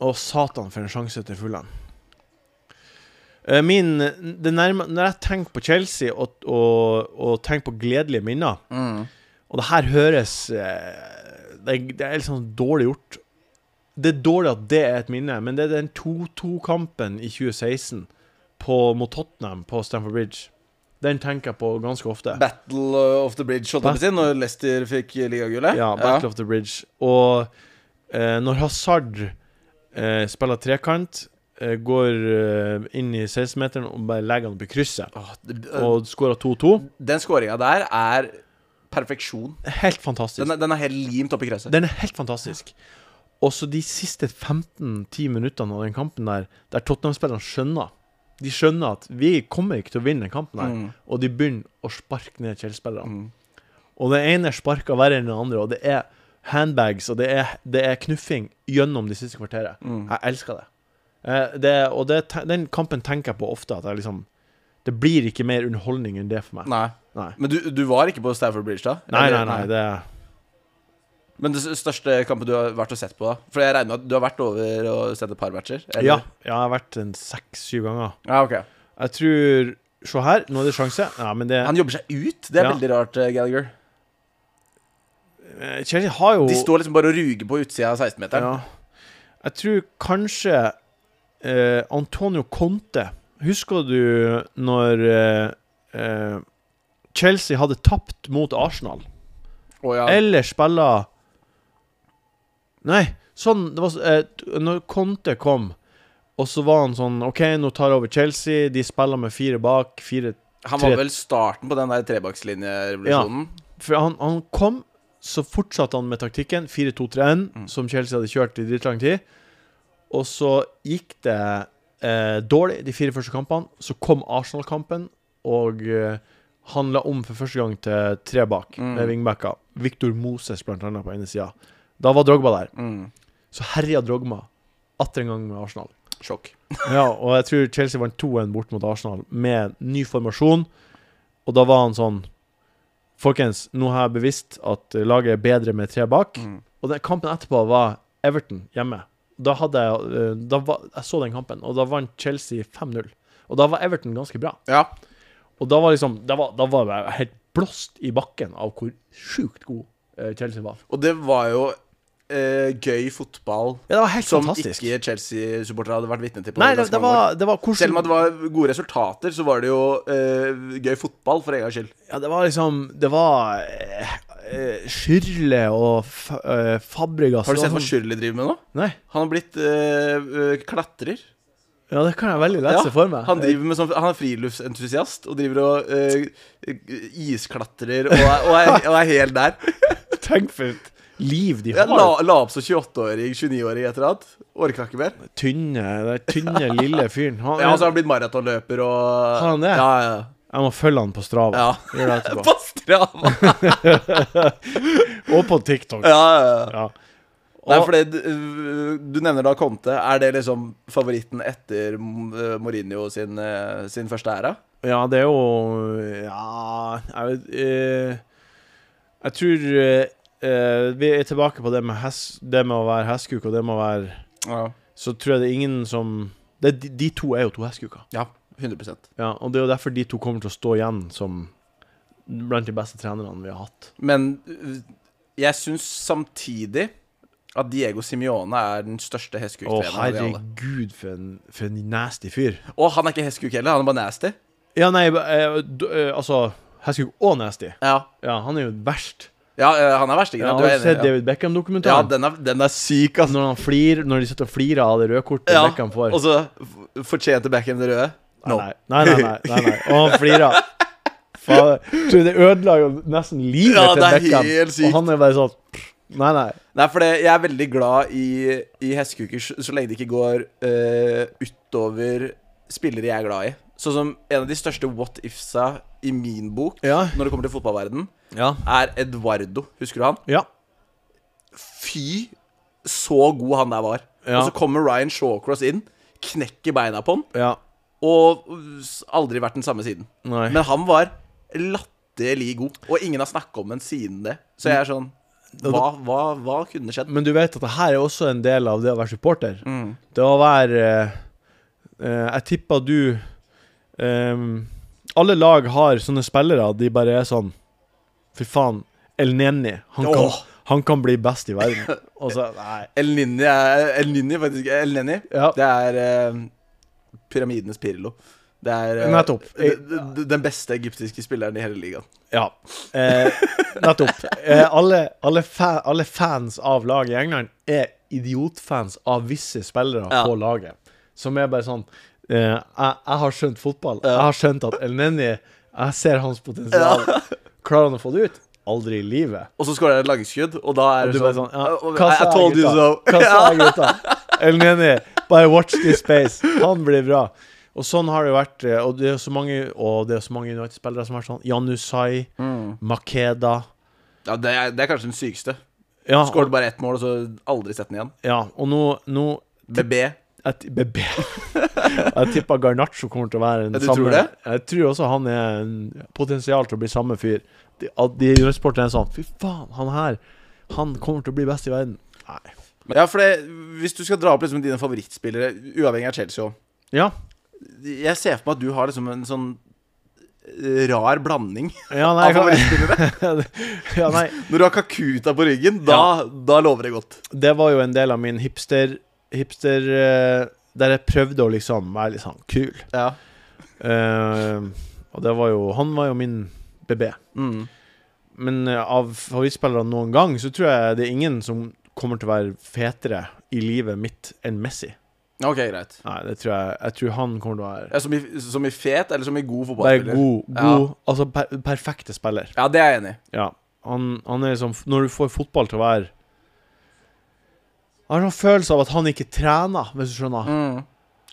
B: Å, satan, for en sjanse til Fulham. Eh, Min, det nærme, når jeg tenker på Chelsea og, og, og tenker på gledelige minner
A: Mm.
B: Og det her høres eh, Det, er- det er litt sånn dårlig gjort. Det er dårlig at det er et minne, men det er den 2-2-kampen i 2016 på, mot Tottenham på Stamford Bridge. Den tenker jeg på ganske ofte.
A: Battle of the Bridge, holdt jeg på å si, når Leicester fikk ligagullet.
B: Ja, Battle of the Bridge. Og eh, når Hazard eh, spiller trekant, eh, går eh, inn i 16-meteren og bare legger han opp i krysset,
A: Åh, det- eh,
B: og skårer 2-2
A: Den scoringa der er perfeksjon.
B: Helt fantastisk.
A: Den er, den er helt limt oppi krysset.
B: Den er helt fantastisk. Og så de siste 15-10 minuttene av den kampen der, der Tottenham-spillerne skjønner De skjønner at vi kommer ikke til å vinne den kampen her,
A: Mm.
B: og de begynner å sparke ned Chelsea-spillerne.
A: Mm.
B: Og den ene sparker verre enn den andre, og det er handbags, og det er, det er knuffing gjennom de siste kvarteret.
A: Mm.
B: Jeg elsker det. Eh, det og det, te- den kampen tenker jeg på ofte, at jeg liksom Det blir ikke mer underholdning enn det for meg.
A: Nei.
B: Nei,
A: Men du, du var ikke på Stafford Bridge da?
B: nei, nei.
A: Eller-
B: nei det
A: Men det s- største kampen du har vært og sett på da? For jeg regner med at du har vært over og sett et par matcher? eller?
B: Ja, jeg har vært en seks-syv ganger.
A: Ja, ok
B: Jeg tror Se her, nå er det sjanse. Ja, men det
A: Han jobber seg ut. Det er
B: Ja.
A: veldig rart, eh, Gallagher.
B: eh, Chelsea har jo
A: De står liksom bare og ruger på utsida av 16-meteren.
B: ja. Jeg tror kanskje eh, Antonio Conte Husker du når eh, eh, Chelsea hadde tapt mot Arsenal?
A: Å, ja.
B: Eller spilla Nei, sånn det var, s- eh, t- Når Conte kom, og så var han sånn OK, nå tar jeg over Chelsea. De spiller med fire bak. Fire
A: Han var
B: tre-
A: vel starten på den der trebakslinjerevolusjonen.
B: For han, han kom, så fortsatte han med taktikken 4-2-3-1, som Chelsea hadde kjørt i dritlang tid. Og så gikk det eh, dårlig de fire første kampene. Så kom Arsenal-kampen, og eh, han la om for første gang til tre bak,
A: Mm.
B: med wingbacker. Victor Moses, blant annet, på ene sida. Da var Drogba der.
A: Mm.
B: Så herja Drogba atter en gang med Arsenal.
A: Sjokk.
B: Ja, og jeg tror Chelsea vant 2-1 bort mot Arsenal med ny formasjon. Og da var han sånn Folkens, nå har jeg bevisst at laget er bedre med tre bak.
A: Mm.
B: Og den kampen etterpå var Everton hjemme. Da hadde jeg, eh, da var, jeg så den kampen, og da vant Chelsea 5-0. Og da var Everton ganske bra.
A: Ja.
B: Og da var liksom Da var, da var jeg helt blåst i bakken av hvor sjukt god eh, Chelsea var.
A: Og det var jo eh, gøy fotball
B: Ja, det var helt
A: som
B: fantastisk.
A: ikke Chelsea-supportere hadde vært vitne til. på
B: Nei, det,
A: ganske
B: det
A: mange år.
B: var, det var hvordan
A: Selv om at det var gode resultater, så var det jo eh, gøy fotball, for en gangs skyld.
B: Ja, det var liksom Det var eh, eh, Skyrle og fa, eh, Fabregas.
A: Har du
B: Det
A: sett hva
B: var
A: Shirley driver med nå?
B: sånn- Nei.
A: Han har blitt eh, eh, klatrer.
B: Ja, det kan jeg veldig lett se for meg.
A: han, driver med sånn, han er friluftsentusiast og driver og eh, isklatrer og er, og, er, og er helt der.
B: Eh, Tenk for et liv de
A: Ja,
B: har.
A: la, la opp som 28-åring, 29-åring, et eller annet. Orka ikke mer.
B: Tynne, den tynne, lille fyren. Han,
A: Ja, altså- og så har han blitt maratonløper og
B: Har han det?
A: Ja, ja,
B: Jeg må følge han på Strava.
A: ja.
B: Gjør det etterpå.
A: På Strava.
B: Og på TikTok.
A: Ja, ja, ja.
B: Ja.
A: Nei,
B: Og-
A: for det, du- du nevner da Conte. Er det liksom favoritten etter eh, Mourinho sin, eh, sin første æra?
B: Ja, det er jo Ja, jeg vet eh, Jeg tror eh, eh, Vi er tilbake på det med, hes, det med å være hestkuk, og det med å være
A: Ja.
B: Så tror jeg det er ingen som det, de, de to er jo to hestekuker.
A: ja 100
B: Ja, og det er jo derfor de to kommer til å stå igjen som blant de beste trenerne vi har hatt.
A: Men øh, jeg syns samtidig at Diego Simione er den største
B: Å,
A: hestkuk-treneren av de alle.
B: herregud, for en, for en nasty fyr.
A: Og han er ikke hestkuk heller, han er bare nasty.
B: Ja, nei, eh, d- eh, altså Hestkuk og nasty.
A: Ja,
B: Ja, han er jo verst.
A: ja øh, han er verstingen. Ja,
B: Ja, har du
A: du er enig?
B: sett David
A: Ja, ja
B: Beckham-dokumentaren?
A: den, er, den er syk, ass.
B: når, han flir, når de sitter og flirer av det røde kortet
A: Ja,
B: Beckham får.
A: og så f- fortjente Beckham det røde. No.
B: Nei, nei, nei, nei, nei, nei. Og han flirer. Fader. Tror du det ødela jo nesten livet
A: Ja,
B: til
A: det er
B: Beckham.
A: helt sykt.
B: Og han er bare sånn Nei, nei.
A: Nei, for det, jeg er veldig glad i, i hestekuker så, så lenge det ikke går øh, utover spillere jeg er glad i. Sånn som en av de største what ifsa i min bok
B: Ja.
A: når det kommer til fotballverden,
B: Ja.
A: er Eduardo. Husker du han?
B: Ja.
A: Fy, så god han der var.
B: Ja.
A: Og så kommer Ryan Shawcross inn, knekker beina på han,
B: ja.
A: og s- aldri vært den samme siden.
B: Nei.
A: Men han var latterlig god, og ingen har snakket om ham siden det. Så jeg er sånn Hva, hva, hva kunne skjedd?
B: Men du vet at det her er også en del av det å være supporter. Det å være eh, eh, Jeg tipper du ehm, Alle lag har sånne spillere. De bare er sånn Fy faen, El Neni. Han kan,
A: Åh.
B: han kan bli best i verden. Og så Nei.
A: El Nini er El Nini, faktisk. El Nini.
B: Ja.
A: Det er eh, pyramidenes Pirlo. Det er eh,
B: Nettopp.
A: d- d- Den beste egyptiske spilleren i hele ligaen.
B: Ja. Eh, nettopp. Eh, alle, alle, fa alle fans av laget i England er idiotfans av visse spillere
A: Ja.
B: på laget. Som er bare sånn eh, jeg, jeg har skjønt fotball. Jeg har skjønt at El Neni Jeg ser hans potensial. Klarer han å få det ut? Aldri i livet.
A: Og så skårer jeg et langskudd, og da er
B: Og du
A: det
B: bare
A: sånn,
B: sånn ja,
A: "Oh,
B: Hva
A: I, I
B: sa jeg,
A: told you
B: gutta?
A: so.
B: Hva sa jeg, gutta? El Neni, bare watch this space. Han blir bra. Og sånn har det jo vært. eh, Og det er jo så mange Og det er jo så mange United-spillere som har vært sånn. Janusai,
A: Mm.
B: Makeda
A: Ja, det er, det er kanskje den sykeste.
B: ja,
A: Skåret bare ett mål, Ah, og så aldri sett den igjen.
B: Ja, og nå, nå
A: BB.
B: jeg, t- BB. jeg tipper Garnaccio kommer til å være en
A: Ja, du tror det?
B: Jeg tror også han er en potensial til å bli samme fyr. De, at de United-sporterne er sånn Fy faen, han her Han kommer til å bli best i verden. Nei.
A: Ja, for det, Hvis du skal dra opp liksom dine favorittspillere, uavhengig av Chelsea også.
B: Ja.
A: Jeg ser for meg at du har liksom en sånn eh, rar blanding
B: Ja,
A: av
B: nei, jeg kan,
A: favorittspillere.
B: ja, nei.
A: Når du har Kakuta på ryggen, da, da lover det godt.
B: Det var jo en del av min hipster Hipster eh, Der jeg prøvde å liksom være litt sånn kul.
A: Ja.
B: Eh, og det var jo Han var jo min BB.
A: Mm.
B: Men eh, av favorittspillere noen gang, så tror jeg det er ingen som kommer til å være fetere i livet mitt enn Messi.
A: Ok, greit.
B: Nei, det tror jeg Jeg tror han kommer til å være
A: Ja, som, i, som i fet, eller som i god
B: Bare
A: fotballspiller?
B: god, god Altså per, perfekte spiller.
A: Ja, det er jeg enig i.
B: Ja. Han, han er liksom Når du får fotball til å være Jeg har en følelse av at han ikke trener, hvis du skjønner.
A: Mm.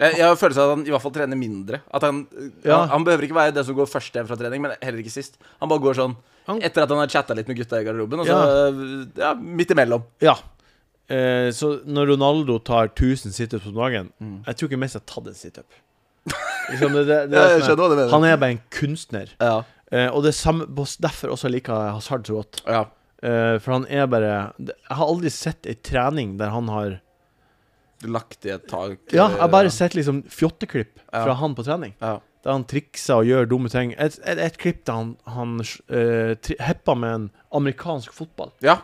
A: Jeg, jeg har følelsen av at han i hvert fall trener mindre. At han, eh,
B: Ja.
A: han, han behøver ikke være den som går først hjem fra trening, men heller ikke sist. Han bare går sånn
B: Han-
A: etter at han har chatta litt med gutta i garderoben, og så eh, ja. midt imellom.
B: Ja. Eh, så når Ronaldo tar 1000 situps om dagen
A: Mm.
B: Jeg tror ikke Messi har tatt en situp. Liksom det, det, det,
A: Ja,
B: er
A: jeg
B: sånn
A: skjønner hva du mener.
B: han er bare en kunstner.
A: Ja.
B: Eh, og det er samme, derfor også liker jeg Hazard så godt.
A: ja.
B: Eh, for han er bare Jeg har aldri sett ei trening der han har
A: Lagt i et tak.
B: Ja, jeg har bare
A: ja.
B: sett liksom fjotteklipp
A: Ja.
B: fra han på trening.
A: ja.
B: Der han trikser og gjør dumme ting. Et, et, et klipp der han, han eh, tri- heppa med en amerikansk fotball.
A: ja.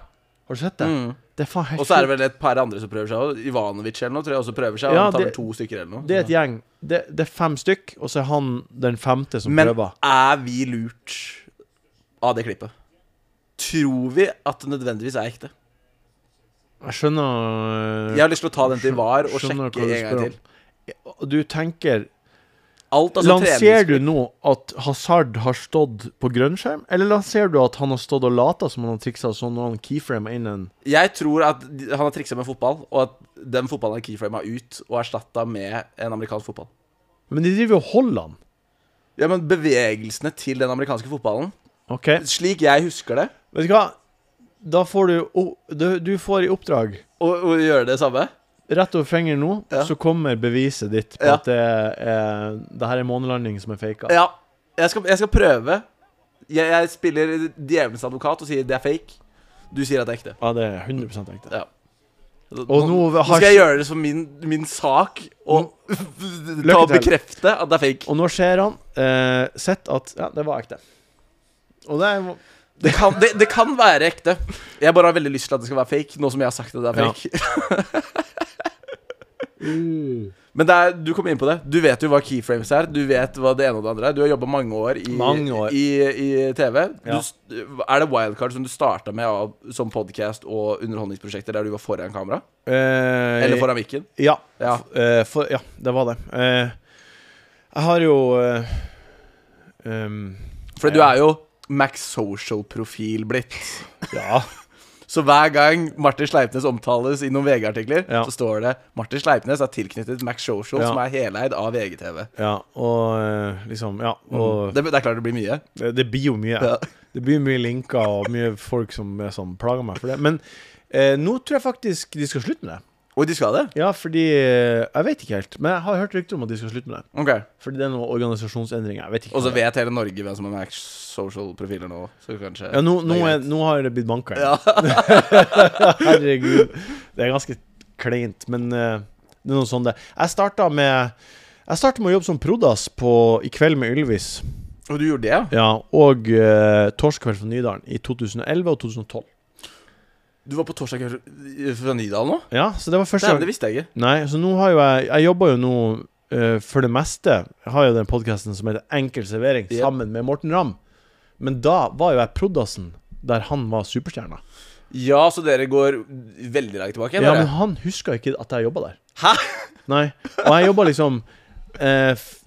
B: Har du sett det?
A: Mm.
B: Det er faen helt
A: Og så er
B: sjukt.
A: det vel et par andre som prøver seg òg. Ivanovic eller noe tror jeg også prøver seg.
B: Ja,
A: han tar
B: det-
A: vel to stykker eller noe.
B: Det er et gjeng. Det, det er fem stykk, og så er han den femte som
A: Mm. Men
B: prøver.
A: er vi lurt av det klippet? Tror vi at det nødvendigvis er ekte?
B: Jeg skjønner øh,
A: Jeg har lyst til å ta den til VAR og
B: skjønner
A: sjekke
B: hva
A: en
B: du
A: gang
B: spør om.
A: til.
B: Og Du tenker
A: Alt altså
B: Lanserer du nå at Hazard har stått på grønnskjerm, eller lanserer du at han har stått og lata som han har triksa sånn når han keyframa inn en
A: Jeg tror at de- han har triksa med fotball, og at den fotballen er keyframa ut og erstatta med en amerikansk fotball.
B: Men de driver jo og holder han.
A: Ja, men Bevegelsene til den amerikanske fotballen,
B: OK.
A: slik jeg husker det,
B: Vet du hva? Da får du o- Du, du får i oppdrag
A: å å gjøre det samme
B: Rett over fingeren nå,
A: Ja.
B: så kommer beviset ditt på
A: Ja.
B: at det, er, det her er månelanding som er faka.
A: Ja, jeg skal, jeg skal prøve. Jeg, jeg spiller djevelens advokat og sier det er fake. Du sier at det er ekte.
B: Ja, det er 100 ekte.
A: Ja.
B: Og nå har-
A: skal jeg gjøre det som min, min sak og ta og
B: til.
A: bekrefte at det er fake.
B: Og nå ser han eh, sett at Ja, det var ekte. Og det er
A: Det kan, det, det kan være ekte. Jeg bare har veldig lyst til at det skal være fake. Nå som jeg har sagt at det er
B: Ja.
A: fake Men det er, du kom inn på det. Du vet jo hva keyframes er. Du vet hva det ene og det andre er. Du har jobba mange år i,
B: Mange år.
A: i, i TV. Du,
B: Ja.
A: st- er det wildcard som du starta med av, som podkast og underholdningsprosjekter der du var foran kamera?
B: eh,
A: Eller foran mikken?
B: Ja.
A: Ja.
B: Eh, for, ja, det var det. Eh, jeg har jo eh, ehm,
A: For du er jo Max Social-profil blitt.
B: Ja.
A: Så hver gang Martin Sleipnes omtales i noen VG-artikler,
B: Ja.
A: så står det Martin Sleipnes er tilknyttet Max Social,
B: Ja.
A: som er heleid av VGTV.
B: ja og eh, liksom Ja. Og
A: Det, det er klart det blir mye.
B: det, det blir jo mye.
A: Ja.
B: Det blir mye linker og mye folk som, er sånn, plager meg for det. Men eh, nå tror jeg faktisk de skal slutte med det.
A: Oi, de skal det?
B: Ja, fordi eh, Jeg vet ikke helt. Men jeg har hørt rykter om at de skal slutte med det.
A: Ok.
B: Fordi det er noen organisasjonsendringer. Jeg vet ikke.
A: Og så
B: hva det er.
A: vet hele Norge hvem som er Max Social-profiler nå, så kanskje
B: ja, nå, nå,
A: det er
B: er, nå har det blitt banka.
A: Ja.
B: Herregud. Det er ganske kleint, men eh, det er noe sånn det Jeg starta med Jeg startet med å jobbe som prodas på I kveld med Ylvis
A: greit. Og du gjorde det, ja?
B: ja, og uh, Torskveld fra Nydalen i 2011 og 2012.
A: Du var på torsdag kveld fra Nydalen nå?
B: Ja, så det var første
A: Dæven, det
B: gang.
A: visste jeg ikke.
B: Nei, så nå har jo jeg Jeg jobber jo nå eh, for det meste Jeg har jo den podkasten som heter Enkel servering,
A: Yep.
B: sammen med Morten Ramm. Men da var jo jeg prodasen der han var superstjerna.
A: Ja, så dere går veldig langt tilbake?
B: Ja,
A: dere.
B: men han huska ikke at jeg jobba der.
A: Hæ?
B: Nei. Og jeg jobba liksom eh, f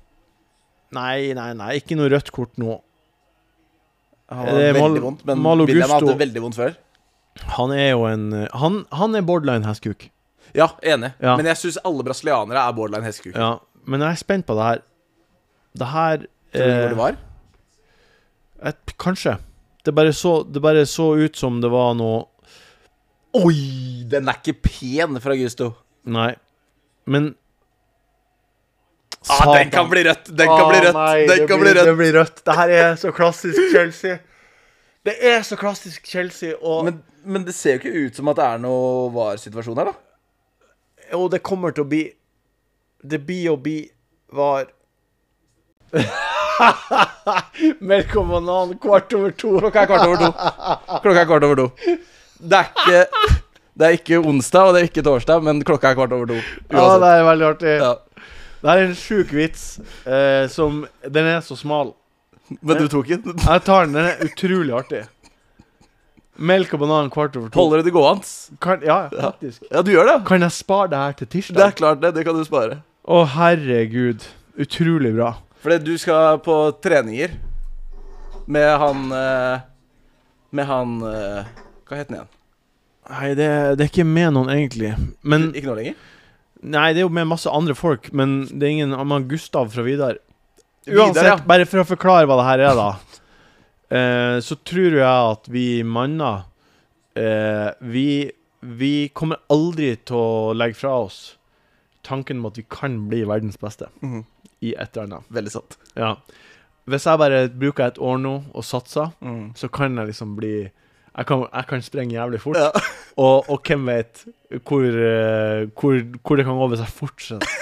B: Nei, nei, nei. Ikke noe rødt kort nå.
A: Han
B: Eh,
A: hadde veldig
B: Mal-
A: vondt, men
B: Malo
A: William hadde
B: Gusto-
A: veldig vondt før.
B: Han er jo en eh, Han, han er borderline hestkuk.
A: Ja, enig.
B: Ja.
A: Men jeg syns alle brasilianere er borderline hestekuk.
B: Ja. Men jeg er spent på det her. Det her
A: Tror du hvor
B: Eh.
A: det var?
B: et, Kanskje. Det bare, så, det bare så ut som det var noe
A: Oi, den er ikke pen fra Gusto.
B: Nei. Men
A: Ah, den kan bli rødt! Den kan bli rødt! den kan bli rødt.
B: Ah, Det blir rødt. Det her er så klassisk Chelsea. Det er så klassisk Chelsea, og
A: Men, men det ser jo ikke ut som at det er noe var-situasjon her, da.
B: Og det kommer til å bli Det blir å bli var Melk og banan kvart over to.
A: Klokka er kvart over to. Klokka er kvart over to. Det er ikke Det er ikke onsdag, og det er ikke torsdag, men klokka er kvart over to.
B: Ja, det
A: Uansett.
B: er veldig artig.
A: Ja.
B: Det er en sjuk vits eh, som Den er så smal.
A: Men du tok den?
B: Jeg tar den. Den er utrolig artig. Melk og banan kvart over to.
A: Holder det til gående?
B: Kan, ja, faktisk.
A: Ja, du gjør det.
B: Kan jeg spare det her til
A: Det er
B: tirsdag?
A: klart, det. Det kan du spare.
B: Å, herregud. Utrolig bra.
A: Fordi du skal på treninger med han eh, Med han eh, Hva het han igjen?
B: Nei, det, det er ikke med noen, egentlig. Men
A: Ikke nå lenger?
B: Nei, det er jo med masse andre folk, men det er ingen men Gustav fra Vidar.
A: Vidar,
B: Uansett,
A: ja.
B: bare for å forklare hva det her er, da. eh, så tror jeg at vi manner eh, vi, vi kommer aldri til å legge fra oss tanken om at vi kan bli verdens beste
A: Mhm.
B: i et eller annet.
A: Veldig sant.
B: Ja. Hvis jeg bare bruker et år nå og satser,
A: Mm.
B: så kan jeg liksom bli Jeg kan, jeg kan sprenge jævlig fort.
A: Ja.
B: Og, og hvem vet hvor, eh, hvor, hvor det kan gå hvis jeg fortsetter.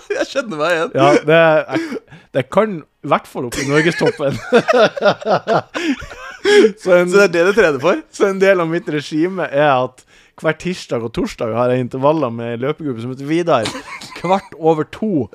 A: Jeg kjenner meg igjen.
B: Ja, det, jeg, det kan i hvert fall opp i norgestoppen. så, en,
A: Så det er det du trener for?
B: så en del av mitt regime er at hver tirsdag og torsdag har jeg intervaller med en løpegruppe som heter Vidar. Kvart over to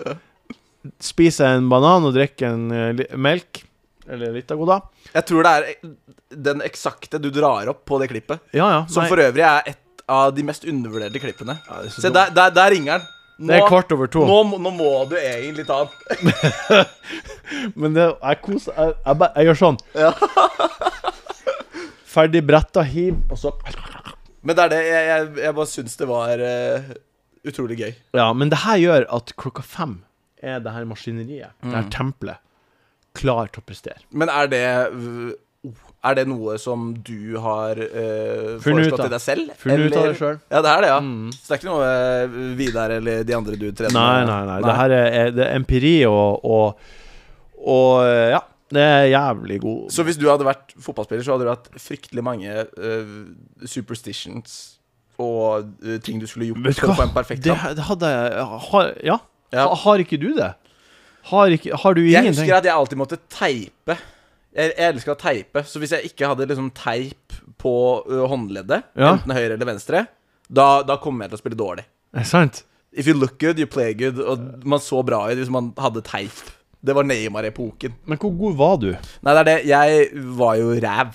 B: spiser jeg en banan og drikker en eh, li melk. Eller litt av god, da.
A: Jeg tror det er e- den eksakte du drar opp på det klippet.
B: Ja, ja.
A: Som
B: nei.
A: for øvrig er et av de mest undervurderte klippene.
B: Ja, det er så
A: Se,
B: dumt.
A: der, der, der ringer den.
B: Det er kvart over to.
A: nå, må- nå må du egentlig ta den.
B: Men det, jeg koser jeg, jeg, bare- jeg gjør sånn. Ferdig bretta, hiv, og så
A: Men det er det. Jeg, jeg, jeg bare syns det var eh, utrolig gøy.
B: Ja, men det her gjør at klokka fem er det her maskineriet, det her tempelet, klar til å prestere.
A: Men er det v- Er det noe som du har eh,
B: Funnet ut
A: foreslått
B: av.
A: til deg selv?
B: Funnet ut av det
A: Eller-
B: selv. Mm.
A: Ja, det er det, ja. Så det er ikke noe eh, Vidar eller de andre du trener
B: Nei, nei, nei. Det her er, er, det er empiri og, og Og ja. Det er jævlig god
A: Så hvis du hadde vært fotballspiller, så hadde du hatt fryktelig mange eh, superstitions og eh, ting du skulle gjort
B: Vet du
A: for å få
B: hva?
A: en perfekt
B: Det,
A: kamp.
B: det hadde jeg har, Ja.
A: Ja.
B: Ha, har ikke du det? Har, ikke, har du
A: Jeg
B: ingenting?
A: husker at jeg alltid måtte teipe. Jeg, jeg elsker å teipe, så hvis jeg ikke hadde liksom teip på ø, håndleddet,
B: Ja.
A: enten høyre eller venstre, da, da kommer jeg til å spille dårlig.
B: Er det sant?
A: If you look good, you play good. Og man så bra ut hvis man hadde teip. Det var Neymar-epoken.
B: Men hvor god var du?
A: Nei, det er det. Jeg var jo ræv.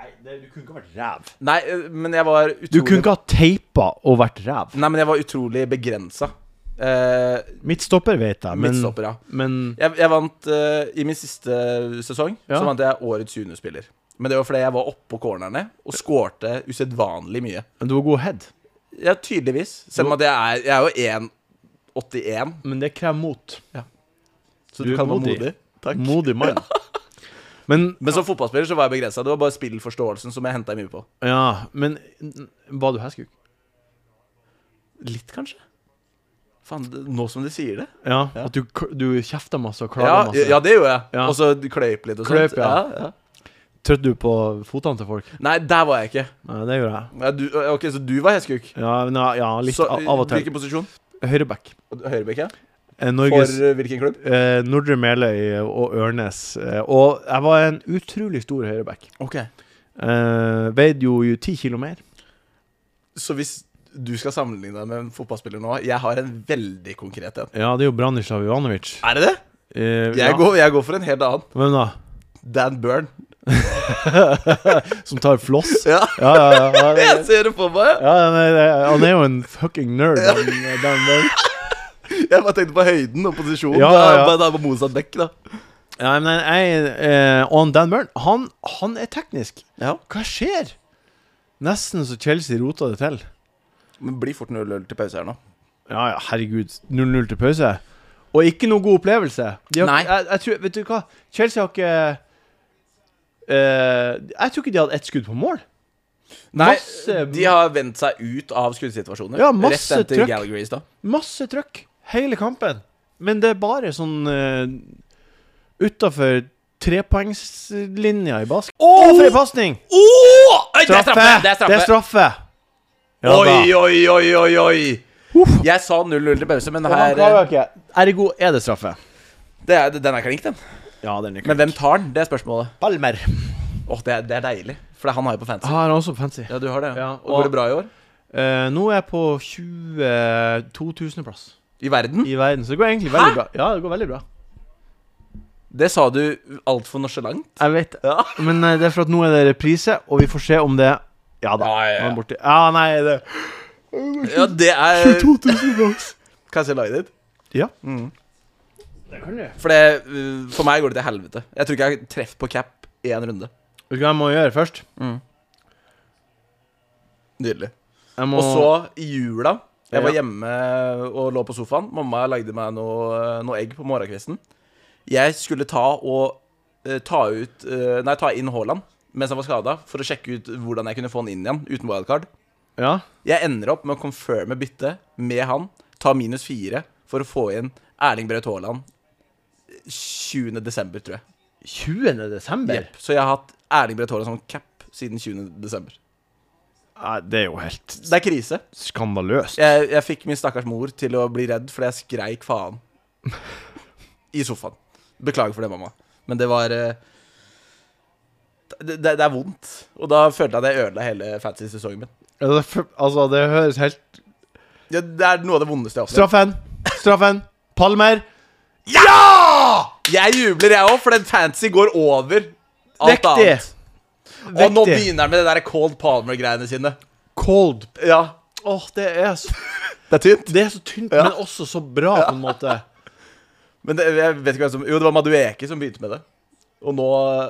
B: Nei, du kunne ikke vært ræv.
A: Nei, ø, men jeg var utrolig
B: Du kunne ikke ha teipa og vært ræv.
A: Nei, men jeg var utrolig begrensa. Eh,
B: Midtstopper vet jeg, men,
A: Midtstopper, ja.
B: men
A: Jeg, jeg vant eh, I min siste sesong
B: Ja.
A: Så vant jeg årets juniorspiller. Men det var fordi jeg var oppå cornerne og skårte usedvanlig mye.
B: men du var god head.
A: Ja, tydeligvis. Selv om at jeg er, jeg er jo 1,81,
B: Men det krever mot.
A: så
B: Du
A: du,
B: er
A: kan være
B: modig.
A: modig. Takk.
B: Modig mann. Men,
A: Men som fotballspiller så var jeg begrensa. Det var bare spillforståelsen som jeg henta mye på.
B: ja, men var du hestkuk?
A: Litt, kanskje? Faen, det- nå som de sier det.
B: Ja,
A: Ja.
B: At du, k- du kjefta masse og klaga
A: Ja,
B: masse?
A: ja, det gjorde jeg.
B: Ja.
A: Og så kløyp litt og
B: Kløyp,
A: sånt.
B: ja.
A: Ja, ja.
B: Trøtt du på fotene til folk?
A: Nei, der var jeg ikke.
B: Nei, det gjorde jeg.
A: Nei, du, ok, Så du var hestkuk?
B: Ja, men, ja, ja litt
A: Så,
B: av, av og til.
A: Hvilken posisjon?
B: Høyreback.
A: Høyrebekk, ja.
B: Eh,
A: For
B: Norges
A: eh, hvilken klubb?
B: eh, Nordre Meløy og Ørnes. Eh, og jeg var en utrolig stor høyreback.
A: Ok
B: Eh, veide jo ti kilo mer.
A: Så hvis du skal sammenligne deg med en fotballspiller nå Jeg har en veldig konkret en.
B: Ja, det er jo Branislav Ivanovic.
A: Er det det?
B: Eh,
A: Jeg,
B: ja.
A: går, jeg går for en helt annen.
B: Hvem da?
A: Dan Burn.
B: Som tar floss?
A: Ja.
B: Ja, ja, ja, ja, det-
A: Jeg ser det på meg.
B: ja nei, det- Han er jo en fucking nerd, han eh, Dan Burn.
A: Jeg bare tenkte på høyden og posisjonen.
B: Ja, ja, ja.
A: Da, da, på motsatt bekk, da.
B: Ja, men jeg, eh, og Dan Burn, han, han er teknisk.
A: Ja.
B: Hva skjer? Nesten så Chelsea rota det til.
A: Men blir fort 0-0 til pause her nå.
B: Ja, ja, herregud. 0-0 til pause. Og ikke noe god opplevelse. De har,
A: Nei.
B: Jeg, jeg tror, vet du hva? Chelsea har ikke eh, Jeg tror ikke de hadde ett skudd på mål.
A: Nei,
B: Masse-
A: De har vendt seg ut av skuddsituasjoner.
B: Ja, masse
A: Rett etter
B: trøkk.
A: Gallagher's, da.
B: Masse trøkk hele kampen. Men det er bare sånn uh, utafor trepoengslinja i basket. Å, for ei pasning!
A: Åh! Oi, det er
B: Straffe!
A: straffe! Det er straffe.
B: Ja,
A: oi,
B: da.
A: oi, oi, oi, oi. Jeg sa 0-0 til pause, men
B: Han
A: her eh,
B: klarer ikke. Ergo er det straffe.
A: det er, Den er klink, den.
B: Ja, den er
A: Men hvem tar den? Det er spørsmålet.
B: Palmer.
A: Åh, det, er- det er deilig. For han har jo på fancy.
B: Har også fancy.
A: Ja, du har det. Ja.
B: Ja,
A: Og går det bra i år?
B: Eh, nå er jeg på 22.000-plass
A: I verden?
B: i verden, så det går egentlig veldig bra. Ja, det går veldig bra.
A: Det sa du altfor nonchalant.
B: Jeg vet
A: Ja.
B: Men eh, det er for at nå er det reprise, og vi får se om det Ja da.
A: Ja, ja, ja.
B: han er borte. ja nei, det
A: ja, det er
B: 2000 plass.
A: Kan jeg se laget ditt?
B: Ja.
A: Mm.
B: Det kan du.
A: For, det, uh, for meg går det til helvete. Jeg tror ikke jeg treffer på cap én runde.
B: Vet du hva jeg må gjøre først?
A: Nydelig.
B: Jeg må
A: Og så, i jula, Jeg var
B: Ja.
A: hjemme og lå på sofaen. Mamma lagde meg noe, noe egg på morgenkvisten. Jeg skulle ta og eh, ta ut eh, Nei, ta inn Haaland mens jeg var skada, for å sjekke ut hvordan jeg kunne få han inn igjen uten wildcard.
B: Ja.
A: Jeg ender opp med å confirme byttet med han, ta minus fire for å få inn Erling Braut Haaland 20. desember, tror jeg.
B: 20. desember?
A: Jepp. Så jeg har hatt Erling Braut Haaland som cap siden 20. desember.
B: Nei, det er jo helt
A: Det er krise.
B: skandaløst.
A: Jeg, jeg fikk min stakkars mor til å bli redd fordi jeg skreik faen i sofaen. Beklager for det, mamma. Men det var eh, det, det, det er vondt. Og da følte jeg at jeg ødela hele fantasy-sesongen min.
B: Ja, det er f- Altså, det høres helt
A: Ja, det er noe av det vondeste jeg har opplevd.
B: Straffen! Straffen! Palmer!
A: Ja! Jeg jubler, jeg òg, for den fantasy går over alt
B: Vekk det.
A: annet. Og nå
B: Vektig.
A: begynner han med det der Cold Palmer-greiene sine.
B: Cold.
A: Ja,
B: Åh, det er så,
A: Det er tynt.
B: det er så tynt,
A: Ja.
B: men også så bra, på en måte.
A: Men det, jeg vet ikke hvem som Jo, det var Madueke som begynte med det. Og nå,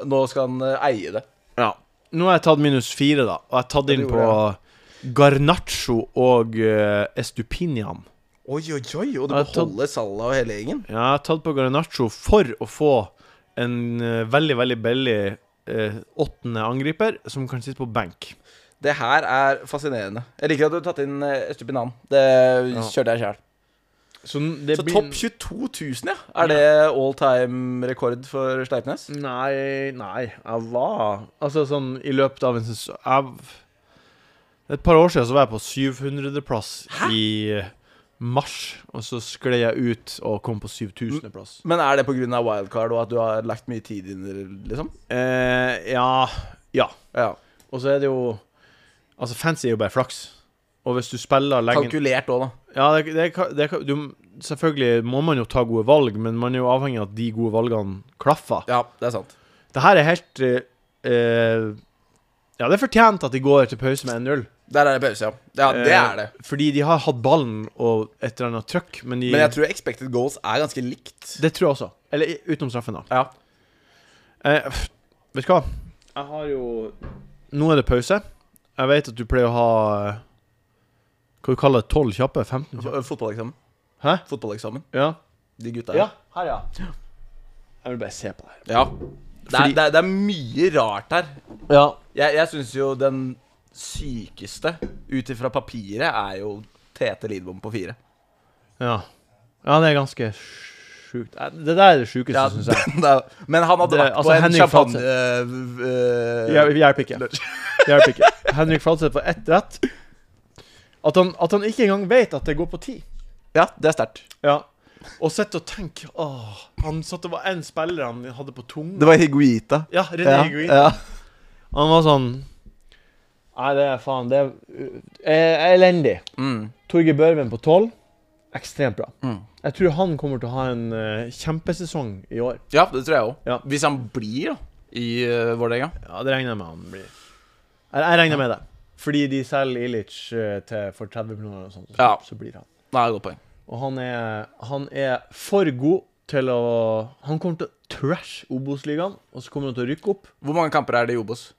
A: nå skal han eh, eie det.
B: Ja. Nå har jeg tatt minus fire, da, og jeg har tatt
A: Ja, det
B: inn på
A: gjorde
B: Garnaccio og eh, Estupinian.
A: Oi, oi, oi, og du
B: Jeg tar-
A: beholder Salah og hele gjengen?
B: Ja, jeg har tatt på Garnaccio for å få en eh, veldig, veldig billig eh, åttende angriper som kan sitte på benk.
A: Det her er fascinerende. Jeg liker at du har tatt inn eh, Østupinan. Det eh, kjørte jeg sjæl.
B: Så n- det
A: Så
B: blir
A: topp 22 000, ja. Er det all time rekord for
B: Mm.
A: Sleipnes?
B: Nei, nei, jeg var Altså sånn i løpet av en sesong jeg, Et par år siden så var jeg på 700.-plass i eh, mars, og så skled jeg ut og kom på 7000.-plass.
A: Men er det pga. wildcard og at du har lagt mye tid inn i det, liksom?
B: Eh, ja. Ja.
A: Ja.
B: Og så er det jo Altså, fancy er jo bare flaks. Og hvis du spiller lenge
A: Kalkulert òg, da.
B: Ja, det, det, kan- det, kan- du, Selvfølgelig må man jo ta gode valg, men man er jo avhengig av at de gode valgene klaffer.
A: Ja, det er sant.
B: Det her er helt eh, eh, Ja, det er fortjent at de går til pause med 1-0.
A: Der er det pause, ja. Ja, det
B: Eh,
A: er det.
B: Fordi de har hatt ballen og et eller annet trøkk, men, de,
A: Men jeg tror expected goals er ganske likt.
B: det tror jeg også. Eller i- utenom straffen, da.
A: Ja.
B: Eh, pff, vet du hva? Jeg har jo Nå er det pause. Jeg vet at du pleier å ha eh, Hva du kaller det? 12 kjappe? 15 kjappe?
A: F- Fotballeksamen.
B: Hæ?
A: Fotballeksamen.
B: Ja.
A: De gutta
B: ja. Her, ja. Jeg vil bare se på det her.
A: ja. Det, er,
B: Fordi-
A: det, er, det er mye rart her.
B: Ja.
A: Jeg, jeg syns jo den sykeste ut ifra papiret er jo Tete Lidbom på fire.
B: ja. det er ganske sjukt. Eh, Det der er det sjukeste,
A: Ja,
B: syns jeg.
A: det er- men han hadde
B: Det-
A: vært
B: altså,
A: på en
B: Henrik
A: champagne øh, øh,
B: Hjelper ikke. Hjelper ikke. Henrik Fladseth får ett rett. At han, at han ikke engang vet at det går på ti.
A: Ja, det er sterkt.
B: Ja. Og sitter og tenker Åh, han satt og var én spiller han hadde på tunga.
A: Det var Higuita.
B: Ja, René
A: Ja,
B: Higuita.
A: ja.
B: Han var sånn Nei, det er faen Det er eh, elendig.
A: Mm.
B: Torgeir Børven på tolv. Ekstremt bra.
A: Mm.
B: Jeg tror han kommer til å ha en eh, kjempesesong i år.
A: ja, det tror jeg òg.
B: Ja.
A: Hvis han blir da i uh, Vålerenga.
B: Ja, det regner jeg med han blir. Jeg, jeg regner med det. Fordi de selger Ilic eh, til for 30 millioner og sånt, så,
A: Ja.
B: så blir han.
A: Nei, godt poeng.
B: Og han er, han er for god til å Han kommer til å trash Obos-ligaen, og så kommer han til å rykke opp.
A: Hvor mange kamper er det i Obos?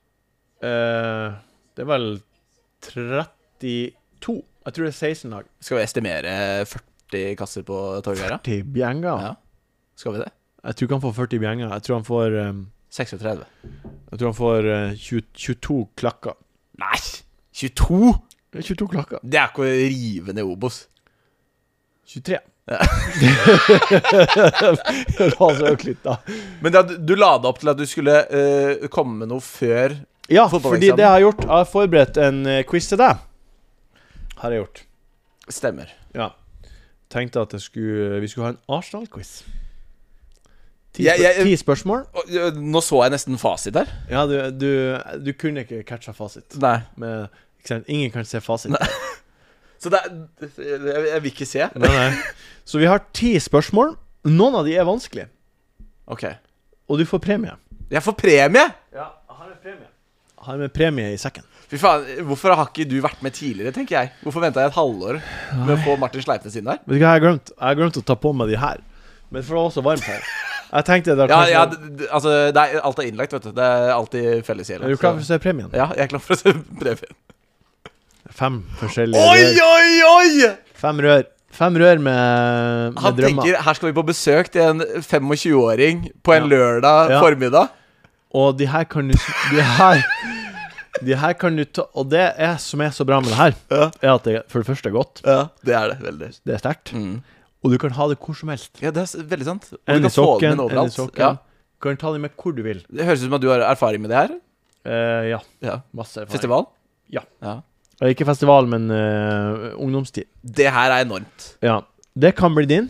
B: Eh, det er vel 32 Jeg tror det er 16 lag.
A: Skal vi estimere 40 kasser på torget her, da?
B: 40 bjenger?
A: Ja. Skal vi det?
B: Jeg tror ikke han får 40 bjenger. Jeg tror han får, eh,
A: 36.
B: jeg tror han får eh, 20, 22 klakker.
A: Nei! 22?
B: Det er 22 klakker.
A: Det er ikke å rive ned Obos.
B: 23. La oss øke litt, da.
A: Men det, at du lada opp til at du skulle eh, komme med noe før
B: Ja,
A: Fotballeksamen.
B: fordi det jeg har gjort Jeg har forberedt en eh, quiz til deg. Har jeg gjort.
A: Stemmer.
B: Ja. Tenkte at jeg skulle, eh, vi skulle ha en Arsenal-quiz. Ti,
A: Jeg- jeg-
B: spør- ti spørsmål.
A: Og, ø, nå så jeg nesten fasit her.
B: Ja, du, du, du kunne ikke catcha fasit.
A: Nei.
B: Med, ikke sant? Ingen kan se fasit.
A: Så det er Jeg, jeg vil ikke se.
B: Nei, nei. Så vi har ti spørsmål. Noen av de er vanskelige,
A: OK.
B: og du får premie.
A: Jeg får premie!
B: Ja, har med premie. Har med premie i sekken.
A: Fy faen, Hvorfor har ikke du vært med tidligere, tenker jeg? Hvorfor venta jeg et halvår med å få Martin Sleipnes inn der?
B: Vet du hva, jeg har glemt Jeg har glemt å ta på meg de her. Men for det var så varmt her. Jeg tenkte det var
A: Ja,
B: kanskje-
A: ja, d- d- altså, det er, alt er innlagt, vet du. Det er alltid fellesgjeld.
B: Er du klar for å se premien?
A: Ja, jeg er klar for å se premien.
B: Fem forskjellige
A: Oi, oi, oi!
B: Fem rør. Fem rør med, med
A: Han
B: drømmer.
A: tenker her skal vi på besøk til en 25-åring på en
B: Ja.
A: lørdag
B: Ja.
A: formiddag.
B: Og de her kan du De her, de her kan du ta Og det er, som er så bra med det her,
A: Ja.
B: er at det for det første er godt.
A: Ja, det er det. Veldig.
B: Det er sterkt. Og du kan ha det hvor som helst.
A: Ja, det er s- veldig sant. Og
B: En
A: du kan få
B: Mm. i
A: den
B: sokken,
A: inn
B: en i
A: overalt.
B: sokken.
A: Ja.
B: Du kan ta dem med hvor du vil.
A: Det høres ut som at du har erfaring med det her.
B: Eh, ja.
A: Ja.
B: Masse erfaring.
A: Festival?
B: Ja. Eh, Ikke festival, men eh, ungdomstid.
A: Det her er enormt.
B: Ja. Det kan bli din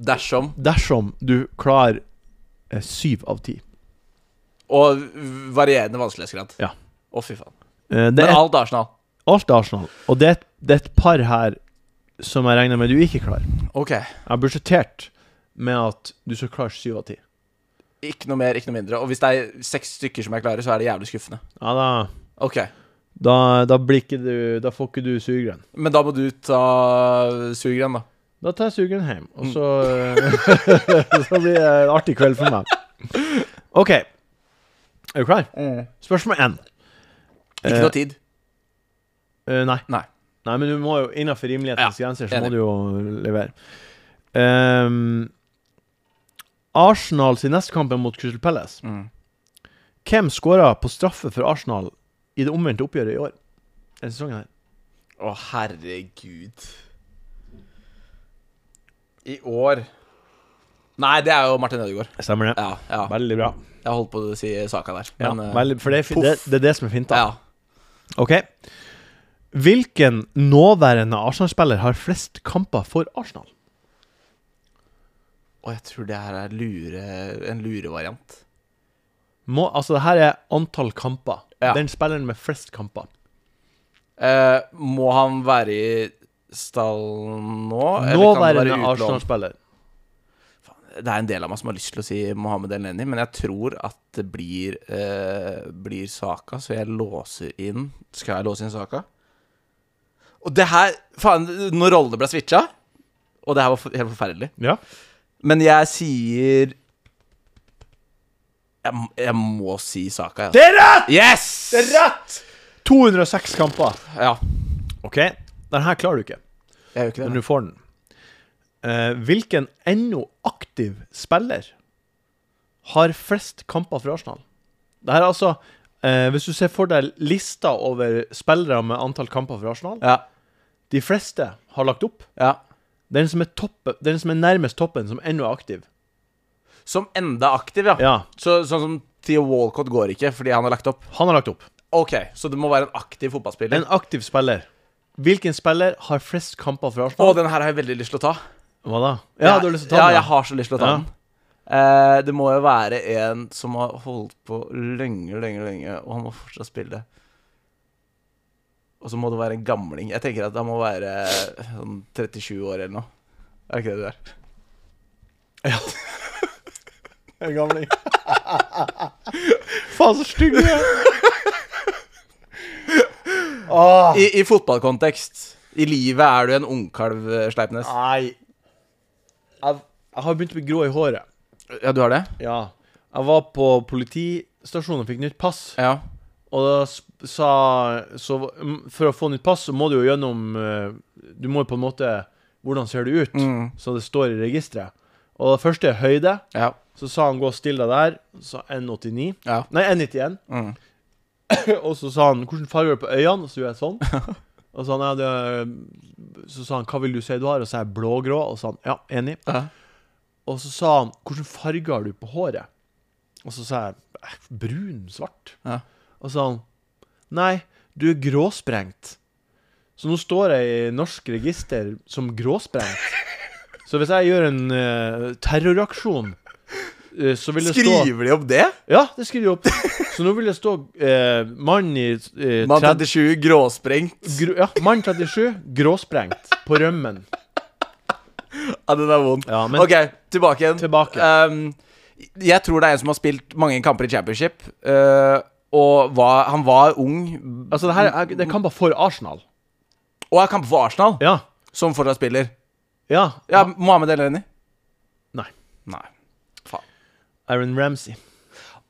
A: Dersom
B: dersom du klarer eh, syv av ti.
A: Og varierende vanskelighetsgrad.
B: Ja.
A: Å, fy faen.
B: Eh, det
A: Men
B: er
A: alt Arsenal.
B: alt Arsenal. Og det, er et- det er et par her som jeg regner med du ikke klarer.
A: Ok.
B: Jeg har budsjettert med at du skal klare syv av ti.
A: Ikke noe mer, ikke noe mindre. Og hvis det er seks stykker som jeg klarer, så er det jævlig skuffende.
B: Ja, da,
A: Ok.
B: da, da blir ikke du Da får ikke du sugerøren.
A: Men da må du ta sugeren, da.
B: Da tar jeg sugerøren hjem, og så Så blir det en artig kveld for meg. OK. Er du klar? Spørsmål én.
A: Ikke noe tid.
B: Eh, nei.
A: Nei.
B: Nei, men du må jo innenfor rimelighetens grenser så
A: enig.
B: må du jo levere. Ehm, Arsenal sin neste kamp er mot Crystal Palace.
A: Mm.
B: Hvem skåra på straffe for Arsenal i det omvendte oppgjøret i år? Denne sesongen her.
A: Å, herregud. I år Nei, det er jo Martin Ødegaard.
B: Stemmer det.
A: Ja, ja.
B: Veldig bra.
A: Jeg holdt på å si saka der.
B: Ja,
A: Men, eh,
B: veldig, for det er, fi-
A: poff.
B: det, det er det som er finta.
A: ja.
B: Ok. Hvilken nåværende Arsenal-spiller har flest kamper for Arsenal?
A: Og jeg tror det her er lure, en lurevariant.
B: Må, altså, det her er antall kamper.
A: Ja.
B: Den spilleren med flest kamper.
A: Eh, må han være i stallen nå? Eller kan det
B: Nåværende
A: være utlån?
B: Arsenal-spiller.
A: Det er en del av meg som har lyst til å si Mohammed Elneny, men jeg tror at det blir, eh, blir Saka, så jeg låser inn Skal jeg låse inn Saka? Og det her Faen, når rollene ble switcha Og det her var for, helt forferdelig.
B: Ja.
A: Men jeg sier Jeg, m- jeg må si Saka. Ja.
B: Det er rett!
A: Yes!
B: Det er rett! 206 kamper.
A: Ja.
B: Ok, den her klarer du ikke,
A: Jeg gjør ikke
B: men
A: det.
B: du får den. Eh, hvilken ennå aktiv spiller har flest kamper for Arsenal? Det her er altså eh, Hvis du ser for deg lista over spillere med antall kamper for Arsenal
A: Ja.
B: De fleste har lagt opp.
A: ja.
B: Den som er, toppe, den som er nærmest toppen, som ennå er aktiv.
A: Som enda er aktiv, ja.
B: Ja,
A: Så, sånn som Theo Walcott går ikke fordi han har lagt opp.
B: han har lagt opp.
A: Ok, Så det må være en aktiv fotballspiller.
B: En aktiv spiller. Hvilken spiller har flest kamper for
A: Å,
B: Arsenal?
A: den her har jeg veldig lyst til å ta.
B: Hva da? Ja, du har lyst til å ta
A: ja,
B: den?
A: jeg har så lyst til å ta
B: Ja.
A: den. Eh, det må jo være en som har holdt på lenge, lenge, lenge, og han må fortsatt spille. Og så må det være en gamling. Jeg tenker at han må være sånn 37 år eller noe. Er det ikke det du er?
B: En gamling. Faen, så stygg du er. Åh.
A: I, I fotballkontekst. I livet er du en ungkalv, eh, Sleipnes.
B: Nei. Jeg, jeg har begynt å bli grå i håret.
A: Ja, du har det?
B: Ja. Jeg var på politistasjonen og fikk nytt pass.
A: Ja.
B: Og da sp- sa Så mm, for å få nytt pass, så må du jo gjennom eh, Du må jo på en måte Hvordan ser du ut?
A: Mm.
B: Så det står i registeret. Og det første er høyde.
A: Ja.
B: Så sa han 'gå og still deg der'. Så 1,89.
A: ja.
B: Nei, 1,91.
A: Mm.
B: Og så sa han 'Hvilken farge har du på øynene?' Og så gjorde jeg sånn. Og så, han, ja, det, så sa han 'Hva vil du si du har?' Og så sa jeg 'blågrå'. Og så sa han 'Ja, enig'.
A: Ja.
B: Og så sa han 'Hvilken farge har du på håret?' Og så sa jeg «Eh, 'brun, svart'.
A: Ja.
B: Og så sa han 'Nei, du er gråsprengt'. Så nå står jeg i norsk register som gråsprengt. Så hvis jeg gjør en eh, terroraksjon, eh, så vil det stå
A: Skriver de om det?
B: ja, det skriver de opp. Så nå vil det stå eh, mann i eh,
A: Mann
B: 30
A: 37, gråsprengt.
B: gro, Ja, mann 37, gråsprengt, på rømmen.
A: Ja, den er vond.
B: Ja, men
A: ok, tilbake igjen.
B: Tilbake.
A: Ehm, jeg tror det er en som har spilt mange kamper i championship. eh, og var, han var ung
B: altså, det her er, det er kamper for Arsenal.
A: og har kamper for Arsenal,
B: Ja.
A: som fortsatt spiller.
B: Ja.
A: Ja, Mohammed Eleni?
B: Nei.
A: Nei. Faen.
B: Aaron Ramsey.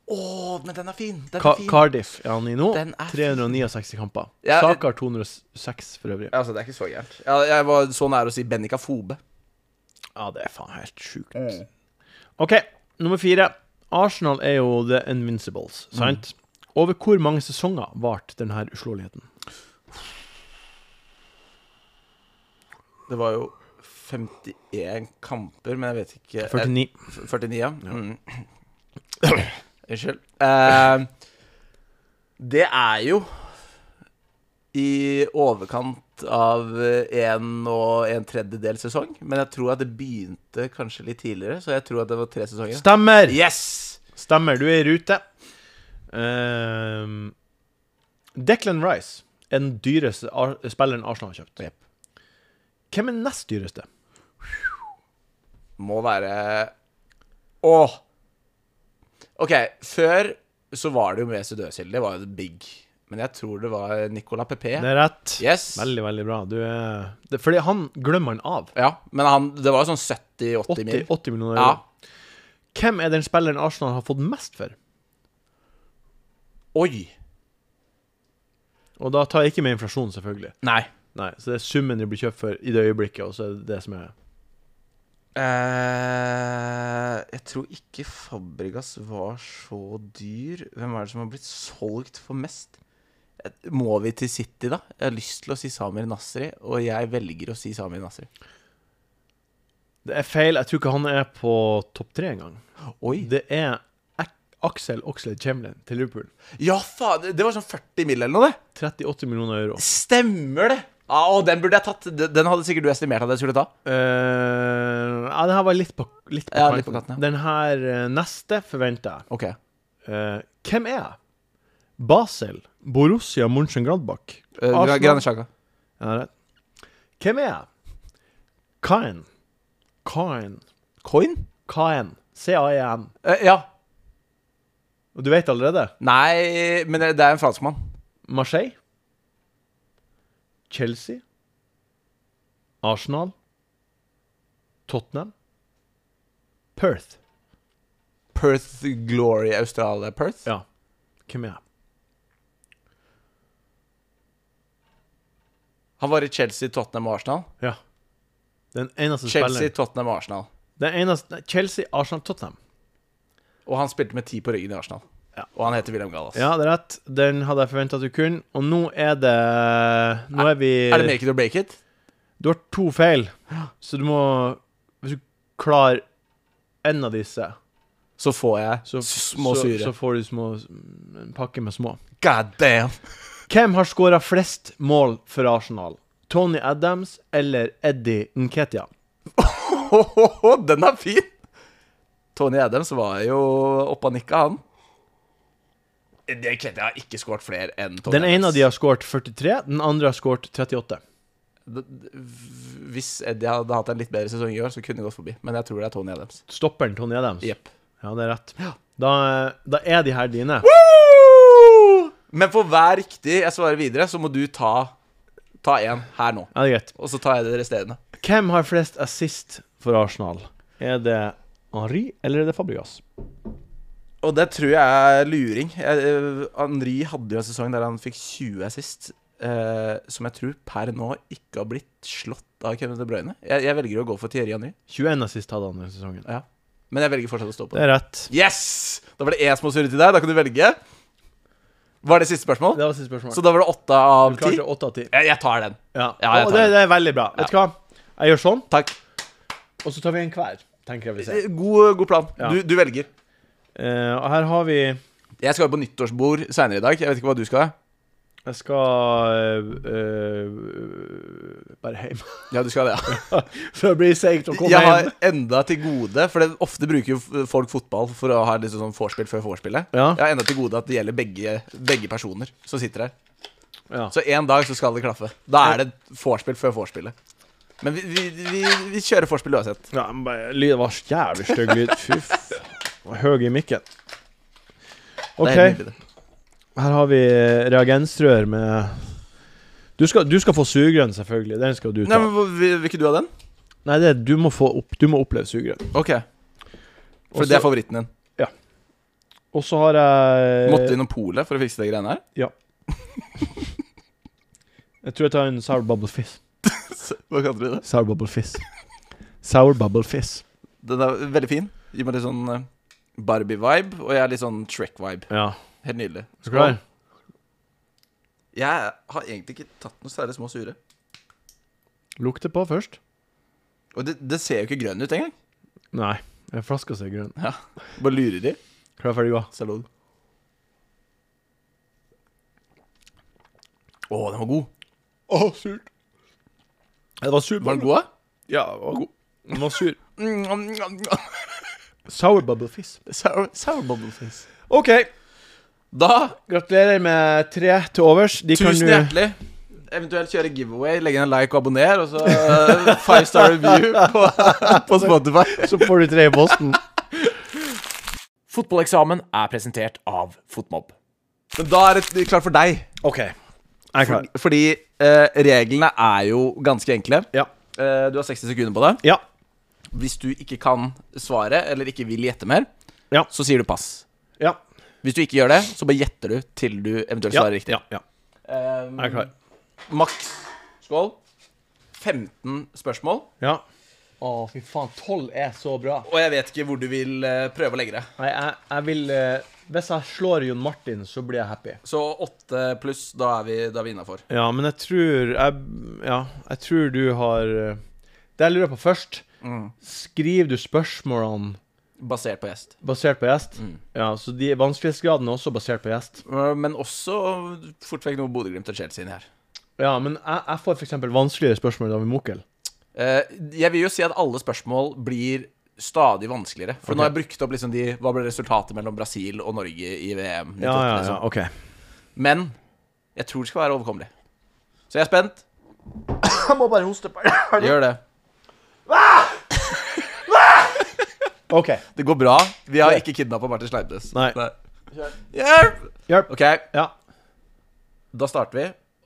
A: Å, men den er fin! Den
B: Ka
A: er fin.
B: Cardiff er han i nå.
A: Den er
B: 369 kamper.
A: Ja, det-
B: Saka har 206 for øvrig.
A: Altså, det er ikke så gærent. Jeg, jeg var så nær å si Bennica Fobe.
B: Ja, det er faen helt sjukt. OK, nummer fire. Arsenal er jo The Invincibles, sant? Over hvor mange sesonger varte denne uslåeligheten?
A: Det var jo 51 kamper, men jeg vet ikke
B: 49.
A: Eh, 49, ja. Mm. Unnskyld. Eh, det er jo i overkant av en og en tredjedel sesong, men jeg tror at det begynte kanskje litt tidligere, så jeg tror at det var tre sesonger.
B: Stemmer!
A: Yes!
B: Stemmer, du er i rute. Ehm, Declan Rice er den dyreste ar spilleren Arsenal har kjøpt.
A: Jep.
B: Hvem er den nest dyreste?
A: må være Åh! Ok, før så var det jo Mesut Özil. Det var jo big. Men jeg tror det var Nicolas Pepe.
B: Det er rett.
A: Yes.
B: Veldig, veldig bra. Du er det, Fordi han glemmer han av.
A: Ja, men han, det var jo sånn 70-80
B: 80,
A: mil.
B: 80 millioner
A: Ja.
B: euro. Hvem er den spilleren Arsenal har fått mest for?
A: Oi!
B: Og da tar jeg ikke med inflasjon, selvfølgelig.
A: Nei.
B: Nei, Så det er summen de blir kjøpt for i det øyeblikket, og så er det det som er
A: Eh, jeg tror ikke Fabregas var så dyr. Hvem er det som har blitt solgt for mest? Eh, Må vi til City, da? Jeg har lyst til å si Samir Nasri, og jeg velger å si Samir Nasri.
B: Det er feil. Jeg tror ikke han er på topp tre engang.
A: Oi!
B: Det er Ak- Axel Oxlade Chamberlain til Liverpool.
A: Ja, faen! Det- Det var sånn 40 mil eller noe, det!
B: 38 millioner euro.
A: Stemmer det! Ja, og den burde jeg tatt. D- Den hadde sikkert du estimert at jeg skulle ta.
B: Eh, ja, den her var litt på, litt på
A: Ja,
B: kanten.
A: litt på kanten, ja.
B: Den her eh, neste forventer jeg.
A: Ok.
B: Eh, hvem er jeg? Basel, Borussia Mönchengladbach
A: Eh,
B: Arsenal.
A: Grane Sjaka.
B: Ja, det er rett. Hvem er jeg? Kain. Kain.
A: Coin?
B: Kain. C-A-I-N.
A: Eh, ja.
B: Og du vet allerede?
A: Nei, men det det er en franskmann.
B: Marseille. Chelsea. Arsenal. Tottenham. Perth.
A: Perth Glory Australia Perth?
B: Ja. Hvem er jeg?
A: Han var i Chelsea, Tottenham og Arsenal.
B: Ja. Den eneste
A: Chelsea,
B: spilleren
A: Tottenham og Arsenal.
B: Den eneste nei, Chelsea, Arsenal, Tottenham.
A: Og han spilte med ti på ryggen i Arsenal.
B: Ja.
A: Og han heter William Gallas.
B: Ja, det er rett. Den hadde jeg forventa at du kunne. Og nå er det Nå er vi
A: Er det make it or break it?
B: Du har to feil, så du må Hvis du klarer en av disse,
A: Så får jeg
B: så,
A: små
B: så,
A: syre.
B: så får du små, en pakke med små.
A: God damn!
B: Hvem har skåra flest mål for Arsenal? Tony Adams eller Eddie Nketia?
A: Den er fin! Tony Adams var jo oppe og nikka, han. Det jeg har ikke skåret flere enn Tony
B: Den ene av
A: Adams.
B: de har skåret 43, den andre har skåret 38.
A: D- d- v- Hvis Eddie hadde hatt en litt bedre sesong i år, så kunne det gått forbi. Men jeg tror det er Tony Adams.
B: Stopperen Tony Adams.
A: Jepp.
B: Ja, det er rett. Da, da er de her dine.
A: Men for hver riktig jeg svarer videre, så må du ta Ta én her nå.
B: Ja, det er greit.
A: Og så tar jeg det resterende.
B: Hvem har flest assist for Arsenal? Er det Henri eller er det Fabregas?
A: Og det tror jeg er luring. Jeg, eh, Henri hadde jo en sesong der han fikk 20 assist, eh, som jeg tror per nå ikke har blitt slått av Kevin De Bruyne. Jeg, jeg velger å gå for Thierry Henri,
B: 21 assist hadde han i sesongen.
A: ja. men jeg velger fortsatt å stå på det.
B: Det er rett.
A: Yes! Da var det én småsurre til deg. Da kan du velge. Var det siste spørsmål?
B: Det var siste spørsmål.
A: Så da var det åtte av ti?
B: du klarte 8 av 10.
A: Jeg, jeg tar den.
B: Ja,
A: Ja, jeg
B: og
A: tar
B: det,
A: det.
B: det er veldig bra. Vet du hva? Jeg gjør sånn,
A: Takk.
B: og så tar vi en hver, tenker jeg vi ser.
A: Eh, God, god plan.
B: Ja.
A: Du, du velger.
B: Eh, og her har vi
A: Jeg skal jo på nyttårsbord seinere i dag. Jeg vet ikke hva du skal.
B: Jeg skal eh, eh, bare hjem.
A: Ja, du skal det, ja.
B: For det blir seigt å komme
A: Jeg har
B: hjem.
A: enda til gode For det, ofte bruker jo f- folk fotball for å ha litt sånn vorspiel før vorspielet.
B: Ja.
A: Jeg har enda til gode at det gjelder begge, begge personer som sitter her.
B: Ja.
A: Så en dag så skal det klaffe. Da er det vorspiel før vorspielet. Men vi, vi, vi, vi kjører vorspiel uansett.
B: Ja, men bare, lyden var så jævlig stygg lyd. Fy faen. Var Høy i mikken.
A: Det
B: OK,
A: er helt nydelig.
B: her har vi reagensrør med Du skal, du skal få sugerønn, selvfølgelig. Den skal du ta.
A: Nei, men hvor- vil, vil ikke du ha den?
B: Nei, det, du, må få opp, du må oppleve sugerønn.
A: Ok. For
B: Og
A: det
B: så-
A: er favoritten din.
B: Og så har jeg
A: Måtte innom polet for å fikse de greiene her.
B: Ja. Jeg tror jeg tar en sour bubble fizz.
A: Hva kaller du det?
B: Sour bubble fizz. Sour bubble fizz.
A: Den er veldig fin. Gir meg litt sånn eh, Barbie-vibe, og jeg er litt sånn Shrek-vibe.
B: Ja.
A: Helt nydelig.
B: Er du klar?
A: Jeg har egentlig ikke tatt noe særlig små sure.
B: Lukter på først.
A: Og det, det ser jo ikke grønn ut engang.
B: Nei. Jeg flaska seg grønn.
A: Ja. Bare lurer de.
B: Klar, ferdig, gå.
A: Salud. Å, den var god.
B: Å, surt. Det var sur
A: Var den god, da?
B: Ja, det var god. Den var sur.
A: Mm, mm, mm, mm.
B: Sour bubble fizz.
A: Sour, sour bubble face.
B: OK.
A: Da,
B: Gratulerer med tre til overs. De kan
A: tusen
B: du-
A: hjertelig. Eventuelt kjøre giveaway, legge inn en like og abonner, og så eh, five star review på, på Spotify.
B: Så får du tre i posten.
C: Fotballeksamen er presentert av Fotmobb.
A: Men da er det klart for deg.
B: OK. Jeg er klar.
A: Fordi eh, reglene er jo ganske enkle.
B: Ja.
A: Eh, du har 60 sekunder på deg.
B: Ja.
A: Hvis du ikke kan svaret, eller ikke vil gjette mer,
B: Ja.
A: så sier du pass.
B: Ja.
A: Hvis du ikke gjør det, så bare gjetter du til du eventuelt
B: Ja.
A: svarer riktig.
B: Ja. ja. Jeg er klar.
A: Maks skål. 15 spørsmål.
B: Ja. Å, fy faen. Tolv er så bra.
A: Og jeg vet ikke hvor du vil eh, prøve å legge det.
B: Nei, jeg, jeg vil eh, Hvis jeg slår Jon Martin, så blir jeg happy.
A: Så åtte pluss, da er vi, da er vi innafor.
B: Ja, men jeg tror jeg, Ja, jeg tror du har eh, Det jeg lurer på først Skriver du spørsmålene
A: Basert på gjest.
B: basert på gjest?
A: Mm.
B: Ja, så de vanskelighetsgraden er også basert på gjest.
A: Eh, Men også fort vekk noe Bodø-Glimt og Chelsea inni her.
B: Ja, men jeg, jeg får f.eks. vanskeligere spørsmål av en Mokel.
A: Eh, Jeg vil jo si at alle spørsmål blir stadig vanskeligere. For nå har jeg brukt opp liksom de Hva ble resultatet mellom Brasil og Norge i VM? 98, liksom.
B: OK.
A: Men jeg tror det skal være overkommelig. Så jeg er spent.
B: Jeg må bare hoste på
A: Gjør det.
B: OK.
A: Det går bra. Vi har ikke kidnappa Martin Sleipnes.
B: Nei.
A: Hjelp!
B: Hjelp.
A: Ok,
B: Ja.
A: da starter vi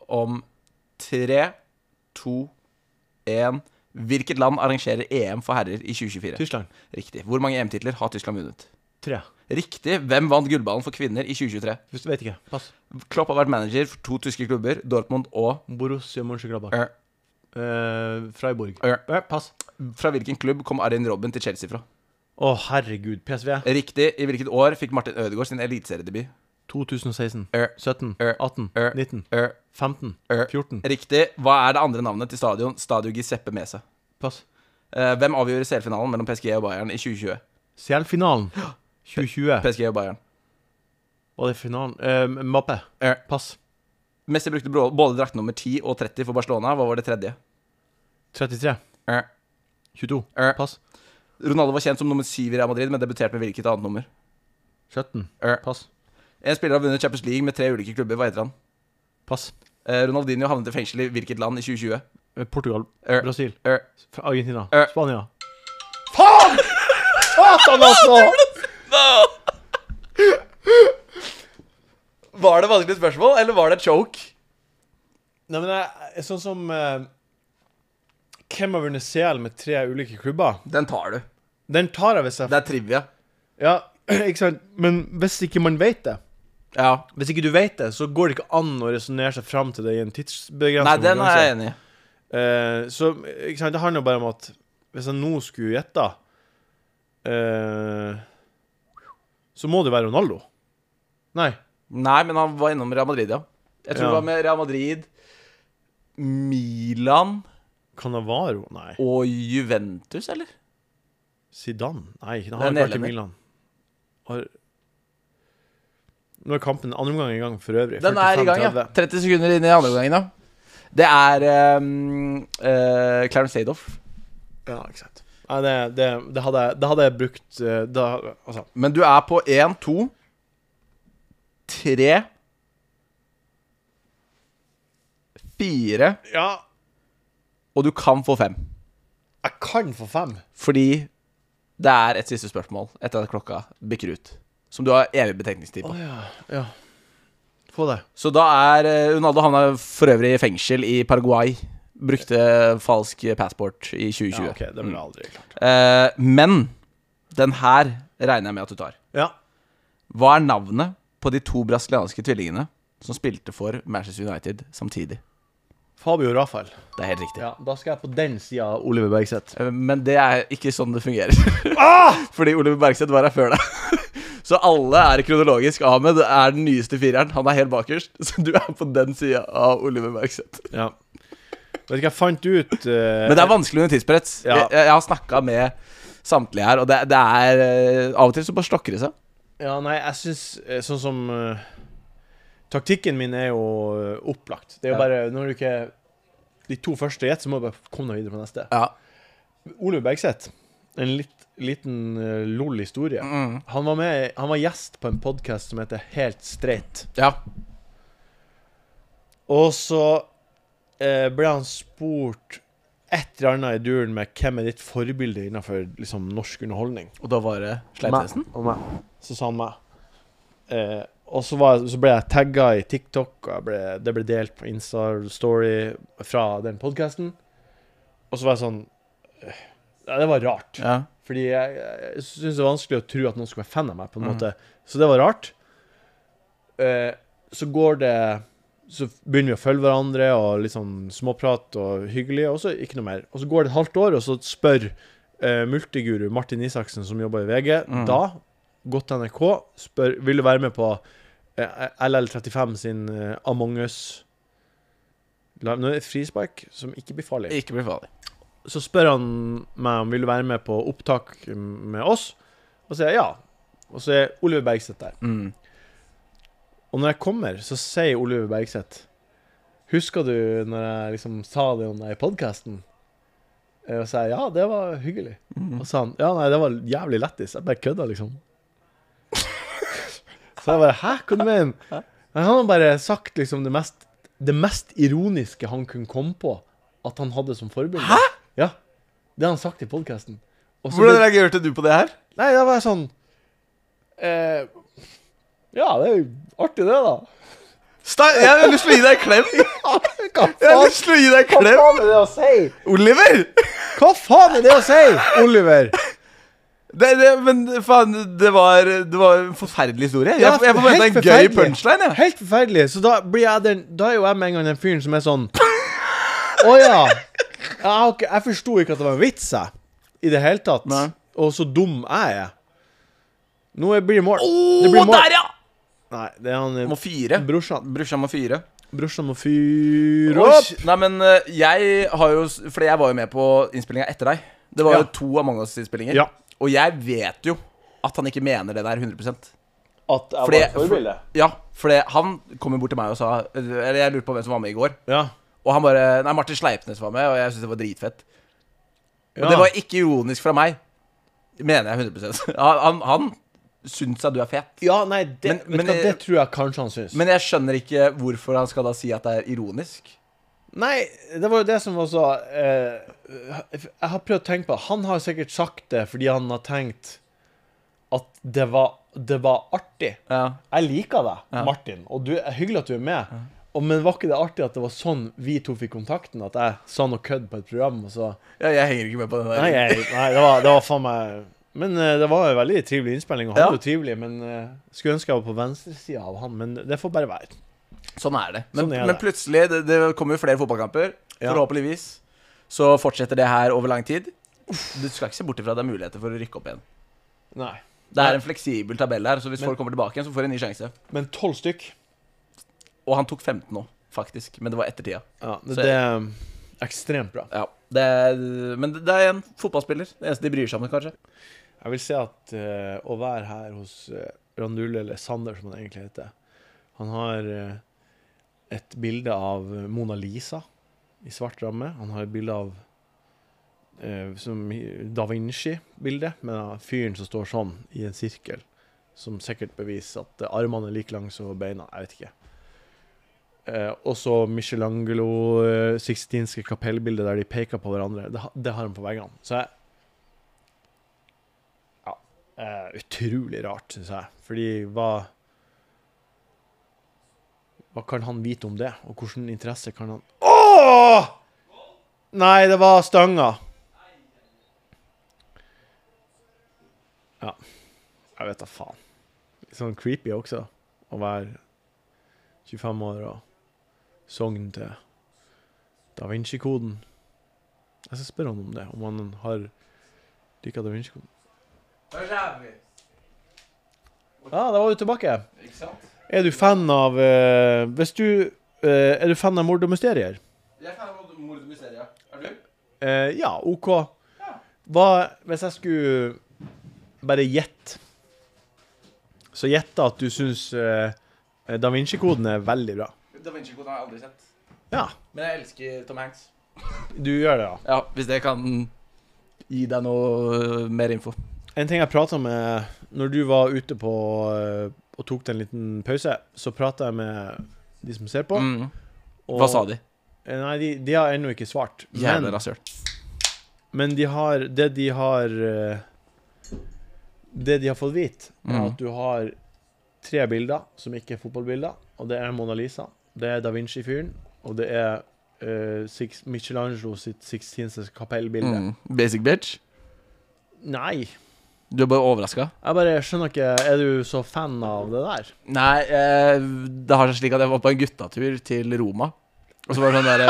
A: om tre, to, én Hvilket land arrangerer EM for herrer i 2024?
B: Tyskland.
A: Riktig. Hvor mange EM-titler har Tyskland vunnet?
B: Tre.
A: Riktig. Hvem vant gullballen for kvinner i 2023?
B: Hvis- Vet ikke. Pass.
A: Klopp har vært manager for to tyske klubber, Dortmund og
B: Borussia Mönchengladbach.
A: Ør.
B: Eh, Freiburg.
A: Ør.
B: Eh, pass.
A: Fra hvilken klubb kom Arjen Robben til Chelsea fra?
B: Å, herregud. PSV.
A: Riktig. I hvilket år fikk Martin Ødegaard sin eliteseriedebut?
B: 2016.
A: Ør.
B: 17.
A: Ør.
B: 18.
A: Ør.
B: 19.
A: Ør.
B: 15.
A: Ør.
B: 14.
A: Riktig. Hva er det andre navnet til stadion Stadio Giuseppe Mese?
B: Pass.
A: Eh, Hvem avgjorde selfinalen mellom PSG og Bayern i 2020?
B: CL-finalen. 2020.
A: PSG og Bayern.
B: Var det finalen? Uh, Mappe.
A: Ør.
B: Pass.
A: Messi brukte bro- både drakt nummer 10 og 30 for Barcelona. Hva var det tredje?
B: 33.
A: Eh.
B: 22.
A: Ør.
B: Pass.
A: Ronaldo var kjent som nummer 7 i Real Madrid, men debuterte med hvilket annet nummer?
B: 17.
A: Ør.
B: Pass.
A: En spiller har vunnet Champions League med tre ulike klubber. Hva heter han?
B: Pass.
A: Eh, Ronaldinho havnet i fengsel i hvilket land i 2020?
B: Eh, Portugal.
A: Ør.
B: Brasil.
A: Ør.
B: Fra Argentina.
A: Ør.
B: Spania. Faen! Satan, altså!
A: Var det vanskelig spørsmål, eller var det et choke?
B: Nei, men jeg, jeg- sånn som eh, Hvem har vunnet CL med tre ulike klubber?
A: Den tar du.
B: Den tar jeg hvis jeg
A: Det er trivia.
B: Ja, ikke sant? Men hvis ikke man vet det
A: Ja.
B: Hvis ikke du vet det, så går det ikke an å resonnere seg fram til det i en tidsbegrenset
A: Nei, den er jeg
B: konkurranse.
A: enig i.
B: Eh, så ikke sant, det handler jo bare om at hvis jeg nå skulle gjette eh, Så må det være Ronaldo. Nei.
A: Nei, men han var innom Real Madrid, ja. Jeg tror
B: Ja.
A: det var med Real Madrid, Milan
B: Canavaro? Nei.
A: og Juventus, eller?
B: Zidane? Nei,
A: Det
B: han
A: er
B: har ikke vært i
A: nederlender.
B: Milan. Har... Nå er kampen andre omgang i gang for øvrig.
A: Den er i gang, ja.
B: 45-30.
A: 30 sekunder inn i andre gangen, da. Det er ehm, eh, Clarence Sadoff.
B: Ja, ikke sant. Nei, det, det, det, hadde, jeg- det hadde jeg brukt eh, da, Altså,
A: Men du er på 1, 2, 3 4
B: ja
A: Og du kan få 5
B: Jeg kan få fem.
A: Fordi det er et siste spørsmål Etter at klokka bikker ut Som du har evig betenkningstid på
B: ja. ja. Få det.
A: Så da er eh, Ronaldo havna for øvrig i fengsel i Paraguay Brukte falsk passport i Mm. 2020
B: Ja, ok, det blir aldri klart.
A: Eh, Men Den her regner jeg med at du tar
B: Ja.
A: Hva er navnet på de to brasilianske tvillingene som spilte for Manchester United samtidig?
B: Fabio Rafael.
A: Det er helt riktig.
B: Ja, da skal jeg på den sida av Oliver Bergseth.
A: Eh, Men det er ikke sånn det fungerer.
B: Ah!
A: Fordi Oliver Bergseth var her før deg. Så alle er kronologisk. Ahmed er den nyeste fireren. Han er helt bakerst. Så du er på den sida av Oliver Bergseth.
B: Ja. Vet ikke, jeg fant ut eh,
A: Men det er vanskelig under tidspress.
B: Ja.
A: Jeg, jeg har snakka med samtlige her, og det, det er eh, Av og til så bare stokker det seg.
B: Ja, nei, jeg syns eh, sånn som eh, Taktikken min er jo eh, opplagt. Det er jo
A: Ja.
B: bare Når du ikke De to første gjetter, så må du bare komme deg videre på neste.
A: Ja.
B: Ole Bergseth, en litt, liten eh, lol historie.
A: Mm.
B: Han var med Han var gjest på en podkast som heter Helt streit.
A: ja.
B: Og så eh, ble han spurt et eller annet i duren med 'Hvem er ditt forbilde innenfor liksom, norsk underholdning?'
A: Og da var det Sleipnesen.
B: Og meg. Så sa han meg. Eh, og så, var, så ble jeg tagga i TikTok, og jeg ble, det ble delt på Insta-story fra den podkasten. Og så var jeg sånn eh, ja, Det var rart.
A: Ja.
B: Fordi jeg, jeg syns det er vanskelig å tro at noen skulle være fan av meg, på en måte. Så det var rart. Eh, så går det Så begynner vi å følge hverandre og litt sånn småprat og hyggelig, og så ikke noe mer. Og så går det et halvt år, og så spør eh, multiguru Martin Isaksen, som jobber i VG, da, gått til NRK, spør Vil du være med på eh, LL35 sin eh, Among Us La- Nå er det frispark som ikke blir farlig
A: Ikke bli farlig.
B: så spør han meg om vil du være med på opptak med oss. Og så sier jeg ja. Og så er Oliver Bergseth der.
A: Mm.
B: Og når jeg kommer, så sier Oliver Bergseth Husker du når jeg liksom sa det om deg i podkasten? Og så sa jeg ja, det var hyggelig.
A: Mhm.
B: Og så sa han ja, nei, det var jævlig lættis. Jeg bare kødda, liksom. så jeg bare hæ, hva du mener du? Han har bare sagt liksom det mest, det mest ironiske han kunne komme på at han hadde som forbilde. Hæ? Ja. Det har han sagt i podkasten.
A: Hvordan reagerte du på det her?
B: Nei, da var jeg sånn eh, Ja, det er jo artig, det, da.
A: Stein, jeg har lyst til å gi deg en klem.
B: Hva faen,
A: Jeg har lyst til å gi deg en klem.
B: er det å si?
A: Oliver!
B: Hva faen er det å si, Oliver?
A: Det, det, men faen, det var, det var en forferdelig historie. Jeg, jeg forventa en gøy punchline. jeg.
B: Helt forferdelig. Så da blir jeg den Da er jo jeg med en gang den fyren som er sånn Å ja. Jeg, har ikke- jeg forsto ikke at det var en vits, jeg. I det hele tatt.
A: Nei.
B: Og så dum jeg er. Nå er- blir det mål. det
A: Å,
B: blir mål.
A: der, ja!
B: Nei, det er han eh,
A: Må fyre.
B: Brorsan.
A: Brorsan må fyre.
B: Brorsan må fyre opp.
A: Oi, Nei, men eh, jeg har jo s- Fordi jeg var jo med på innspillinga etter deg. Det var
B: Ja.
A: jo to Among us-innspillinger.
B: Ja.
A: Og jeg vet jo at han ikke mener det der 100
B: At jeg
A: Fordi- Ja, for det- han kom jo bort til meg og sa Eller jeg lurte på hvem som var med i går.
B: Ja.
A: Og han bare Nei, Martin Sleipnes var med, og jeg syntes det var dritfett. Og
B: Ja.
A: det var ikke ironisk fra meg. Mener jeg 100 Han, han, han syns at du er fet.
B: ja, nei, det,
A: Men- men eh,
B: vet du hva,
A: jeg-
B: det tror jeg kanskje han syns.
A: Men jeg skjønner ikke hvorfor han skal da si at det er ironisk.
B: nei, det var jo det som var så eh, Jeg har prøvd å tenke på det. Han har sikkert sagt det fordi han har tenkt at det var, det var artig.
A: Ja.
B: Jeg liker deg, Martin, og du, det er hyggelig at du er med. Og, men var ikke det artig at det var sånn vi to fikk kontakten? At jeg sa noe kødd på et program, og så
A: ja, jeg henger ikke med på den der.
B: Nei, jeg, nei det, var, det var faen meg Men eh, det var en veldig trivelig innspilling, og
A: Ja.
B: han var jo trivelig, men eh, skulle ønske jeg var på venstresida av han, men det får bare være.
A: Sånn er det. Men,
B: Sånn er
A: men
B: det.
A: plutselig, det, det kommer jo flere fotballkamper.
B: Ja.
A: Forhåpentligvis. Så fortsetter det her over lang tid. Du skal ikke se bort ifra at det er muligheter for å rykke opp igjen.
B: Nei.
A: Det er en fleksibel tabell her, så hvis folk kommer tilbake igjen, så får de en ny sjanse.
B: Men tolv stykk
A: Og han tok 15 nå, faktisk. Men det var etter tida.
B: Ja, det,
A: Så-
B: det er ekstremt bra.
A: Ja, det er, men det er en fotballspiller. Det eneste de bryr seg om, kanskje.
B: Jeg vil si at eh, å være her hos eh, Randule, eller Sander som han egentlig heter Han har eh, et bilde av Mona Lisa i svart ramme. Han har et bilde av eh, som i Da Vinci-bildet, med da fyren som står sånn i en sirkel. Som sikkert beviser at eh, armene er like lange som beina. Jeg vet ikke. Eh, og så Michelangelo, eh, sixtinske kapellbildet der de peker på hverandre. Det, ha- det har han på veggene. Så jeg ja, eh, utrolig rart, syns jeg. Fordi hva Hva kan han vite om det, og hvilken interesse kan han Åh! Nei, det var stanga. Ja. Jeg vet da faen. sånn creepy også, å være 25 år og sogn til Da Vinci-koden. Jeg skal spørre han om det, om han har lika Da Vinci-koden. Ja, da var du tilbake.
A: Ikke sant?
B: Er du fan av eh, Hvis du eh, Er du fan av mord og mysterier?
A: Jeg er ferdig med mord og mysterier. Er du?
B: Eh, ja, OK. Hva Hvis jeg skulle bare gjette Så gjette at du syns eh, Da Vinci-koden er veldig bra.
A: Da Vinci-koden har jeg aldri sett.
B: Ja,
A: Men jeg elsker Tom Hanks.
B: du gjør det, ja.
A: Ja, Hvis det kan gi deg noe øh, mer info.
B: En ting jeg prata med Når du var ute på eh, og tok deg en liten pause, så prata jeg med de som ser på.
A: Mm.
B: og-
A: Hva sa de?
B: Eh, Nei, de, de har ennå ikke svart.
A: Jævla rasshøl.
B: Men de har Det de har eh, Det de har fått vite, er
A: Mhm.
B: at du har tre bilder som ikke er fotballbilder. Og det er Mona Lisa, det er Da Vinci-fyren, og det er eh, Six, Michelangelo sitt Sixtinses kapellbilde.
A: Mm. Basic bitch.
B: Nei!
A: Du er bare overraska?
B: Jeg bare skjønner ikke Er du så fan av det der?
A: Nei, eh, det har seg slik at jeg var på en guttatur til Roma. Og så var det sånn derre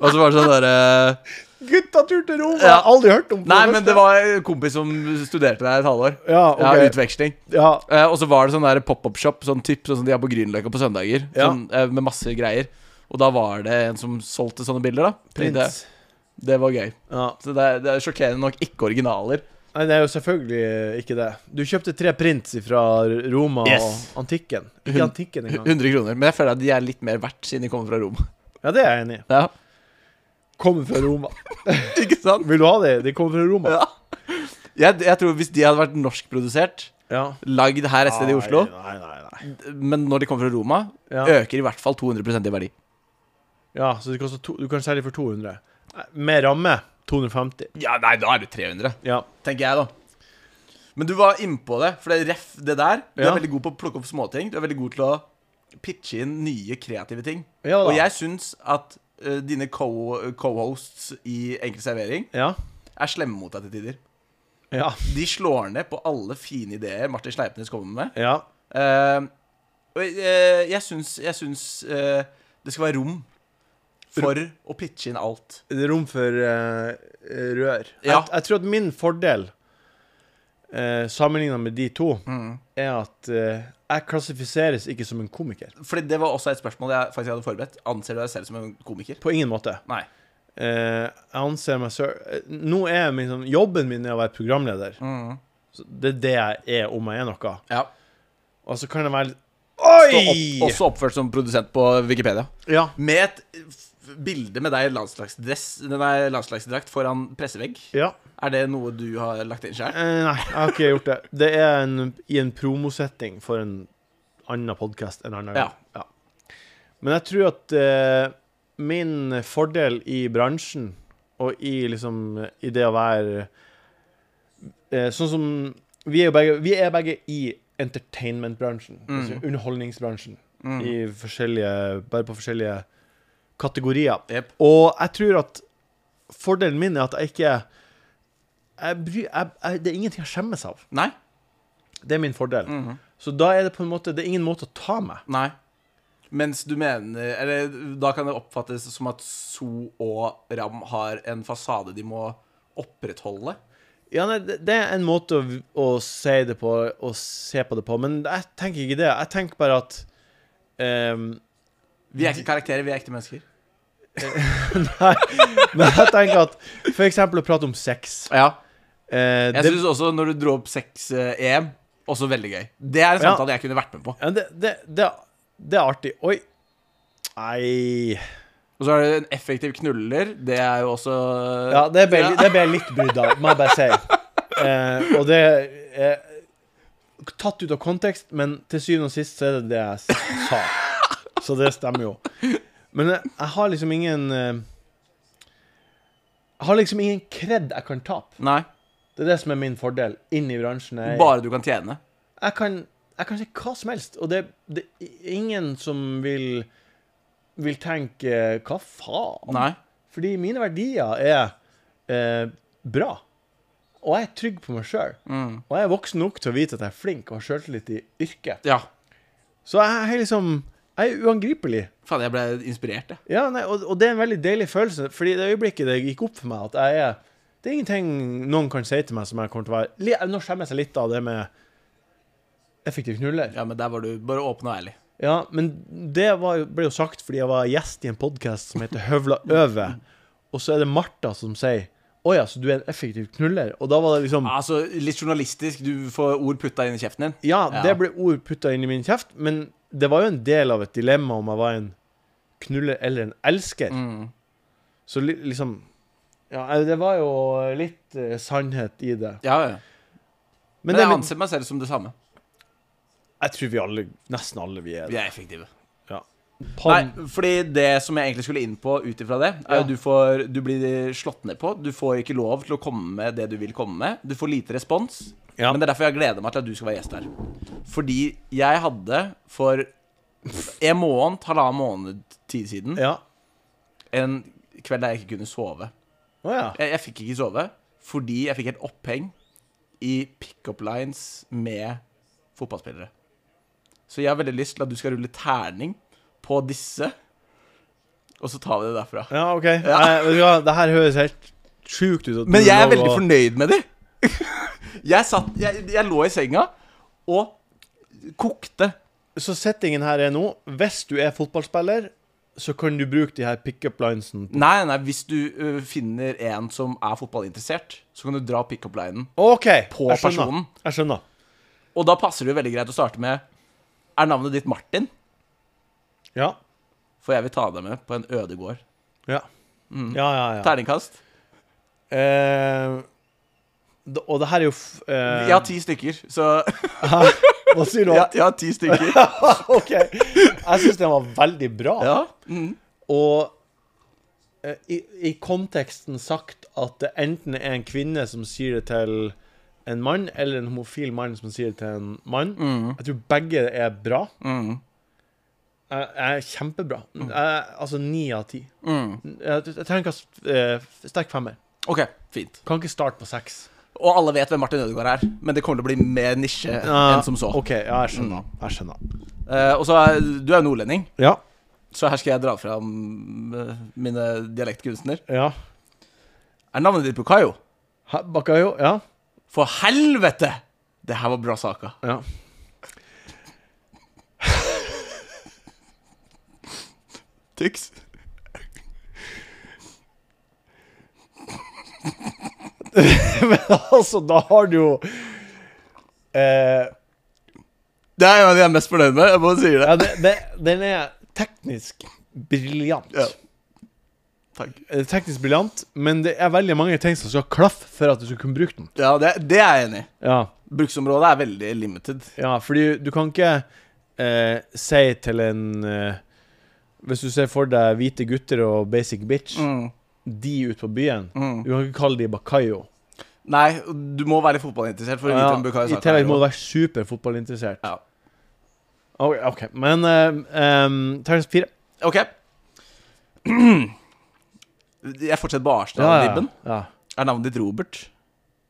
A: Og så var det sånn derre
B: Guttatur til Roma!
A: Ja.
B: Jeg har aldri hørt om det.
A: Nei, men det var en kompis som studerte der et halvår.
B: Ja, ok.
A: Ja, utveksling.
B: ja.
A: Eh, og så var det sånn der pop-up-shop, sånn typ sånn som de har på Grünerløkka på søndager.
B: Ja.
A: Sånn, eh, med masse greier. Og da var det en som solgte sånne bilder, da. Tenkte jeg,
B: Prins.
A: Det var gøy.
B: Ja.
A: Så det, er- det er sjokkerende nok ikke originaler.
B: Nei, det er jo selvfølgelig eh, ikke det. Du kjøpte tre prints fra Roma
A: Yes.
B: og antikken.
A: Hun-
B: Ikke antikken engang.
A: 100 kroner. Men jeg føler at de er litt mer verdt siden de kommer fra Roma.
B: Ja, det er jeg enig i.
A: Ja,
B: Kommer fra Roma.
A: ikke sant?
B: Vil du ha det? De kommer fra Roma.
A: Ja. Jeg, jeg tror Hvis de hadde vært norskprodusert,
B: Ja.
A: lagd her et sted i Oslo
B: Nei, nei, nei.
A: Men når de kommer fra Roma,
B: Ja,
A: øker i hvert fall 200 i verdi.
B: ja så det koster to, du kan selge for 200. Nei, Med ramme 250.
A: Ja, nei, da er det 300,
B: Ja.
A: tenker jeg, da. Men du var innpå det, for det er ref det der. Du
B: Ja.
A: er veldig god på å plukke opp småting. Du er veldig god til å pitche inn nye, kreative ting.
B: Ja da.
A: Og jeg syns at eh, dine co- co-hosts i Enkel servering
B: Ja.
A: er slemme mot deg til tider.
B: Ja.
A: De slår ned på alle fine ideer Martin Sleipnes kommer med.
B: Ja.
A: Eh, og eh, jeg syns, jeg syns eh, det skal være rom for å pitche inn alt.
B: Det er rom for eh, rør.
A: Ja.
B: Jeg, jeg tror at min fordel, uh, sammenligna med de to,
A: Mm.
B: er at eh, jeg klassifiseres ikke som en komiker.
A: Fordi det var også et spørsmål jeg faktisk hadde forberedt. Anser du deg selv som en komiker?
B: På ingen måte.
A: Nei.
B: Eh, jeg anser meg selv eh, Nå er min, sånn, jobben min er å være programleder. Så det er det jeg er om jeg er noe.
A: Ja.
B: Og så kan det være litt
A: Så opp,
B: Oi!
A: også oppført som produsent på Wikipedia.
B: Ja.
A: Med et f- bilde med deg i landslagsdress Nei, landslagsdrakt foran pressevegg.
B: ja.
A: Er det noe du har lagt inn sjøl?
B: Eh, nei, jeg har ikke gjort det. Det er en, i en promosetting for en annen podkast en annen
A: Ja.
B: gang. Ja. Men jeg tror at eh, min fordel i bransjen, og i liksom I det å være eh, Sånn som Vi er jo begge, vi er begge i entertainment-bransjen. Altså underholdningsbransjen. I forskjellige Bare på forskjellige kategorier.
A: Jep.
B: Og jeg tror at fordelen min er at jeg ikke jeg bry, jeg, jeg, Det er ingenting jeg skjemmes av.
A: Nei?
B: Det er min fordel. Så da er det på en måte Det er ingen måte å ta meg.
A: Nei. Mens du mener Eller da kan det oppfattes som at So og Ram har en fasade de må opprettholde.
B: Ja, nei, det, det er en måte å, å si det på, å se på det på, men jeg tenker ikke det. Jeg tenker bare at ehm,
A: Vi er ikke karakterer, vi er ekte mennesker.
B: Men jeg tenker at For eksempel å prate om sex.
A: Ja
B: Eh,
A: Jeg
B: det,
A: synes også når du dro opp 6-EM, også veldig gøy. Det er en
B: Ja.
A: samtale jeg kunne vært med på.
B: ja, det, det, det, det er artig. Oi. Nei
A: Og så er det en effektiv knuller. Det er jo også
B: Ja, det ble, det ble jeg litt brydd av, må jeg bare si. Eh, og det er tatt ut av kontekst, men til syvende og sist så er det det jeg s- sa. Så det stemmer jo. Men jeg, jeg har liksom ingen eh, Jeg har liksom ingen kred jeg kan tape.
A: Nei.
B: Det er det som er min fordel inn i bransjen. Jeg,
A: Bare du kan tjene.
B: jeg, kan, jeg kan si hva som helst, og det, det er ingen som vil vil tenke eh, Hva faen?
A: Nei.
B: Fordi mine verdier er eh, bra. og jeg er trygg på meg sjøl.
A: Mm.
B: Og jeg er voksen nok til å vite at jeg er flink og har sjøltillit i yrket.
A: Ja.
B: Så jeg er liksom Jeg er uangripelig.
A: Faen, jeg ble inspirert, jeg.
B: Ja, nei, og, og det er en veldig deilig følelse, Fordi det øyeblikket det gikk opp for meg at jeg er Det er ingenting noen kan si til meg som jeg kommer til å være li- Nå skjemmer jeg seg litt av det med effektiv knuller.
A: Ja, men der var du bare åpen og ærlig.
B: Ja, men det var, jo- ble jo sagt fordi jeg var gjest i en podkast som heter Høvla over. Og så er det Martha som sier Å ja, så du er en effektiv knuller? Og da var det liksom
A: Altså, Litt journalistisk. Du får ord putta inn i kjeften din.
B: Ja,
A: Ja.
B: det ble ord putta inn i min kjeft, men det var jo en del av et dilemma om jeg var en knuller eller en elsker.
A: Mm.
B: Så li liksom Ja, eh, det var jo litt eh, sannhet i det.
A: Ja, ja.
B: Men,
A: Men
B: det,
A: jeg
B: men
A: anser meg selv som det samme.
B: jeg tror vi alle, nesten alle, vi er
A: Vi
B: det.
A: er effektive.
B: Ja.
A: Nei, fordi det som jeg egentlig skulle inn på ut ifra det, er jo
B: Ja.
A: du, får, du blir slått ned på. Du får ikke lov til å komme med det du vil komme med. Du får lite respons.
B: Ja.
A: Men det er derfor jeg gleder meg til at du skal være gjest her. Fordi jeg hadde for en måned, halvannen måned tid siden,
B: Ja.
A: en kveld der jeg ikke kunne sove.
B: Å ja.
A: Jeg, jeg fikk ikke sove fordi jeg fikk helt oppheng i pick-up lines med fotballspillere. Så jeg har veldig lyst til at du skal rulle terning på disse, og så tar vi det derfra.
B: Ja, OK. Nei, vet du hva, det her høres helt sjukt ut. at
A: Men
B: du
A: jeg er
B: lå
A: veldig
B: og-
A: fornøyd med de. Jeg, satt, jeg, jeg lå i senga og kokte.
B: Så settingen her er nå Hvis du er fotballspiller, så kan du bruke de her pickup linesene.
A: Nei, nei, hvis du ø, finner en som er fotballinteressert, så kan du dra pick-up linen.
B: OK.
A: På
B: jeg skjønner.
A: personen.
B: Jeg skjønner.
A: Og da passer det jo veldig greit å starte med Er navnet ditt Martin?
B: Ja.
A: For jeg vil ta deg med på en øde gård.
B: Ja.
A: Mm.
B: ja, ja, ja.
A: Terningkast.
B: Eh, d- og det her er jo f... eh,
A: Jeg har ti stykker, så
B: Hva sier du?
A: jeg, jeg har ti stykker.
B: OK. Jeg syns den var veldig bra.
A: Ja.
B: Og eh, i, i konteksten sagt at det enten er en kvinne som sier det til en mann, eller en homofil mann som sier det til en mann.
A: Mm.
B: Jeg tror begge er bra. Jeg, jeg er kjempebra.
A: Mm.
B: Jeg, altså ni av ti. Jeg, jeg trenger ikke sterk femmer.
A: OK, fint.
B: Kan ikke starte på seks.
A: Og alle vet hvem Martin Ødegaard er, men det kommer til å bli mer nisje enn som så.
B: Ah,
A: Mm.
B: OK, ja, jeg skjønner. Jeg skjønner.
A: Eh, og så er, Du er jo nordlending,
B: Ja.
A: så her skal jeg dra fram eh, mine dialektkunstner.
B: ja.
A: Er navnet ditt Bukayo?
B: Hæ, Bakayo, ja.
A: For helvete! Det her var bra saka.
B: ja.
A: Tyks.
B: altså, da har du jo eh,
A: Det er en av de jeg er mest fornøyd med. Jeg bare sier
B: ja,
A: det.
B: det, det, Den er teknisk briljant.
A: Ja. Takk.
B: Eh, Teknisk briljant, men det er veldig mange ting som skal klaffe for at du skal kunne bruke den.
A: Ja, det, det er jeg enig i.
B: Ja,
A: Bruksområdet er veldig limited.
B: ja fordi du kan ikke eh, si til en eh, Hvis du ser for deg hvite gutter og basic bitch,
A: Mm.
B: de ute på byen Du kan ikke kalle de Bakayo.
A: Nei, du må være litt fotballinteressert for å vite
B: Ja,
A: hvem Bukayo
B: I
A: Saka er.
B: tillegg må du være superfotballinteressert.
A: Ja.
B: Ok, ok, men eh, um, Terrence 4
A: Ok Jeg fortsetter på
B: ja,
A: Arsenal-vibben
B: ja.
A: Er navnet ditt Robert?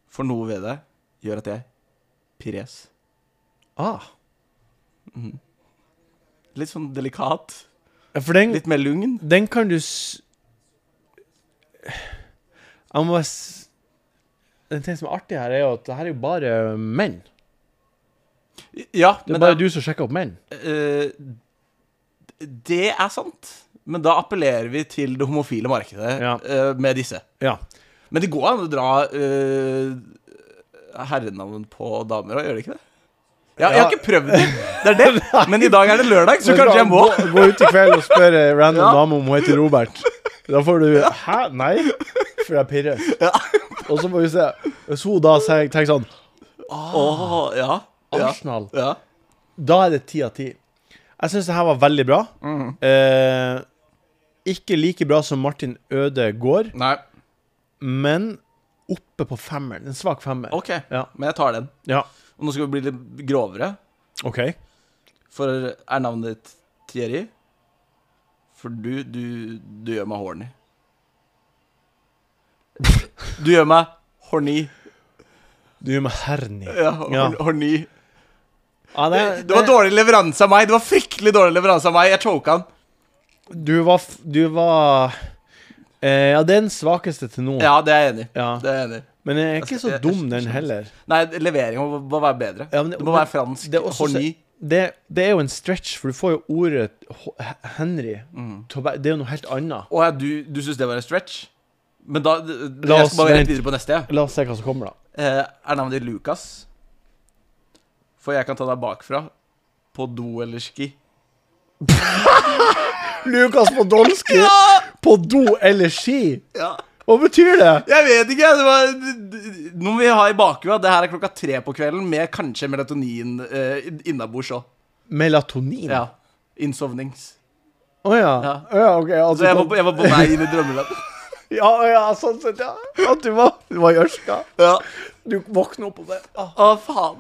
A: For noe ved det gjør at jeg Pires
B: Ah.
A: Litt sånn delikat
B: Ja, For den,
A: Litt mer lugn
B: den kan du s... Jeg må bare s... Den ting som er artig her, er jo at det her er jo bare menn.
A: Ja,
B: Det er
A: men
B: bare
A: det,
B: du som sjekker opp menn.
A: eh, det er sant Men da appellerer vi til det homofile markedet
B: Ja.
A: eh, Med disse
B: Ja.
A: Men det går an å dra eh, Herrenavn på damer også, Gjør det ikke det? Ja, jeg har
B: Ja.
A: ikke prøvd det Det er det Men i dag er det lørdag, så kanskje jeg må
B: Gå, gå ut i kveld og spør ei random
A: Ja.
B: dame om hun heter Robert. Da får du Hæ? Nei? For jeg pirres. Og så får vi se. Hvis hun da sier- tenker sånn
A: Åh, ja. Ja.
B: Arsenal.
A: ja.
B: Da er det ti av ti. Jeg syns det her var veldig bra.
A: Mm.
B: Eh, ikke like bra som Martin Øde går,
A: Nei.
B: men oppe på femmeren. En svak femmer.
A: OK,
B: Ja.
A: men jeg tar den.
B: Ja,
A: Og nå skal vi bli litt grovere,
B: OK.
A: for er navnet ditt Thierry? For du, du, du gjør meg horny. Du gjør meg horny.
B: Du er med herni.
A: Ja, og,
B: Ja.
A: og ny.
B: Ja, det,
A: Det var dårlig leveranse av meg. Det var fryktelig dårlig leveranse av meg. Jeg choka han.
B: Du var f- Du var eh, Ja, det er den svakeste til nå.
A: Ja, det er jeg enig i.
B: Ja.
A: Det er jeg enig i.
B: Men jeg er ikke så
A: Jeg- jeg-
B: dum,
A: jeg-
B: den heller.
A: Nei, leveringa må, må være bedre.
B: Ja, men
A: det, må være fransk.
B: det er også
A: horny.
B: Det, det er jo en stretch, for du får jo ordet H- Henry.
A: Mm.
B: til å være- Det er jo noe helt annet.
A: Å ja, du, du syns det var en stretch? Men da d- d-
B: La
A: Jeg
B: oss
A: skal bare
B: vente.
A: rett videre på neste. Ja.
B: La oss se hva som kommer, da.
A: Eh, er navnet ditt Lukas? For jeg kan ta deg bakfra. På do eller ski.
B: Lukas Podolsky på do eller ski?
A: Ja.
B: Hva betyr det?
A: Jeg vet ikke. Det var d- d- noe vi har i bakhuet. Det her er klokka tre på kvelden med kanskje melatonin eh, innabords òg.
B: Melatonin? Å
A: Ja. Innsovnings.
B: ja.
A: Ja.
B: Å ja, ok. Altså,
A: Så jeg var, på- jeg var på vei inn i drømmeland.
B: ja, å ja, sånn sett, ja. At du var, du var i ørska.
A: Ja.
B: Du våkner opp og bare ah,
A: Å, faen.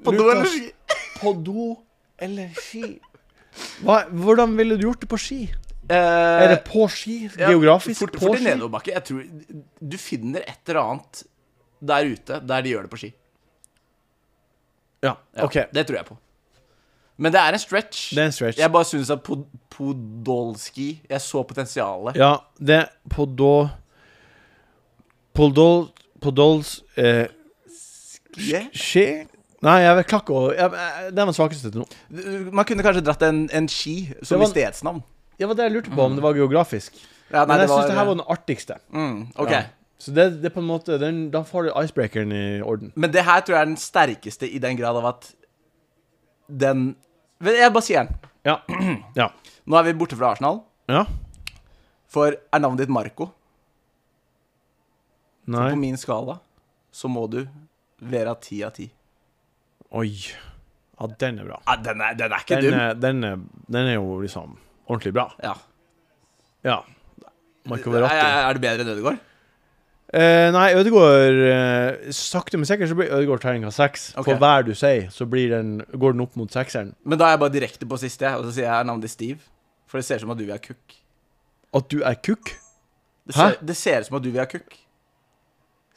A: På do
B: Lukas.
A: eller ski?
B: På do eller ski? Hva, hvordan ville du gjort det på ski?
A: Eh,
B: Er det på ski?
A: ja,
B: Geografisk?
A: Fort,
B: på
A: fort i
B: ski?
A: nedoverbakke. Jeg tror Du finner et eller annet der ute der de gjør det på ski.
B: Ja,
A: Ja,
B: OK.
A: Det tror jeg på. Men det er en stretch.
B: Det er en stretch.
A: Jeg bare syns at Pod Podolski Jeg så potensialet.
B: Ja, det På do Podol... Podols... Eh,
A: Yeah.
B: ski? Nei, jeg vet klakk og jeg, jeg- Det er den svakeste til nå.
A: Man kunne kanskje dratt en, en ski som
B: Det var-
A: i stedsnavn.
B: Det var det jeg lurte på, om det var geografisk.
A: Ja,
B: Men jeg syns Mm. det her var den artigste.
A: mm, Ok.
B: Ja. Så det, det er på en måte den, Da får du icebreakeren i orden.
A: Men det her tror jeg er den sterkeste i den grad av at den Men Jeg bare sier den.
B: Ja. Ja.
A: Nå er vi borte fra Arsenal,
B: ja.
A: for er navnet ditt Marco? På
B: Nei.
A: min skala så må du være ti av ti.
B: Oi. Ja, den er bra.
A: Ja, Ah, den, er, den er ikke
B: Den
A: dum.
B: er, den, er, den er jo liksom ordentlig bra.
A: Ja.
B: Ja. Marco
A: Er,
B: Verratti.
A: er det bedre enn Ødegaard?
B: Eh, nei, Ødegaard eh, Sakte, men sikkert så blir Ødegaard terninga seks.
A: Ok.
B: For hver du sier, så blir den, går den opp mot sekseren.
A: Men da er jeg bare direkte på siste, jeg, og så sier jeg er navnet ditt Steve. For det ser ut som at du vil ha kukk.
B: At du er kukk?
A: Det ser,
B: Hæ?
A: det ser ut som at du vil ha kukk.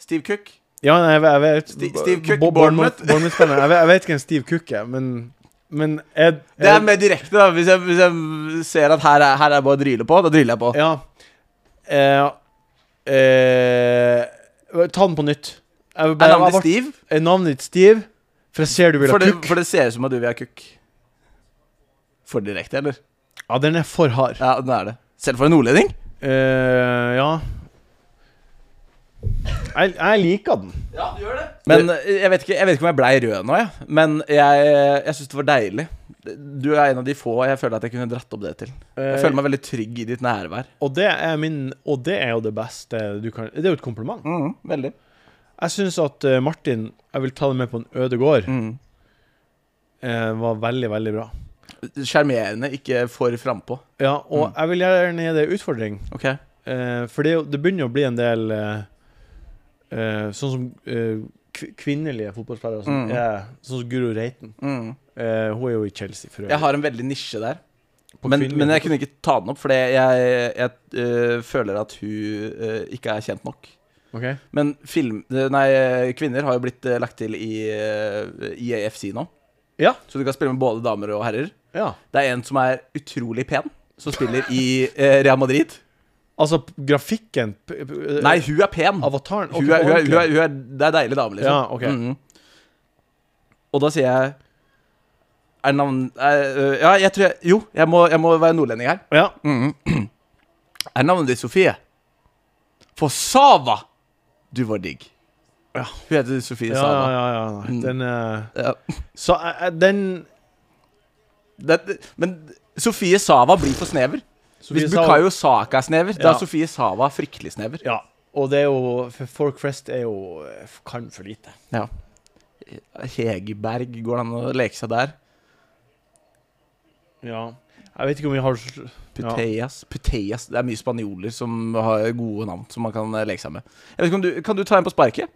A: Steve Cook.
B: Ja, nei, jeg vet, jeg vet
A: Sti- Steve Cook,
B: Bo-
A: Bournemouth.
B: Bournemouth-spilleren. jeg, vet- jeg vet ikke hvem Steve Cook er, men, men jeg,
A: Det er mer direkte, da. Hvis jeg, hvis jeg ser at her er, her er bare å dryle på, da dryler jeg på.
B: Ja. Eh, eh, ta den på nytt. Jeg vil
A: Er
B: bare-
A: navnet
B: jeg
A: ditt
B: ble-
A: Steve?
B: Er navnet ditt Steve? For jeg ser du vil ha
A: For det,
B: kukk.
A: for det ser ut som at du vil ha kukk. For direkte, eller?
B: Ja, den er for hard.
A: Ja, den er det. Selv for en nordlending?
B: Eh, ja. Jeg, jeg liker den.
A: Ja, du gjør det. Men eh, jeg vet ikke, jeg vet ikke om jeg blei rød nå, jeg. Men jeg, jeg syns det var deilig. Du er en av de få jeg føler at jeg kunne dratt opp det til.
B: Eh,
A: Jeg føler meg veldig trygg i ditt nærvær.
B: Og det er min Og det er jo det beste du kan Det er jo et kompliment.
A: veldig.
B: Jeg syns at eh, Martin Jeg vil ta det med på en øde gård.
A: Mm.
B: eh, var veldig, veldig bra.
A: Sjarmerende, ikke for frampå.
B: Ja, og
A: Mm.
B: jeg vil gjerne gi deg en utfordring.
A: Ok.
B: eh, for det, er jo- det begynner å bli en del eh, eh, Sånn som eh, kv- kvinnelige fotballspillere. Som
A: Mm.
B: er, sånn som Guro Reiten.
A: Mm.
B: Eh, hun er jo i Chelsea, for øvrig.
A: Jeg har en veldig nisje der.
B: På
A: Men,
B: kvinnelige
A: men jeg
B: fotball-
A: kunne ikke ta den opp, fordi jeg, jeg eh, føler at hun eh, ikke er kjent nok.
B: Ok.
A: Men film, eh, nei, kvinner har jo blitt eh, lagt til i, eh, i AFC nå.
B: Ja.
A: Så du kan spille med både damer og herrer.
B: ja.
A: Det er en som er utrolig pen, som spiller i eh, Real Madrid.
B: Altså, p- grafikken p- p- eh,
A: Nei, hun er pen.
B: Avataren?
A: Hun er, hun er, hun er, hun er, det er deilig dame, liksom.
B: Ja, ok.
A: Mhm. Og da sier jeg Er navn... Er, øh, ja, jeg tror jeg Jo, jeg må, jeg må være nordlending her.
B: ja.
A: Er navnet ditt Sofie? For Sava! Du var digg.
B: Ja.
A: Hun heter Sofie
B: Ja, ja,
A: Sava.
B: ja, ja. nei,
A: Mm.
B: Den eh,
A: Ja.
B: Så eh, eh, den
A: Det, men Sofie Sava blir for snever. Hvis
B: Sofie sa-
A: Bukayo Saka er snever, da
B: Ja.
A: er Sofie Sava fryktelig snever.
B: Ja. Og det er jo For folk flest er jo eh, kan for lite.
A: Ja. Hegerberg, går det an å leke seg der?
B: Ja. Jeg vet ikke om vi har s- ja.
A: Putellas. Putellas. Det er mye spanjoler som har gode navn som man kan eh, leke seg med. Jeg vet ikke om du, Kan du ta en på sparket?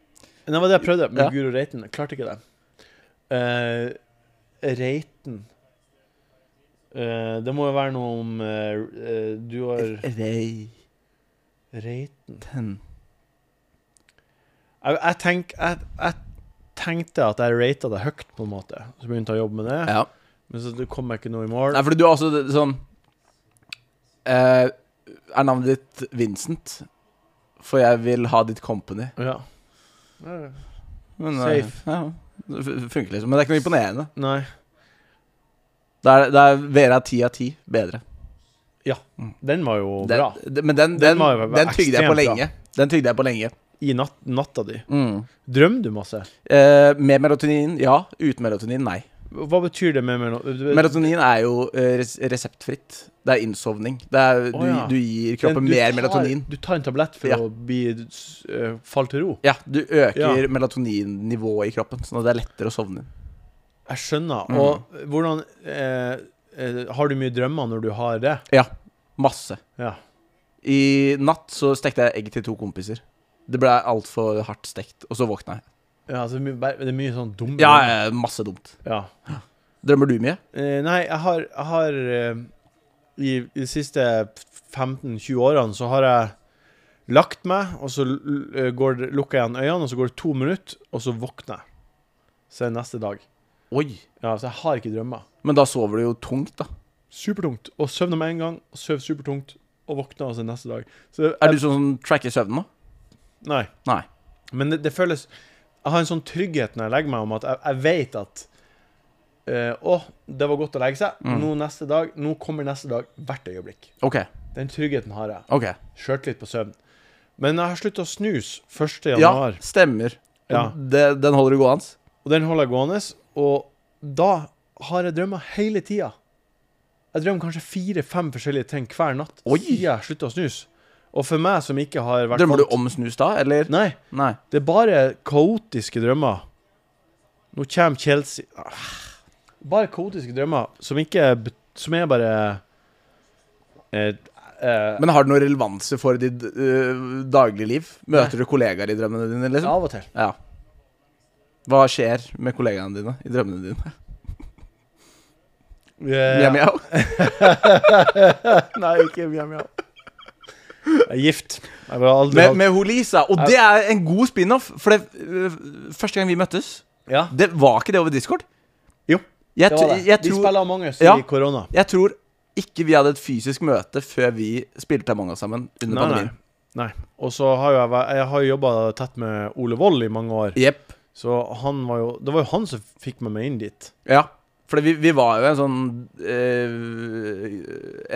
B: Det var det jeg prøvde, men
A: Ja.
B: Guro Reiten jeg klarte ikke det. Eh, Reiten Eh, Det må jo være noe om eh, eh, Du har
A: Reiten
B: Mm. Reiten Jeg, jeg tenker jeg, jeg tenkte jeg at jeg rata det høyt, på en måte. Så begynte jeg å jobbe med det.
A: Ja.
B: Men så kom jeg ikke noe i mål.
A: Nei, fordi du er også det- sånn eh, Er navnet ditt Vincent? For jeg vil ha ditt company.
B: Ja.
A: Men, eh,
B: Safe.
A: Ja, det fun- funker liksom. Men det er ikke noe imponerende.
B: Nei.
A: Det er, det er Vera ti av ti bedre.
B: Den var jo
A: Den,
B: bra.
A: d- men den,
B: Den
A: den,
B: var jo
A: den,
B: bare
A: tygde jeg på
B: ekstremt bra.
A: lenge. Den tygde jeg på lenge.
B: I nat natta di.
A: Mm.
B: Drømmer du masse?
A: Eh, med melatonin, ja. Uten melatonin, nei.
B: Hva betyr det med melo-
A: Melatonin er jo eh, res reseptfritt. Det er innsovning. Det er,
B: Å,
A: du,
B: ja.
A: du gir
B: Den-
A: kroppen
B: du
A: mer
B: tar-
A: melatonin.
B: Du tar en tablett for
A: Ja.
B: å bli, s- eh, falle til ro?
A: Ja, du øker
B: Ja.
A: melatoninnivået i kroppen, sånn at det er lettere å sovne.
B: Jeg skjønner.
A: Mm.
B: Og hvordan eh, eh, Har du mye drømmer når du har det?
A: Ja, masse.
B: Ja.
A: I natt så stekte jeg egg til to kompiser. Det ble altfor hardt stekt, og så våkna jeg.
B: ja altså, my- bare- det er mye sånn dumme
A: Ja, eh, masse dumt.
B: Ja.
A: Drømmer du mye?
B: Eh, nei, jeg har, jeg har eh, i, I de siste 15-20 årene så har jeg lagt meg, og så l- eh, går, det- lukker jeg igjen øynene, og så går det to minutter, og så våkner jeg. Så er det neste dag.
A: Oi.
B: Ja, så jeg har ikke drømmer.
A: Men da sover du jo tungt, da.
B: Supertungt. Og søvner med en gang, og sover supertungt, og våkner altså neste dag. Så
A: Er du sånn som tracker søvnen nå?
B: Nei.
A: Nei.
B: Men det, det føles Jeg har en sånn trygghet når jeg legger meg, om at jeg, jeg vet at eh, Å, det var godt å legge seg.
A: Mm.
B: Nå neste dag. Nå kommer neste dag hvert øyeblikk.
A: OK.
B: Den tryggheten har jeg.
A: ok
B: Sjøltillit på søvn. Men jeg har slutta å snuse 1.
A: Ja,
B: januar,
A: stemmer.
B: Ja.
A: Det, den holder du gående?
B: og den holder jeg gående. Og da har jeg drømmer hele tida. Jeg drømmer kanskje fire-fem forskjellige ting hver natt
A: Oi.
B: siden jeg slutta å snuse. Og for meg som ikke har vært
A: Drømmer du
B: vant-
A: om snus da, eller?
B: Nei.
A: Nei.
B: Det er bare kaotiske drømmer. Nå kommer Chelsea Ah. Bare kaotiske drømmer som ikke bet- Som er bare eh, eh,
A: Men har det noe relevanse for ditt øh, dagligliv? Møter du kollegaer i drømmene dine, liksom?
B: Av og til.
A: Ja. Hva skjer med kollegaene dine i drømmene dine?
B: Eh,
A: Mjau, mjau.
B: Nei, ikke mjau, mjau. Jeg er gift. Jeg vil aldri
A: Med,
B: ha-
A: med Holisa. Og det er en god spin-off, for det, øh, første gang vi møttes
B: Ja.
A: Det var ikke det over Discord?
B: Jo,
A: Jeg,
B: Det var det.
A: tr- jeg,
B: Vi
A: tror,
B: spiller Among us
A: Ja.
B: i korona.
A: jeg tror ikke vi hadde et fysisk møte før vi spilte Among us sammen under
B: Nei, nei.
A: pandemien.
B: nei. Og så har jo jeg, væ- jeg har jobba tett med Ole Wold i mange år.
A: Jepp.
B: Så han var jo Det var jo han som fikk meg med inn dit.
A: Ja. For vi, vi var jo en sånn øh,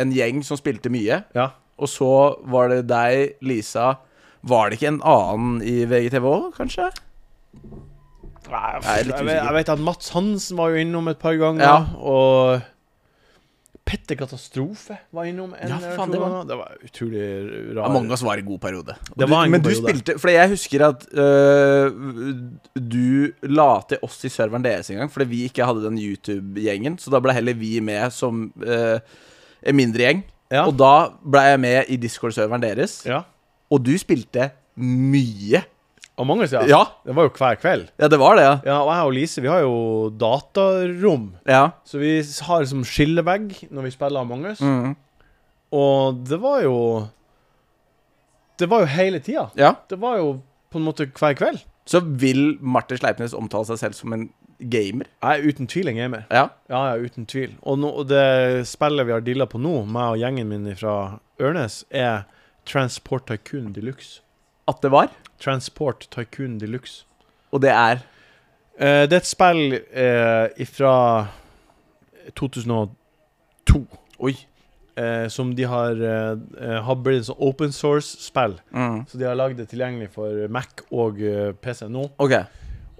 A: En gjeng som spilte mye.
B: Ja.
A: Og så var det deg, Lisa Var det ikke en annen i VGTV òg, kanskje?
B: Nei,
A: Jeg er litt
B: jeg, vet,
A: usikker.
B: jeg vet at Mats Hansen var jo innom et par ganger.
A: Ja.
B: Og Petter Katastrofe var innom en
A: Ja,
B: eller
A: faen,
B: to
A: det var-
B: ganger. Det var utrolig rar
A: Among us var en god periode. Og
B: Det
A: du,
B: var en
A: men
B: god
A: du
B: periode.
A: spilte For jeg husker at øh, du la til oss i serveren deres en gang, fordi vi ikke hadde den YouTube-gjengen. Så da ble heller vi med som øh, en mindre gjeng.
B: Ja.
A: Og da ble jeg med i Discord-serveren deres,
B: Ja.
A: og du spilte mye.
B: Among us, ja.
A: Ja.
B: Det var jo hver kveld.
A: Ja, det var det, ja.
B: Ja, og jeg og Lise vi har jo datarom.
A: ja.
B: Så vi har liksom skillevegg når vi spiller Among us. Og det var jo Det var jo hele tida.
A: ja.
B: Det var jo på en måte hver kveld.
A: Så vil Martin Sleipnes omtale seg selv som en gamer?
B: Jeg er uten tvil en gamer.
A: Ja.
B: Ja, ja, uten tvil. Og, nå- og det spillet vi har deala på nå, meg og gjengen min fra Ørnes, er Transport Tycoon Deluxe.
A: At det var?
B: Transport Tycoon Deluxe.
A: Og det er
B: Eh, det er et spill eh, oh fra 2002
A: Oi.
B: eh, som de har eh, eh, har blitt et sånt open source-spill.
A: Mm.
B: Så de har lagd det tilgjengelig for Mac og eh, PC nå.
A: Ok.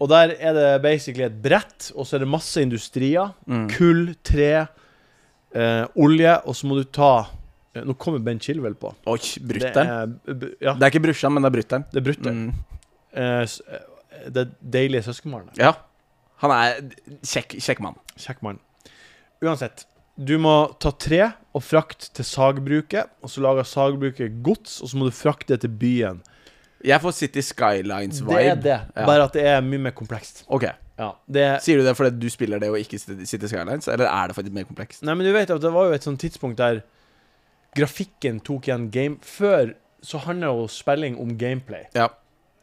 B: Og der er det basically et brett, og så er det masse industrier.
A: Mm.
B: Kull, tre, eh, olje, og så må du ta eh, Nå kommer Ben Chilwell på.
A: Oi,
B: Det
A: brutter'n.
B: er, b- ja,
A: Det er ikke brutter'n, men det er brutter'n.
B: det er brutter'n.
A: Mm.
B: Eh, s- eh, det er deilige søskenbarnet.
A: Ja. Han er kjekk, kjekk mann.
B: Kjekk mann. Uansett. Du må ta tre og frakte til sagbruket, og så lager sagbruket gods, og så må du frakte det til byen.
A: Jeg får City Skylines-vibe.
B: Det er det,
A: Ja.
B: bare at det er mye mer komplekst.
A: Ok.
B: Ja, det er
A: Sier du det fordi du spiller det og ikke City Skylines, eller er det faktisk mer komplekst?
B: Nei, men du vet at det var jo et sånt tidspunkt der grafikken tok igjen game... Før så handla jo spilling om gameplay,
A: Ja.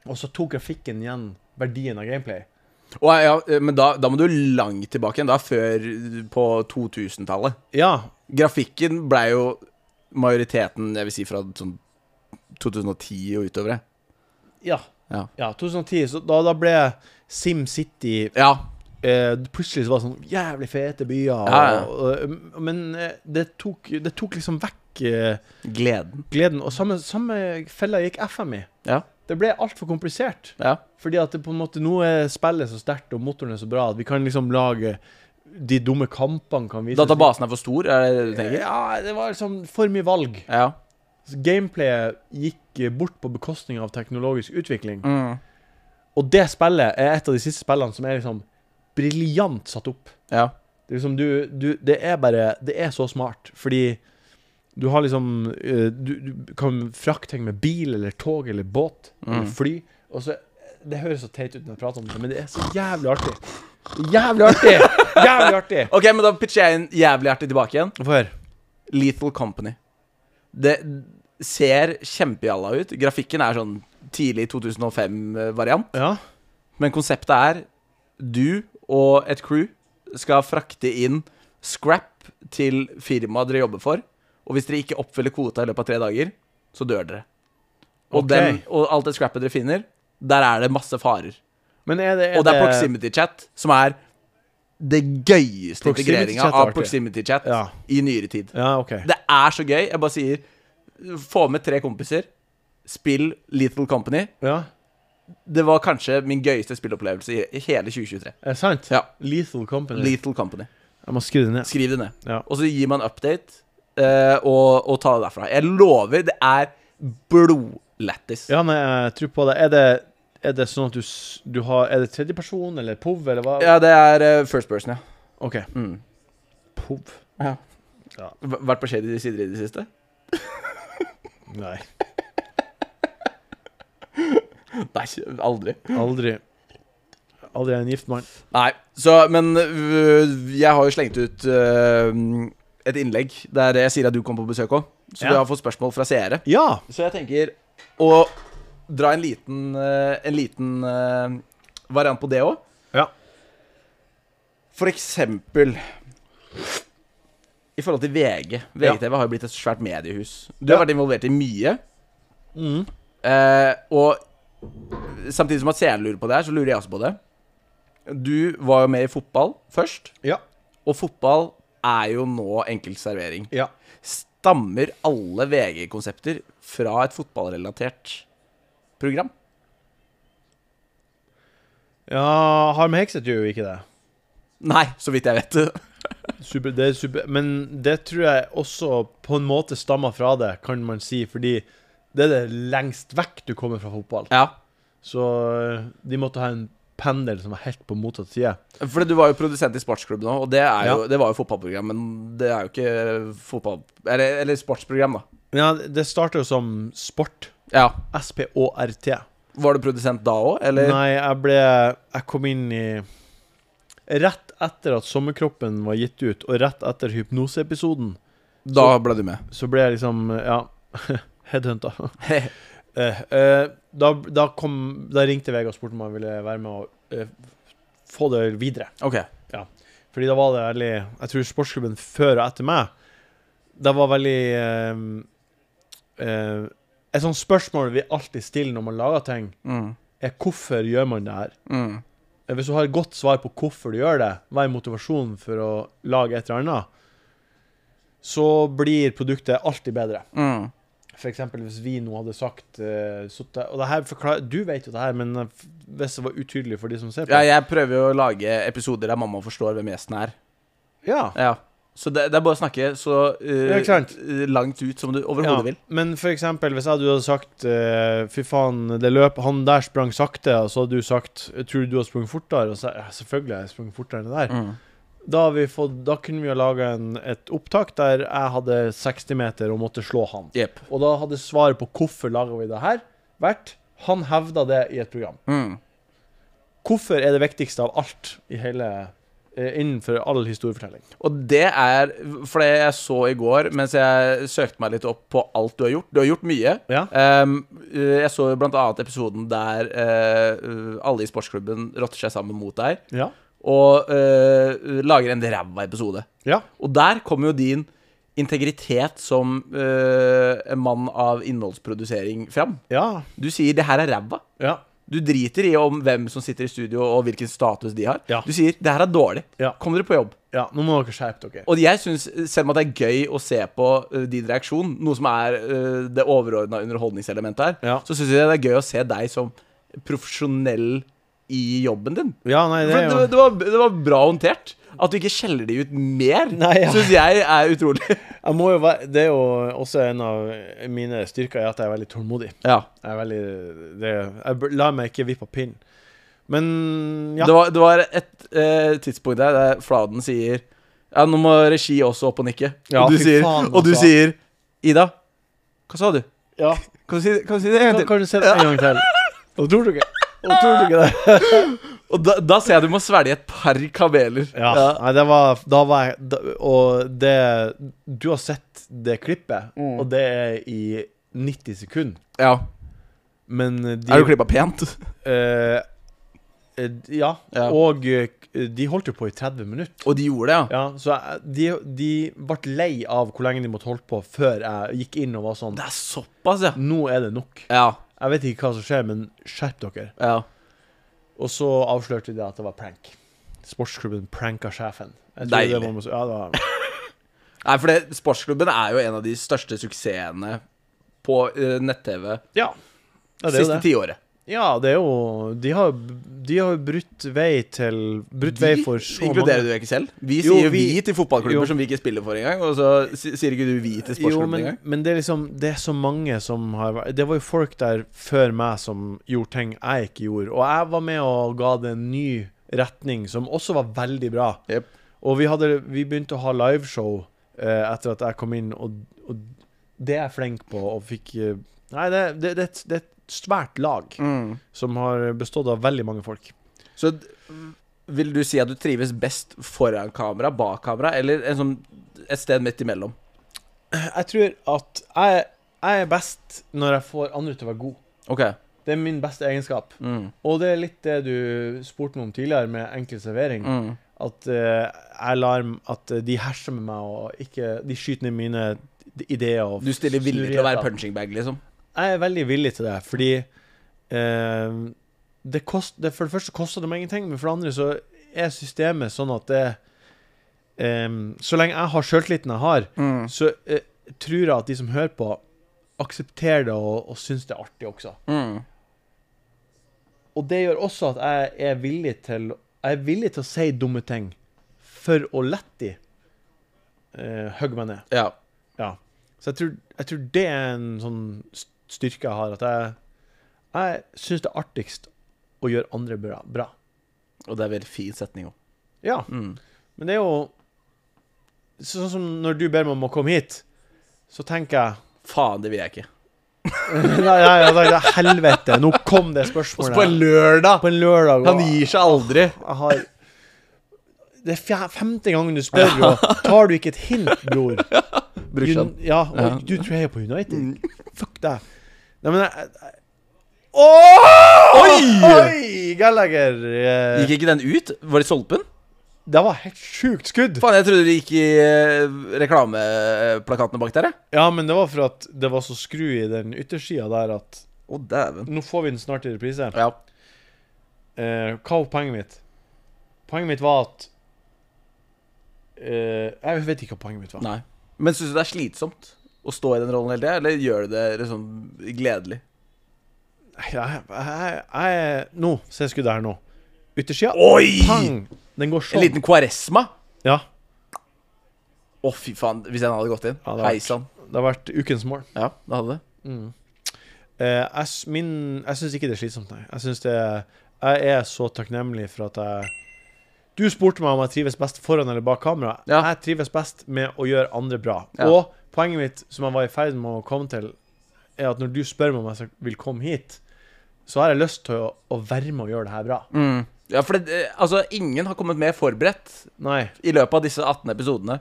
B: og så tok grafikken igjen verdien av gameplay.
A: Og, ja, men da, da må du langt tilbake igjen. Da før på 2000-tallet.
B: Ja.
A: Grafikken ble jo majoriteten, jeg vil si fra sånn 2010 og utover. det.
B: Ja.
A: Ja.
B: ja 2010. Så da, da ble SimCity
A: Ja.
B: eh, Plutselig så var det sånn jævlig fete byer. Og,
A: Ja, ja.
B: og- men eh, det tok, det tok liksom vekk eh,
A: Gleden.
B: gleden. Og samme, samme fella gikk FM i.
A: Ja.
B: Det ble altfor komplisert.
A: Ja.
B: Fordi at det på en måte nå er spillet så sterkt, og motoren er så bra, at vi kan liksom lage de dumme kampene kan vises.
A: Databasen er for stor, er det det du tenker?
B: Ja, det var liksom for mye valg.
A: Ja.
B: Så Gameplayet gikk eh, bort på bekostning av teknologisk utvikling. Og det spillet er et av de siste spillene som er liksom briljant satt opp.
A: ja.
B: Det er liksom du, du Det er bare Det er så smart, fordi du har liksom eh, Du, du kan frakte ting med bil eller tog eller båt
A: Mm.
B: eller fly, og så Det høres så teit ut når jeg prater om det, men det er så jævlig artig. Jævlig artig! Jævlig artig!
A: Ok, men da pitcher jeg inn jævlig hjertelig tilbake igjen.
B: Få høre.
A: Lethal Company. Det ser kjempejalla ut. Grafikken er sånn tidlig 2005-variant.
B: Ja.
A: Men konseptet er du og et crew skal frakte inn scrap til firmaet dere jobber for. Og hvis dere ikke oppfyller kvota i løpet av tre dager, så dør dere. Og,
B: Ok.
A: den, og alt det scrappet dere finner, der er det masse farer.
B: Men er det er
A: Og det er proximity chat, som er det gøyeste
B: Proximity
A: integreringa
B: chat er
A: av
B: artig.
A: proximity chat
B: Ja.
A: i nyere tid.
B: Ja, OK.
A: Det er så gøy. Jeg bare sier Få med tre kompiser. Spill Little Company.
B: Ja,
A: Det var kanskje min gøyeste spillopplevelse i i hele 2023.
B: er det sant?
A: Ja.
B: Lethal Company.
A: Little Company.
B: jeg må skrive det ned.
A: Skriv det ned.
B: Ja.
A: Og så gir man update eh, og, og ta det derfra. Jeg lover, det er blodlættis.
B: Ja, nei, jeg tror på det. Er det, er det sånn at du, s- du har Er det tredjeperson eller POV, eller hva?
A: Ja, det er eh, first person, ja.
B: OK.
A: Mm.
B: POV.
A: V- Vært på shady sider i det siste?
B: Nei.
A: Nei, aldri.
B: Aldri. Aldri en gift mann.
A: Nei, så, men øh, jeg har jo slengt ut øh, et innlegg der jeg sier at du kom på besøk òg. Så
B: Ja.
A: vi har fått spørsmål fra seere.
B: Ja!
A: Så jeg tenker å dra en liten, øh, en liten øh, variant på det òg.
B: Ja.
A: For eksempel i forhold til VG. VGTV har jo blitt et svært mediehus. Du har
B: Ja. Mm.
A: vært involvert i mye. Eh, og samtidig som at seerne lurer på det her, så lurer jeg også på det. Du var jo med i fotball først,
B: Ja.
A: og fotball er jo nå enkelt servering.
B: Ja.
A: Stammer alle VG-konsepter fra et fotballrelatert program?
B: ja Harm Hegseth gjør jo ikke det.
A: Nei, så vidt jeg vet.
B: Super, det er super, men det tror jeg også på en måte stammer fra det, kan man si, fordi det er det lengst vekk du kommer fra fotball.
A: ja.
B: Så eh, de måtte ha en pendel som var helt på motsatt side.
A: For du var jo produsent i sportsklubben òg, og det, er jo,
B: Ja.
A: det var jo fotballprogram. Men det er jo ikke fotball... Eller, eller sportsprogram, da.
B: Ja, det starter jo som sport.
A: Ja.
B: S-P-Å-R-T.
A: Var du produsent da òg, eller?
B: Nei, jeg ble Jeg kom inn i Rett etter at Sommerkroppen var gitt ut, og rett etter hypnoseepisoden,
A: Da ble du med.
B: så ble jeg liksom Ja, headhunta. Eh, eh, da, da, kom, da ringte Vegard og spurte om han ville være med og eh, få det videre.
A: Ok.
B: Fordi da var det veldig Jeg tror sportsklubben før og etter meg Det var veldig eh, eh, Et sånt spørsmål vi alltid stiller når man lager ting,
A: Mm.
B: er hvorfor gjør man det her?
A: Mm.
B: Eh, Hvis du har et godt svar på hvorfor du gjør det, hva er motivasjonen for å lage et eller annet, så blir produktet alltid bedre.
A: Mm.
B: For eksempel hvis vi nå hadde sagt eh, suttet- Og det her forklarer Du vet jo det her, men eh, f- hvis det var utydelig for de som ser på
A: Ja, jeg prøver jo å lage episoder der mamma forstår hvem gjesten er.
B: Ja.
A: Ja. Så det, det er bare å snakke så eh,
B: Ja, ikke sant?
A: eh, langt ut som du
B: Ja,
A: overhodet vil.
B: men for eksempel hvis jeg du hadde sagt eh, Fy faen, det løp, han der sprang sakte, og så hadde du sagt Tror du du har sprunget fortere? Og så ja, selvfølgelig har jeg sprunget fortere enn det der.
A: Mm.
B: Da, har vi fått, da kunne vi ha laga et opptak der jeg hadde 60 meter og måtte slå han.
A: Jepp.
B: Og da hadde svaret på hvorfor laga vi det her, vært Han hevda det i et program.
A: Mm.
B: Hvorfor er det viktigste av alt i hele eh, innenfor all historiefortelling.
A: Og det er for det jeg så i går mens jeg søkte meg litt opp på alt du har gjort. Du har gjort mye.
B: Ja.
A: Ehm, eh, jeg så blant annet episoden der eh, eh, alle i sportsklubben rotter seg sammen mot deg
B: Ja.
A: og eh, lager en ræva episode.
B: Ja.
A: Og der kommer jo din integritet som eh, en mann av innholdsprodusering fram.
B: Ja.
A: Du sier 'det her er ræva'.
B: Ja.
A: Du driter i om hvem som sitter i studio og hvilken status de har.
B: Ja.
A: Du sier 'det her er dårlig'.
B: Ja.
A: Kom dere på jobb.
B: ja. Nå må dere skjerpe dere.
A: Og jeg syns, selv om at det er gøy å se på eh, din reaksjon, noe som er eh, det overordna underholdningselementet her,
B: Ja.
A: så syns jeg det er gøy å se deg som profesjonell i jobben din.
B: Ja, nei,
A: For
B: det er
A: det,
B: jo
A: det, var, det var bra håndtert. At du ikke skjeller de ut mer,
B: Nei, ja.
A: syns jeg er utrolig.
B: Jeg må jo være Det er jo også en av mine styrker, er at jeg er veldig tålmodig.
A: Ja.
B: Jeg er veldig det, Jeg b- lar meg ikke vippe av pinnen. Men ja.
A: Det, var, det var et eh, tidspunkt der der Fladen sier Ja, nå må regi også opp og nikke.
B: Ja,
A: og du,
B: fy
A: sier,
B: faen,
A: og du
B: altså.
A: sier Ida, hva sa du?
B: ja.
A: Kan du si, kan du si det en gang
B: Kan,
A: til?
B: kan du se det en gang til? Og tror du ikke Og tror du ikke det?
A: Og da, da ser jeg du må svelge et par kameler.
B: Ja. Nei, det var Da var jeg da, Og det Du har sett det klippet, og det er i 90 sekunder.
A: ja.
B: Men de
A: Er du klippa pent?
B: eh, eh, ja.
A: Ja.
B: Og eh, de holdt jo på i 30 minutter.
A: Og de gjorde det, ja.
B: Ja, så jeg, de, de ble lei av hvor lenge de måtte holde på før jeg gikk inn og var sånn
A: Det er såpass, ja.
B: Nå er det nok.
A: Ja.
B: Jeg vet ikke hva som skjer, men skjerp dere.
A: ja.
B: Og så avslørte de at det var prank. Sportsklubben pranka sjefen. Jeg tror
A: Deilig.
B: Det var, noe så- ja, det var,
A: Nei, for det, sportsklubben er jo en av de største suksessene på eh, nett-TV
B: ja. ja, det er jo
A: siste
B: det.
A: tiåret.
B: Ja, det er jo De har de har jo brutt vei til Brutt vei for så
A: Inkluderer du
B: mange
A: ikke selv? Vi
B: Jo,
A: sier jo vi,
B: vi-
A: til fotballklubber
B: jo.
A: som vi ikke spiller for engang, og så si- sier ikke du vi til
B: Jo,
A: sportsklubben
B: men,
A: engang.
B: men det er liksom Det er så mange som har vært Det var jo folk der før meg som gjorde ting jeg ikke gjorde, og jeg var med og ga det en ny retning, som også var veldig bra.
A: Jep.
B: Og vi, hadde, vi begynte å ha liveshow eh, etter at jeg kom inn, og, og det er jeg flink på og fikk eh, Nei, det, det, det, er et- det er et svært lag
A: Mm.
B: som har bestått av veldig mange folk.
A: Så d- vil du si at du trives best foran kamera, bak kamera, eller en sånn, et sted midt imellom?
B: Jeg tror at jeg, jeg er best når jeg får andre til å være god.
A: Ok.
B: Det er min beste egenskap.
A: Mm.
B: Og det er litt det du spurte meg om tidligere, med enkel servering.
A: Mm.
B: At eh, jeg lar m- at eh, de herser med meg og ikke De skyter ned mine ideer. Og
A: Du stiller villig til å være
B: snurrigheter.
A: punching bag, liksom?
B: Jeg er veldig villig til det, fordi eh, det kost, det, For det første koster det meg ingenting, men for det andre så er systemet sånn at det eh, Så lenge jeg har sjøltilliten jeg har,
A: Mm.
B: så eh, tror jeg at de som hører på, aksepterer det og, og syns det er artig også.
A: Mm.
B: Og det gjør også at jeg er villig til Jeg er villig til å si dumme ting for å lette de eh, hogge meg ned.
A: Ja.
B: Ja. Så jeg tror, jeg tror det er en sånn st- styrke jeg har, at jeg, jeg syns det er artigst å gjøre andre bra. bra.
A: Og det er veldig fin setning òg.
B: Ja.
A: Mm.
B: Men det er jo Sånn som når du ber meg om å komme hit, så tenker jeg
A: Faen, det vil jeg ikke.
B: Nei, nei, nei, nei helvete, nå kom det spørsmålet.
A: lørdag!
B: på en lørdag. og-
A: Han gir seg aldri.
B: Jeg har Det er fjer- femte gangen du spør, bro. Tar du ikke et hint, bror?
A: Brorsan.
B: Un- Ja, og du tror jeg er på
A: Mm.
B: United? Fuck deg. Nei, men jeg, jeg Åh!
A: Oi!
B: Oi! Gallagher. eh,
A: Gikk ikke den ut? Var det Solpen?
B: Det var helt sjukt skudd.
A: Faen, jeg trodde det gikk i eh, reklameplakatene bak der, jeg.
B: Ja, men det var for at det var så skru i den yttersida der at
A: Å, dæven.
B: Nå får vi den snart i reprise.
A: Ja.
B: Eh, hva var poenget mitt? Poenget mitt var at eh, Jeg vet ikke hva poenget mitt var.
A: Nei. Men syns du det er slitsomt å stå i den rollen hele tida, eller gjør du det liksom gledelig?
B: Jeg, jeg, jeg Nå, se skuddet her nå. Yttersida.
A: Oi!
B: Pang! Den går
A: En
B: sånn.
A: liten kvaresma?
B: Ja.
A: Å, fy faen, hvis den hadde gått inn.
B: Ja, det hadde vært-
A: Hei sann.
B: Det har vært ukens mål.
A: Ja, det hadde det.
B: Eh, jeg s- min- jeg syns ikke det er slitsomt, nei. Jeg syns det Jeg er så takknemlig for at jeg Du spurte meg om jeg trives best foran eller bak kamera.
A: Ja.
B: Jeg trives best med å gjøre andre bra.
A: Ja.
B: Og poenget mitt, som jeg var i ferd med å komme til, er at når du spør meg om jeg skal- vil komme hit, så har jeg lyst til å, å være med og gjøre det her bra.
A: Mm. Ja, for det, eh, altså, ingen har kommet mer forberedt
B: Nei.
A: i løpet av disse 18 episodene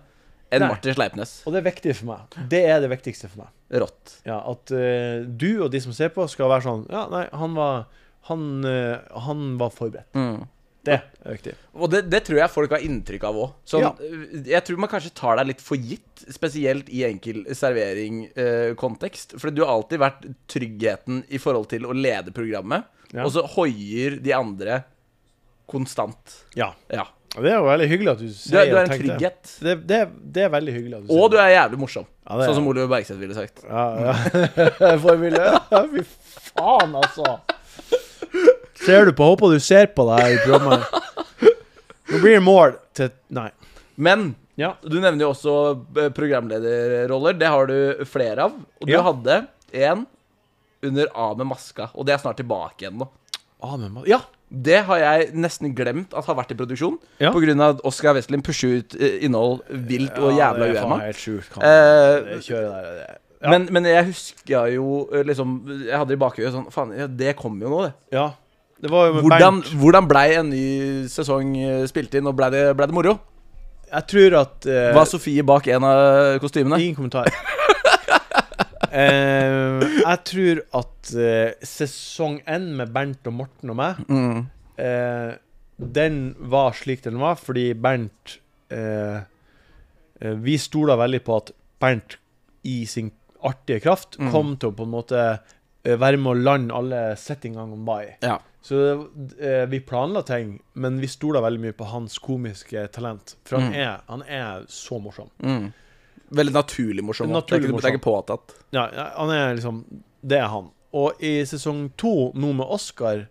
A: enn
B: Nei.
A: Martin Sleipnes.
B: Og det er viktig for meg. Det er det viktigste for meg.
A: Rått.
B: Ja, At eh, du og de som ser på, skal være sånn Ja, nei, han var Han, eh, han var forberedt.
A: Mm.
B: Det er viktig.
A: Og det, det tror jeg folk har inntrykk av òg. Sånn,
B: Ja.
A: øh, Jeg tror man kanskje tar deg litt for gitt, spesielt i enkel servering-kontekst. for du har alltid vært tryggheten i forhold til å lede programmet,
B: Ja.
A: og så hoier de andre konstant.
B: Ja.
A: Ja.
B: Og Det er jo veldig hyggelig at du
A: Du, er-
B: sier
A: du er en
B: tenker det.
A: trygghet,
B: Det, det, det er veldig hyggelig at du
A: og
B: sier
A: du er jævlig morsom.
B: Ja, det er-
A: Sånn som Oliver Bergseth ville sagt.
B: Ja, ja. Forbilde. Ja, Fy faen, altså. Ser du på? Håper du ser på det her i programmet. Nå blir det mål til Nei.
A: Men
B: Ja.
A: du nevner jo også eh, programlederroller. Det har du flere av. Og du
B: Ja.
A: hadde en under A med maska, og det er snart tilbake igjen nå.
B: Ah, men, ma- ja.
A: Det har jeg nesten glemt at har vært i produksjon.
B: Ja.
A: På grunn av at Oscar Westlin pusher ut eh, innhold vilt og
B: Ja,
A: jævla
B: det er faen
A: uema.
B: Helt sjukt. kan
A: Eh,
B: man- det Kjøret der det. er-
A: men, men jeg huska jo eh, liksom Jeg hadde i bakhuet sånn Faen, ja, det kommer jo nå, det.
B: Ja. Det var jo med
A: Hvordan,
B: Bernt.
A: hvordan blei en ny sesong eh, spilt inn, og blei det, ble det moro?
B: Jeg tror at eh,
A: Var Sofie bak en av kostymene?
B: Ingen kommentar. Eh, jeg tror at eh, sesong én med Bernt og Morten og meg
A: Mm.
B: eh, den var slik den var, fordi Bernt eh, eh, Vi stola veldig på at Bernt i sin artige kraft
A: Mm.
B: kom til å på en måte eh, være med å lande alle settingene han var i.
A: Ja.
B: Så eh, vi planla ting, men vi stola veldig mye på hans komiske talent. For han,
A: Mm.
B: er, han er så morsom.
A: Mm. Veldig naturlig morsom. da.
B: Naturlig
A: det, er ikke, det er ikke påtatt.
B: Ja, ja, han er liksom Det er han. Og i sesong to, nå med Oscar,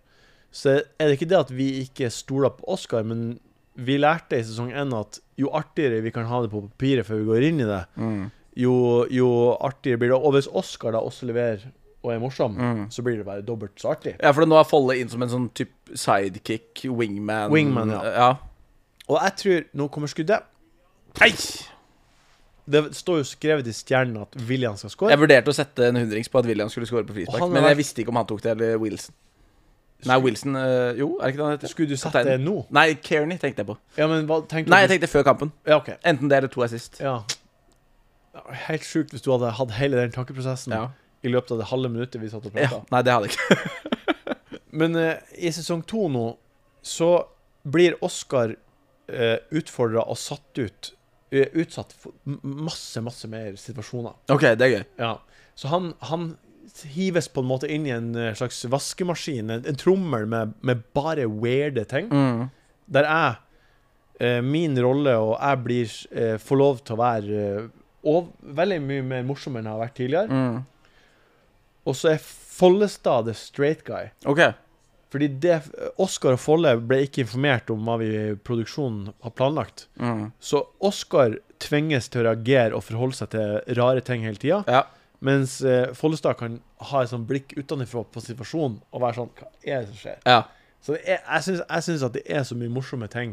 B: så er det ikke det at vi ikke stoler på Oscar, men vi lærte i sesong én at jo artigere vi kan ha det på papiret før vi går inn i det,
A: Mm.
B: jo, jo artigere blir det. Og hvis Oscar da også leverer og er morsom,
A: Mm.
B: så blir det bare dobbelt så artig.
A: Ja, for nå er Folle inn som en sånn typ sidekick, wingman.
B: Wingman, ja. Og jeg tror Nå kommer skuddet.
A: Nei!
B: Det står jo skrevet i stjernen at William skal score.
A: Jeg vurderte å sette en hundrings på at William skulle score på frispark,
B: Han har
A: men jeg
B: vært-
A: visste ikke om han tok det, eller Wilson. Nei, Wilson øh, Jo, er det ikke det han heter?
B: Skulle du sette det nå?
A: Nei, Kearney tenkte jeg på.
B: Ja, men hva tenkte
A: Nei, jeg
B: du?
A: tenkte før kampen.
B: Ja, ok.
A: Enten det eller to assist.
B: Ja. Det var Helt sjukt hvis du hadde hatt hele den tankeprosessen
A: Ja.
B: i løpet av det halve minuttet vi satt og
A: ja.
B: prata.
A: Nei, det hadde jeg ikke.
B: Men eh, i sesong to nå så blir Oscar uh, utfordra og satt ut. eh, utsatt for m- masse, masse mer situasjoner.
A: Ok, det er gøy.
B: Ja. Så han, han hives på en måte inn i en eh, slags vaskemaskin, en, en trommel med, med bare weirde ting. Der jeg, eh, min rolle og jeg blir, eh, får lov til å være eh, og, veldig mye mer morsom enn jeg har vært
A: Mm.
B: tidligere. Og så er Follestad the straight guy.
A: Ok.
B: Fordi det, Oscar og Folle ble ikke informert om hva vi i produksjonen har planlagt. Så Oscar tvinges til å reagere og forholde seg til rare ting hele tida.
A: Ja.
B: Mens eh, Follestad kan ha et sånn blikk utenfra på situasjonen og være sånn Hva er det som skjer?
A: ja.
B: Så det er, jeg, syns, jeg syns at det er så mye morsomme ting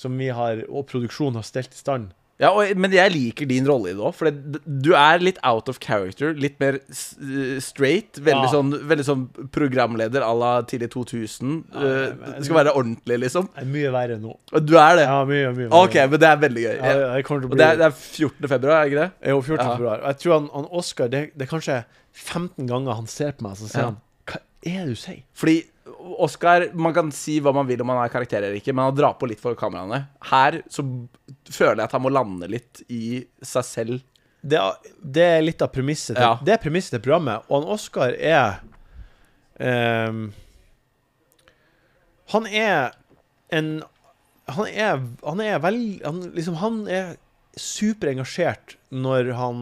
B: som vi har, og produksjonen har stelt i stand.
A: Ja, og, Men jeg liker din rolle i det òg, for det, du er litt out of character. Litt mer s eh, straight. Veldig,
B: Ja.
A: sånn, veldig sånn programleder à la tidlig 2000.
B: Ja,
A: Eh,
B: men-
A: det skal være ordentlig, liksom.
B: Det er mye verre nå.
A: Og du er det.
B: Ja, mye, mye, mye.
A: Ok, men det er veldig gøy.
B: ja, det, det kommer til
A: Og
B: å bli
A: det er, det er 14. februar, er det ikke det?
B: Jo, 14.
A: Ja.
B: februar. Og jeg tror han, han Oscar det, det er kanskje 15 ganger han ser på meg, så sier
A: Ja.
B: han Hva er det du sier?
A: Fordi Oscar, man kan si hva man vil om han er karakter eller ikke, men han drar på litt for kameraene. Her så føler jeg at han må lande litt i seg selv.
B: Det er, det er litt av premisset til,
A: Ja.
B: Det er premisset til programmet. Og han Oscar er ehm, Han er en Han er, han er vel han, liksom, han er superengasjert når han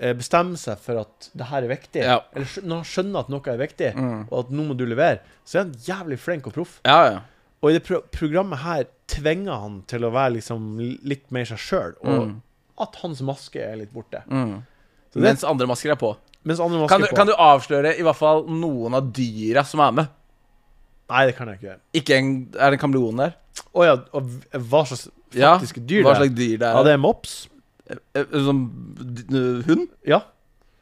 B: eh, bestemmer seg for at det her er viktig.
A: Ja. Mm.
B: Eller skj- når han skjønner at noe er viktig, og at nå må du levere, så er han jævlig flink og proff.
A: Ja, ja.
B: Og i det pro programmet her tvinger han til å være liksom litt mer seg sjøl, og
A: Mm.
B: at hans maske er litt borte. Så det,
A: Mens andre masker er på.
B: mens andre masker
A: Kan du,
B: på
A: kan du avsløre i hvert fall noen av dyra som er med?
B: Nei, det kan jeg ikke gjøre.
A: Ikke en, Er det en kameleon der?
B: Å ja, og v- hva slags
A: Ja,
B: faktiske dyr
A: Hva
B: det er?
A: slags dyr det er?
B: Ja, det er mops.
A: Eh, eh, Sånn d- d- hund
B: Ja.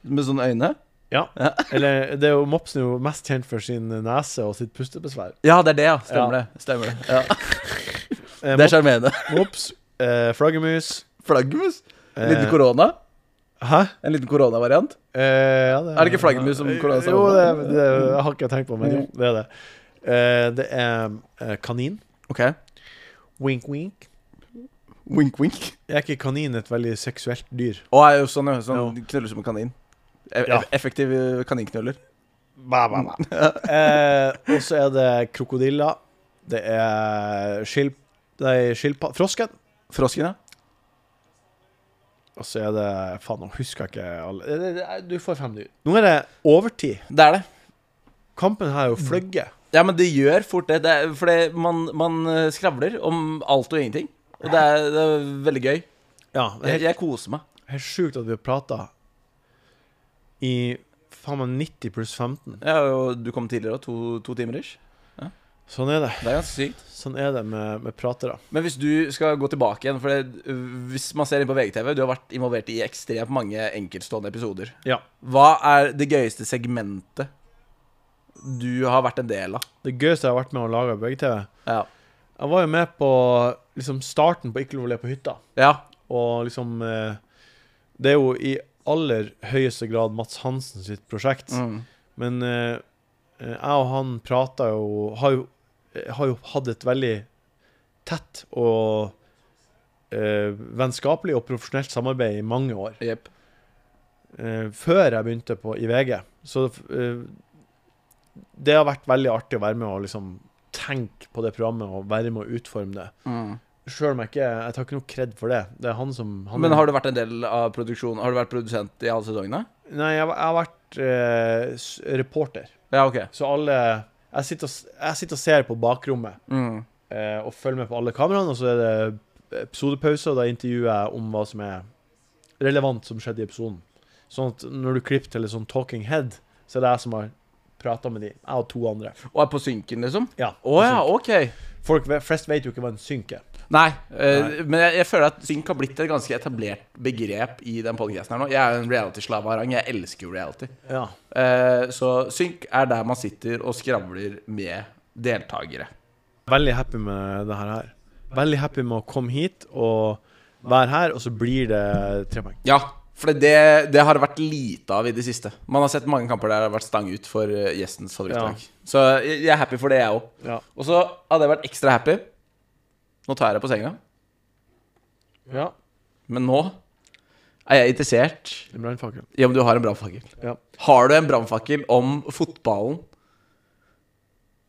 A: med sånne øyne?
D: Ja.
B: Eller det er jo Mopsen er jo mest kjent for sin nese og sitt pustebesvær.
A: Ja, det er det, ja. Stemmer det. Stemmer det. Ja.
B: Eh,
A: Det er sjarmerende.
B: Mop- Mops, eh, flaggermus
A: Flaggermus?
B: eh,
A: Liten korona?
B: Hæ?
A: En liten koronavariant?
B: Eh, ja, det
A: Er det ikke flaggermus som korona
B: Jo, det, er- det er- jeg har ikke tenkt på men jo, det er det. Eh, det er eh, kanin.
A: Ok.
B: Wink, wink.
A: Wink, wink.
B: Er ikke kanin et veldig seksuelt dyr?
A: Og er jo sånn, ja, sånn knuller som en kanin. E
B: Ja.
A: Effektiv eh, kaninknuller.
B: Ba, ba, ba. eh, og så er det krokodiller. Det er skilp... Det er skilpa... Frosken.
A: Frosken, ja.
B: Og så er det Faen, nå husker jeg ikke alle Det- det- det- Du får fem dyr. Nå er det overtid.
A: Det er det.
B: Kampen her er jo fløgge.
A: Ja, men det gjør fort det. det er, fordi man, man eh, skravler om alt og ingenting. Og det er, det er veldig gøy.
B: Ja, det er
A: Jeg,
B: helt,
A: jeg koser meg.
B: helt sjukt at vi har prata i faen meg 90 pluss 15.
A: Ja, og du kom tidligere òg. To, to timer ish.
B: Sånn er det.
A: Det er ganske sykt.
B: Sånn er det med, med pratere.
A: Men hvis du skal gå tilbake igjen For det, øh, hvis man ser inn på VGTV, du har vært involvert i ekstremt mange enkeltstående episoder.
B: Ja.
A: Hva er det gøyeste segmentet du har vært en del av?
B: Det gøyeste jeg har vært med å lage på VGTV
A: Ja.
B: Jeg var jo med på liksom starten på Ikke lov å le på hytta.
A: ja.
B: Og liksom eh, Det er jo i aller høyeste grad Mats Hansen sitt prosjekt.
A: Mm.
B: Men eh, eh, jeg og han prata jo har, jo eh, har jo hatt et veldig tett og eh, vennskapelig og profesjonelt samarbeid i mange år.
A: Jepp.
B: Eh, før jeg begynte på i VG. Så eh, det har vært veldig artig å være med og liksom tenke på det programmet og være med å utforme det.
A: Mm.
B: Sjøl om jeg ikke Jeg tar ikke noe kred for det. Det er han som han
A: Men har du vært en del av produksjonen? Har du vært produsent i alle sesongene?
B: Nei, jeg, jeg har vært eh, s- reporter.
A: Ja, ok.
B: Så alle Jeg sitter og, s- jeg sitter og ser på bakrommet
A: Mm.
B: eh, og følger med på alle kameraene, og så er det episodepause, og da intervjuer jeg om hva som er relevant som skjedde i episoden. Sånn at når du klipper til et sånn talking head, så er det jeg som har prata med de. Jeg og to andre.
A: Og er på synken, liksom?
B: Ja.
A: Å ja, ok.
B: Folk ve- flest vet jo ikke hva en synk er.
A: Nei, øh, men jeg, jeg føler at synk har blitt et ganske etablert begrep i den podcasten her nå. Jeg er jo en reality-slave av rang. Jeg elsker jo reality.
B: Ja.
A: Eh, så synk er der man sitter og skravler med deltakere.
B: Veldig happy med det her her. Veldig happy med å komme hit og være her, og så blir det tre poeng.
A: Ja, for det, det har det vært lite av i det siste. Man har sett mange kamper der det har vært stang ut for eh, gjestens favorittlag. Så jeg, jeg er happy for det, jeg òg.
B: Ja.
A: Og så hadde jeg vært ekstra happy. Nå tar jeg deg på senga,
B: ja.
A: men nå er jeg interessert
B: En brannfakkel.
A: i om du har en brannfakkel.
B: Ja.
A: Har du en brannfakkel om fotballen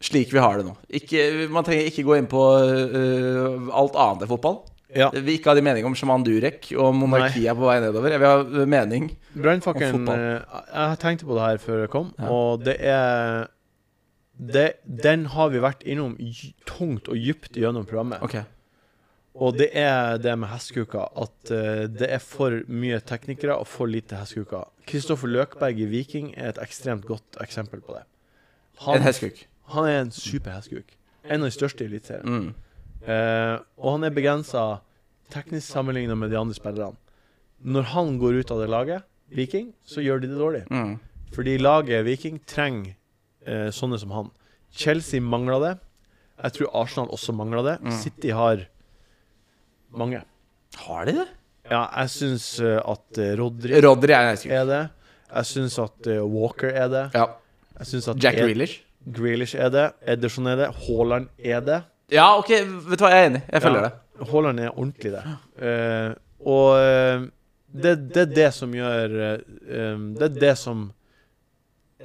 A: slik vi har det nå? Ikke, man trenger ikke gå inn på eh, alt annet enn fotball.
B: ja.
A: Vi ikke hadde mening om Shaman Durek og monarkiet er på vei nedover. Jeg vil ha mening. Og
B: Brannfakkelen
A: fotball.
B: eh, Jeg tenkte på det her før jeg kom, og det er det, Den har vi vært innom gy- tungt og dypt gjennom programmet.
A: Ok.
B: Og det er det med hestekuker, at eh, det er for mye teknikere og for lite hestekuker. Kristoffer Løkberg i Viking er et ekstremt godt eksempel på det. Han,
A: En hestkuk.
B: han er en super hestkuk. En av de største i Eliteserien.
A: Mm.
B: Eh, og han er begrensa teknisk sammenligna med de andre spillerne. Når han går ut av det laget, Viking, så gjør de det dårlig.
A: Mm.
B: Fordi laget Viking trenger eh, sånne som han. Chelsea mangler det. Jeg tror Arsenal også mangler det.
A: Mm.
B: City har mange.
A: Har de det?
B: Ja, jeg syns eh, at eh, Rodri
A: Rodri er en hestkuk.
B: er det. Jeg syns at eh, Walker er det.
A: Ja.
B: Jeg synes at
A: Jack
B: Ed-
A: Grealish.
B: Grealish er det. Ederson er det. Haaland er det.
A: Ja, ok, vet du hva, jeg er enig. Jeg følger
B: Ja,
A: det.
B: Haaland er ordentlig der. Eh, og eh, det, det er det som gjør eh, em, Det er det som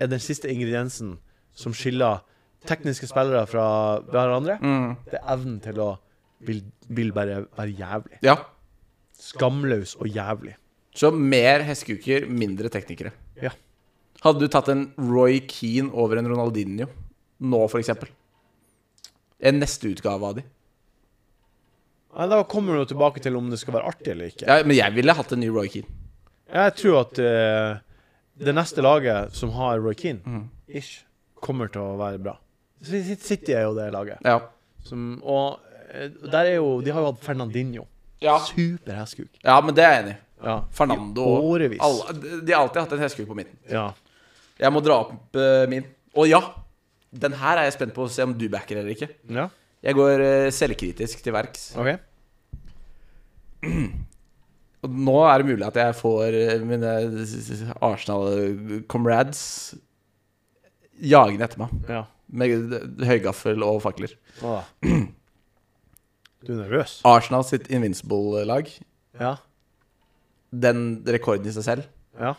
B: er den siste ingrediensen som skiller tekniske spillere fra hverandre.
A: Mm.
B: Det er evnen til å vil, vil bare være jævlig.
A: Ja.
B: Skamløs og jævlig.
A: Så mer hestekuker, mindre teknikere.
B: Ja.
A: Hadde du tatt en Roy Keane over en Ronaldinho nå, for eksempel? En neste utgave av de.
B: Nei, Da kommer du jo tilbake til om det skal være artig eller ikke.
A: Ja, men jeg ville hatt en ny Roy Keane.
B: Jeg tror at eh, det neste laget som har Roy Keane,
A: Mm.
B: ish, kommer til å være bra. City er jo det laget.
A: Ja.
B: Som, og eh, der er jo De har jo hatt Fernandinho.
A: Ja.
B: Super hestkuk.
A: ja, men det er jeg enig i.
B: Ja.
A: Fernando
B: I årevis.
A: alle, De har alltid hatt en hestkuk på midten.
B: ja.
A: Jeg må dra opp eh, min. Og ja, den her er jeg spent på å se om du backer eller ikke.
B: Ja.
A: Jeg går eh, selvkritisk til verks.
B: OK.
A: Og nå er det mulig at jeg får eh, mine Arsenal-comrades jagende etter meg
B: Ja.
A: med høygaffel og fakler.
B: Hva da? Du er nervøs?
A: Arsenal sitt Invincible-lag,
B: Ja.
A: den rekorden i seg selv,
B: Ja.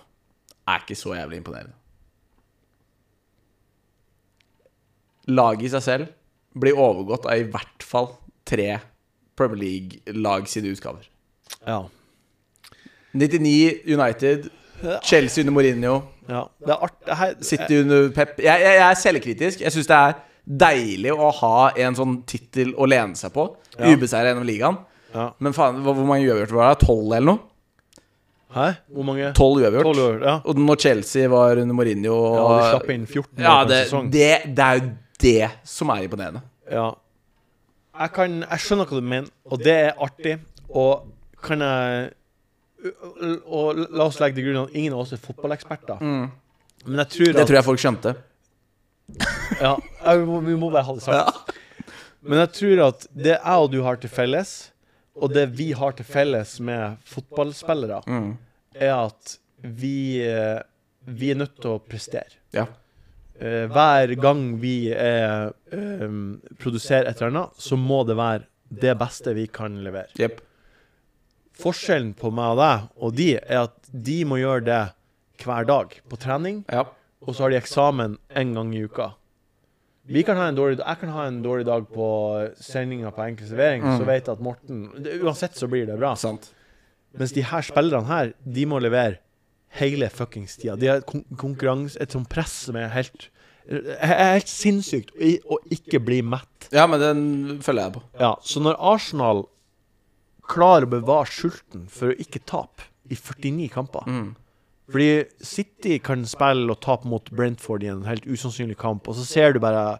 A: er ikke så jævlig imponerende. Laget i seg selv blir overgått av i hvert fall tre Premier League-lag sine utgaver.
B: Ja.
A: 99 United, Chelsea under Mourinho,
B: ja. Det er art... det Her...
A: City under Pep. Jeg, jeg, jeg er selvkritisk. Jeg syns det er deilig å ha en sånn tittel å lene seg på.
B: Ja.
A: Ubeseira gjennom ligaen.
B: eh, Ja.
A: Men faen, hvor hvor mange uavgjort var det? Tolv eller noe?
B: Hæ? Hvor mange?
A: Tolv uavgjort.
B: Tolv år. Ja.
A: Og når Chelsea var under Mourinho
B: ja.
A: og,
B: De slapp inn 14 mål
A: Ja,
B: på
A: det,
B: en sesong.
A: det, det er jo det som er imponerende.
B: Ja. Jeg, kan, jeg skjønner hva du mener, og det er artig. Og kan jeg Og la oss legge til grunn at ingen av oss er fotballeksperter. Men jeg tror
A: Det
B: at
A: tror jeg folk skjønte.
B: ja, jeg, må- Vi må bare ha det sagt. Men jeg tror at det jeg og du har til felles, og det vi har til felles med fotballspillere,
A: Mm.
B: er at vi, eh, vi er nødt til å prestere.
A: Ja.
B: Eh, hver gang vi eh, ehm, produserer et eller annet, så må det være det beste vi kan levere.
A: Jepp.
B: Forskjellen på meg og deg og de er at de må gjøre det hver dag på trening,
A: Ja.
B: og så har de eksamen en gang i uka. Vi kan ha en dårlig, jeg kan ha en dårlig dag på sendinga på Enkel servering, så vet jeg at Morten det, Uansett så blir det bra.
A: Sant.
B: Mens de her spillerne her, de må levere hele fuckings tida. De har et kon konkurranse, et sånt press som er helt er helt sinnssykt å i- å ikke bli mett.
A: Ja, men den følger jeg på.
B: Ja, Så når Arsenal klarer å bevare sulten for å ikke tape i 49 kamper
A: Mm.
B: Fordi City kan spille og tape mot Brentford i en helt usannsynlig kamp, og så ser du bare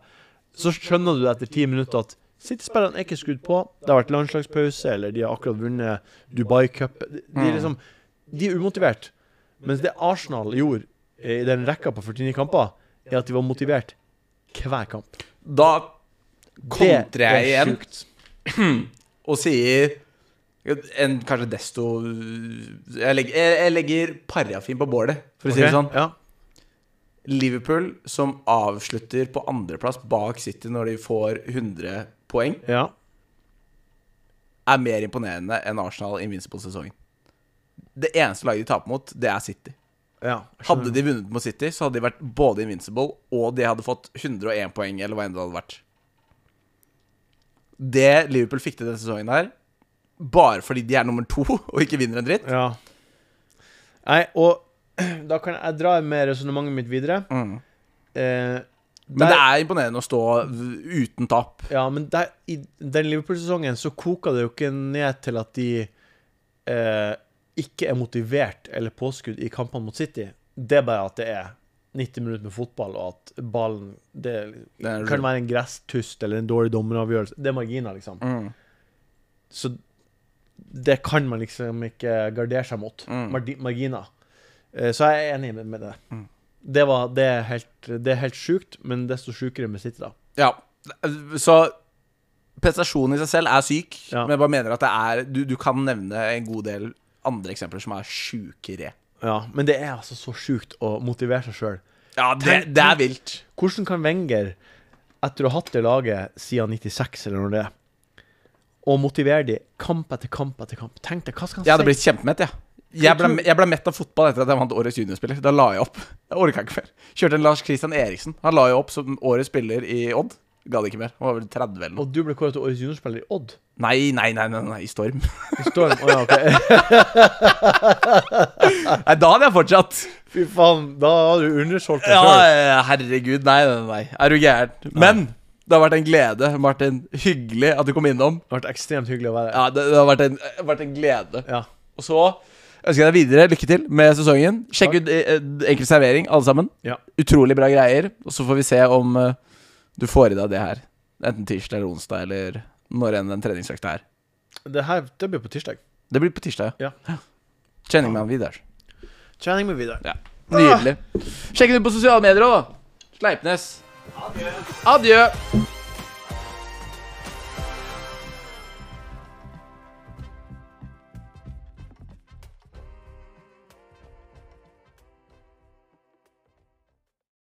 B: Så skjønner du etter ti minutter at City-spillerne er ikke skrudd på. Det har vært landslagspause, eller de har akkurat vunnet Dubai Cup. De, de,
A: Mm.
B: er liksom, de er umotivert. Mens det Arsenal gjorde eh, i den rekka på 49 kamper, er at de var motivert hver kamp.
A: Da kontrer
B: Det er
A: jeg igjen
B: sjukt.
A: og sier en kanskje desto Jeg legger, jeg, jeg legger parafin på bålet, for å si det
B: Ok?
A: sånn.
B: Ja.
A: Liverpool som avslutter på andreplass bak City når de får 100 poeng,
B: ja.
A: er mer imponerende enn Arsenal i Invincible-sesongen. Det eneste laget de taper mot, det er City.
B: ja.
A: Hadde de vunnet mot City, så hadde de vært både Invincible og de hadde fått 101 poeng, eller hva enn det hadde vært. Det Liverpool fikk til denne sesongen her, bare fordi de er nummer to og ikke vinner en dritt
B: Ja. Nei, og da kan jeg dra med resonnementet mitt videre. Eh,
A: Mm. Men
B: der-
A: det er imponerende å stå uten tap.
B: Ja, men der, i den Liverpool-sesongen så koka det jo ikke ned til at de eh, ikke er motivert eller påskudd i kampene mot City. Det er bare at det er 90 minutter med fotball, og at ballen Det, liksom,
A: Det er-
B: kan være en gresstust eller en dårlig dommeravgjørelse. Det er marginer, liksom.
A: Mm.
B: Så det kan man liksom ikke gardere seg mot.
A: Mm.
B: Mardi- Marginer. Eh, Så jeg er enig med- med det. Det, var, det er helt, det er helt sjukt, men desto sjukere med City, da.
A: Ja, så prestasjonen i seg selv er syk,
B: Ja.
A: men jeg bare mener at det er du, du kan nevne en god del andre eksempler som er sjukere.
B: Ja, men det er altså så sjukt å motivere seg sjøl.
A: Ja, det, det er vilt.
B: Hvordan kan Wenger, etter å ha hatt det laget siden 96 eller når det er, og motivere de kamp etter kamp etter kamp Tenk deg, hva skal han
A: Jeg hadde
B: si?
A: blitt kjempemett, jeg. Jeg ble, jeg ble mett av fotball etter at jeg vant årets juniorspiller. Da la jeg opp. Jeg orka ikke mer. Kjørte en Lars Christian Eriksen. Han la jo opp som årets spiller i Odd. Gadd ikke mer. Han var vel 30 eller noe.
B: Og du ble kåret til årets juniorspiller i Odd.
A: Nei, nei, nei, nei, nei i Storm.
B: I Storm. Å ja, ok.
A: Nei, da hadde jeg fortsatt.
B: Fy faen, da har du undersolgt deg
A: Ja,
B: sjøl.
A: eh, herregud. Nei, nei, nei. Er du gæren? Men det har vært en glede, Martin. Hyggelig at du kom innom.
B: Det har vært ekstremt hyggelig å være her.
A: Ja, det, det har vært en, vært en glede.
B: Ja.
A: Og så ønsker jeg deg videre lykke til med sesongen. Sjekk ut eh, Enkel servering, alle sammen.
B: Ja.
A: Utrolig bra greier. Og så får vi se om eh, du får i deg det her. Enten tirsdag eller onsdag, eller når enn den treningsøkta er.
B: Det her det blir på tirsdag.
A: Det blir på tirsdag,
B: Ja.
A: Kjenning med han Vidar.
B: Trening med Vidar.
A: Ja. Nydelig. Sjekk den ut på sosiale medier òg, da. Sleipnes. Adjø.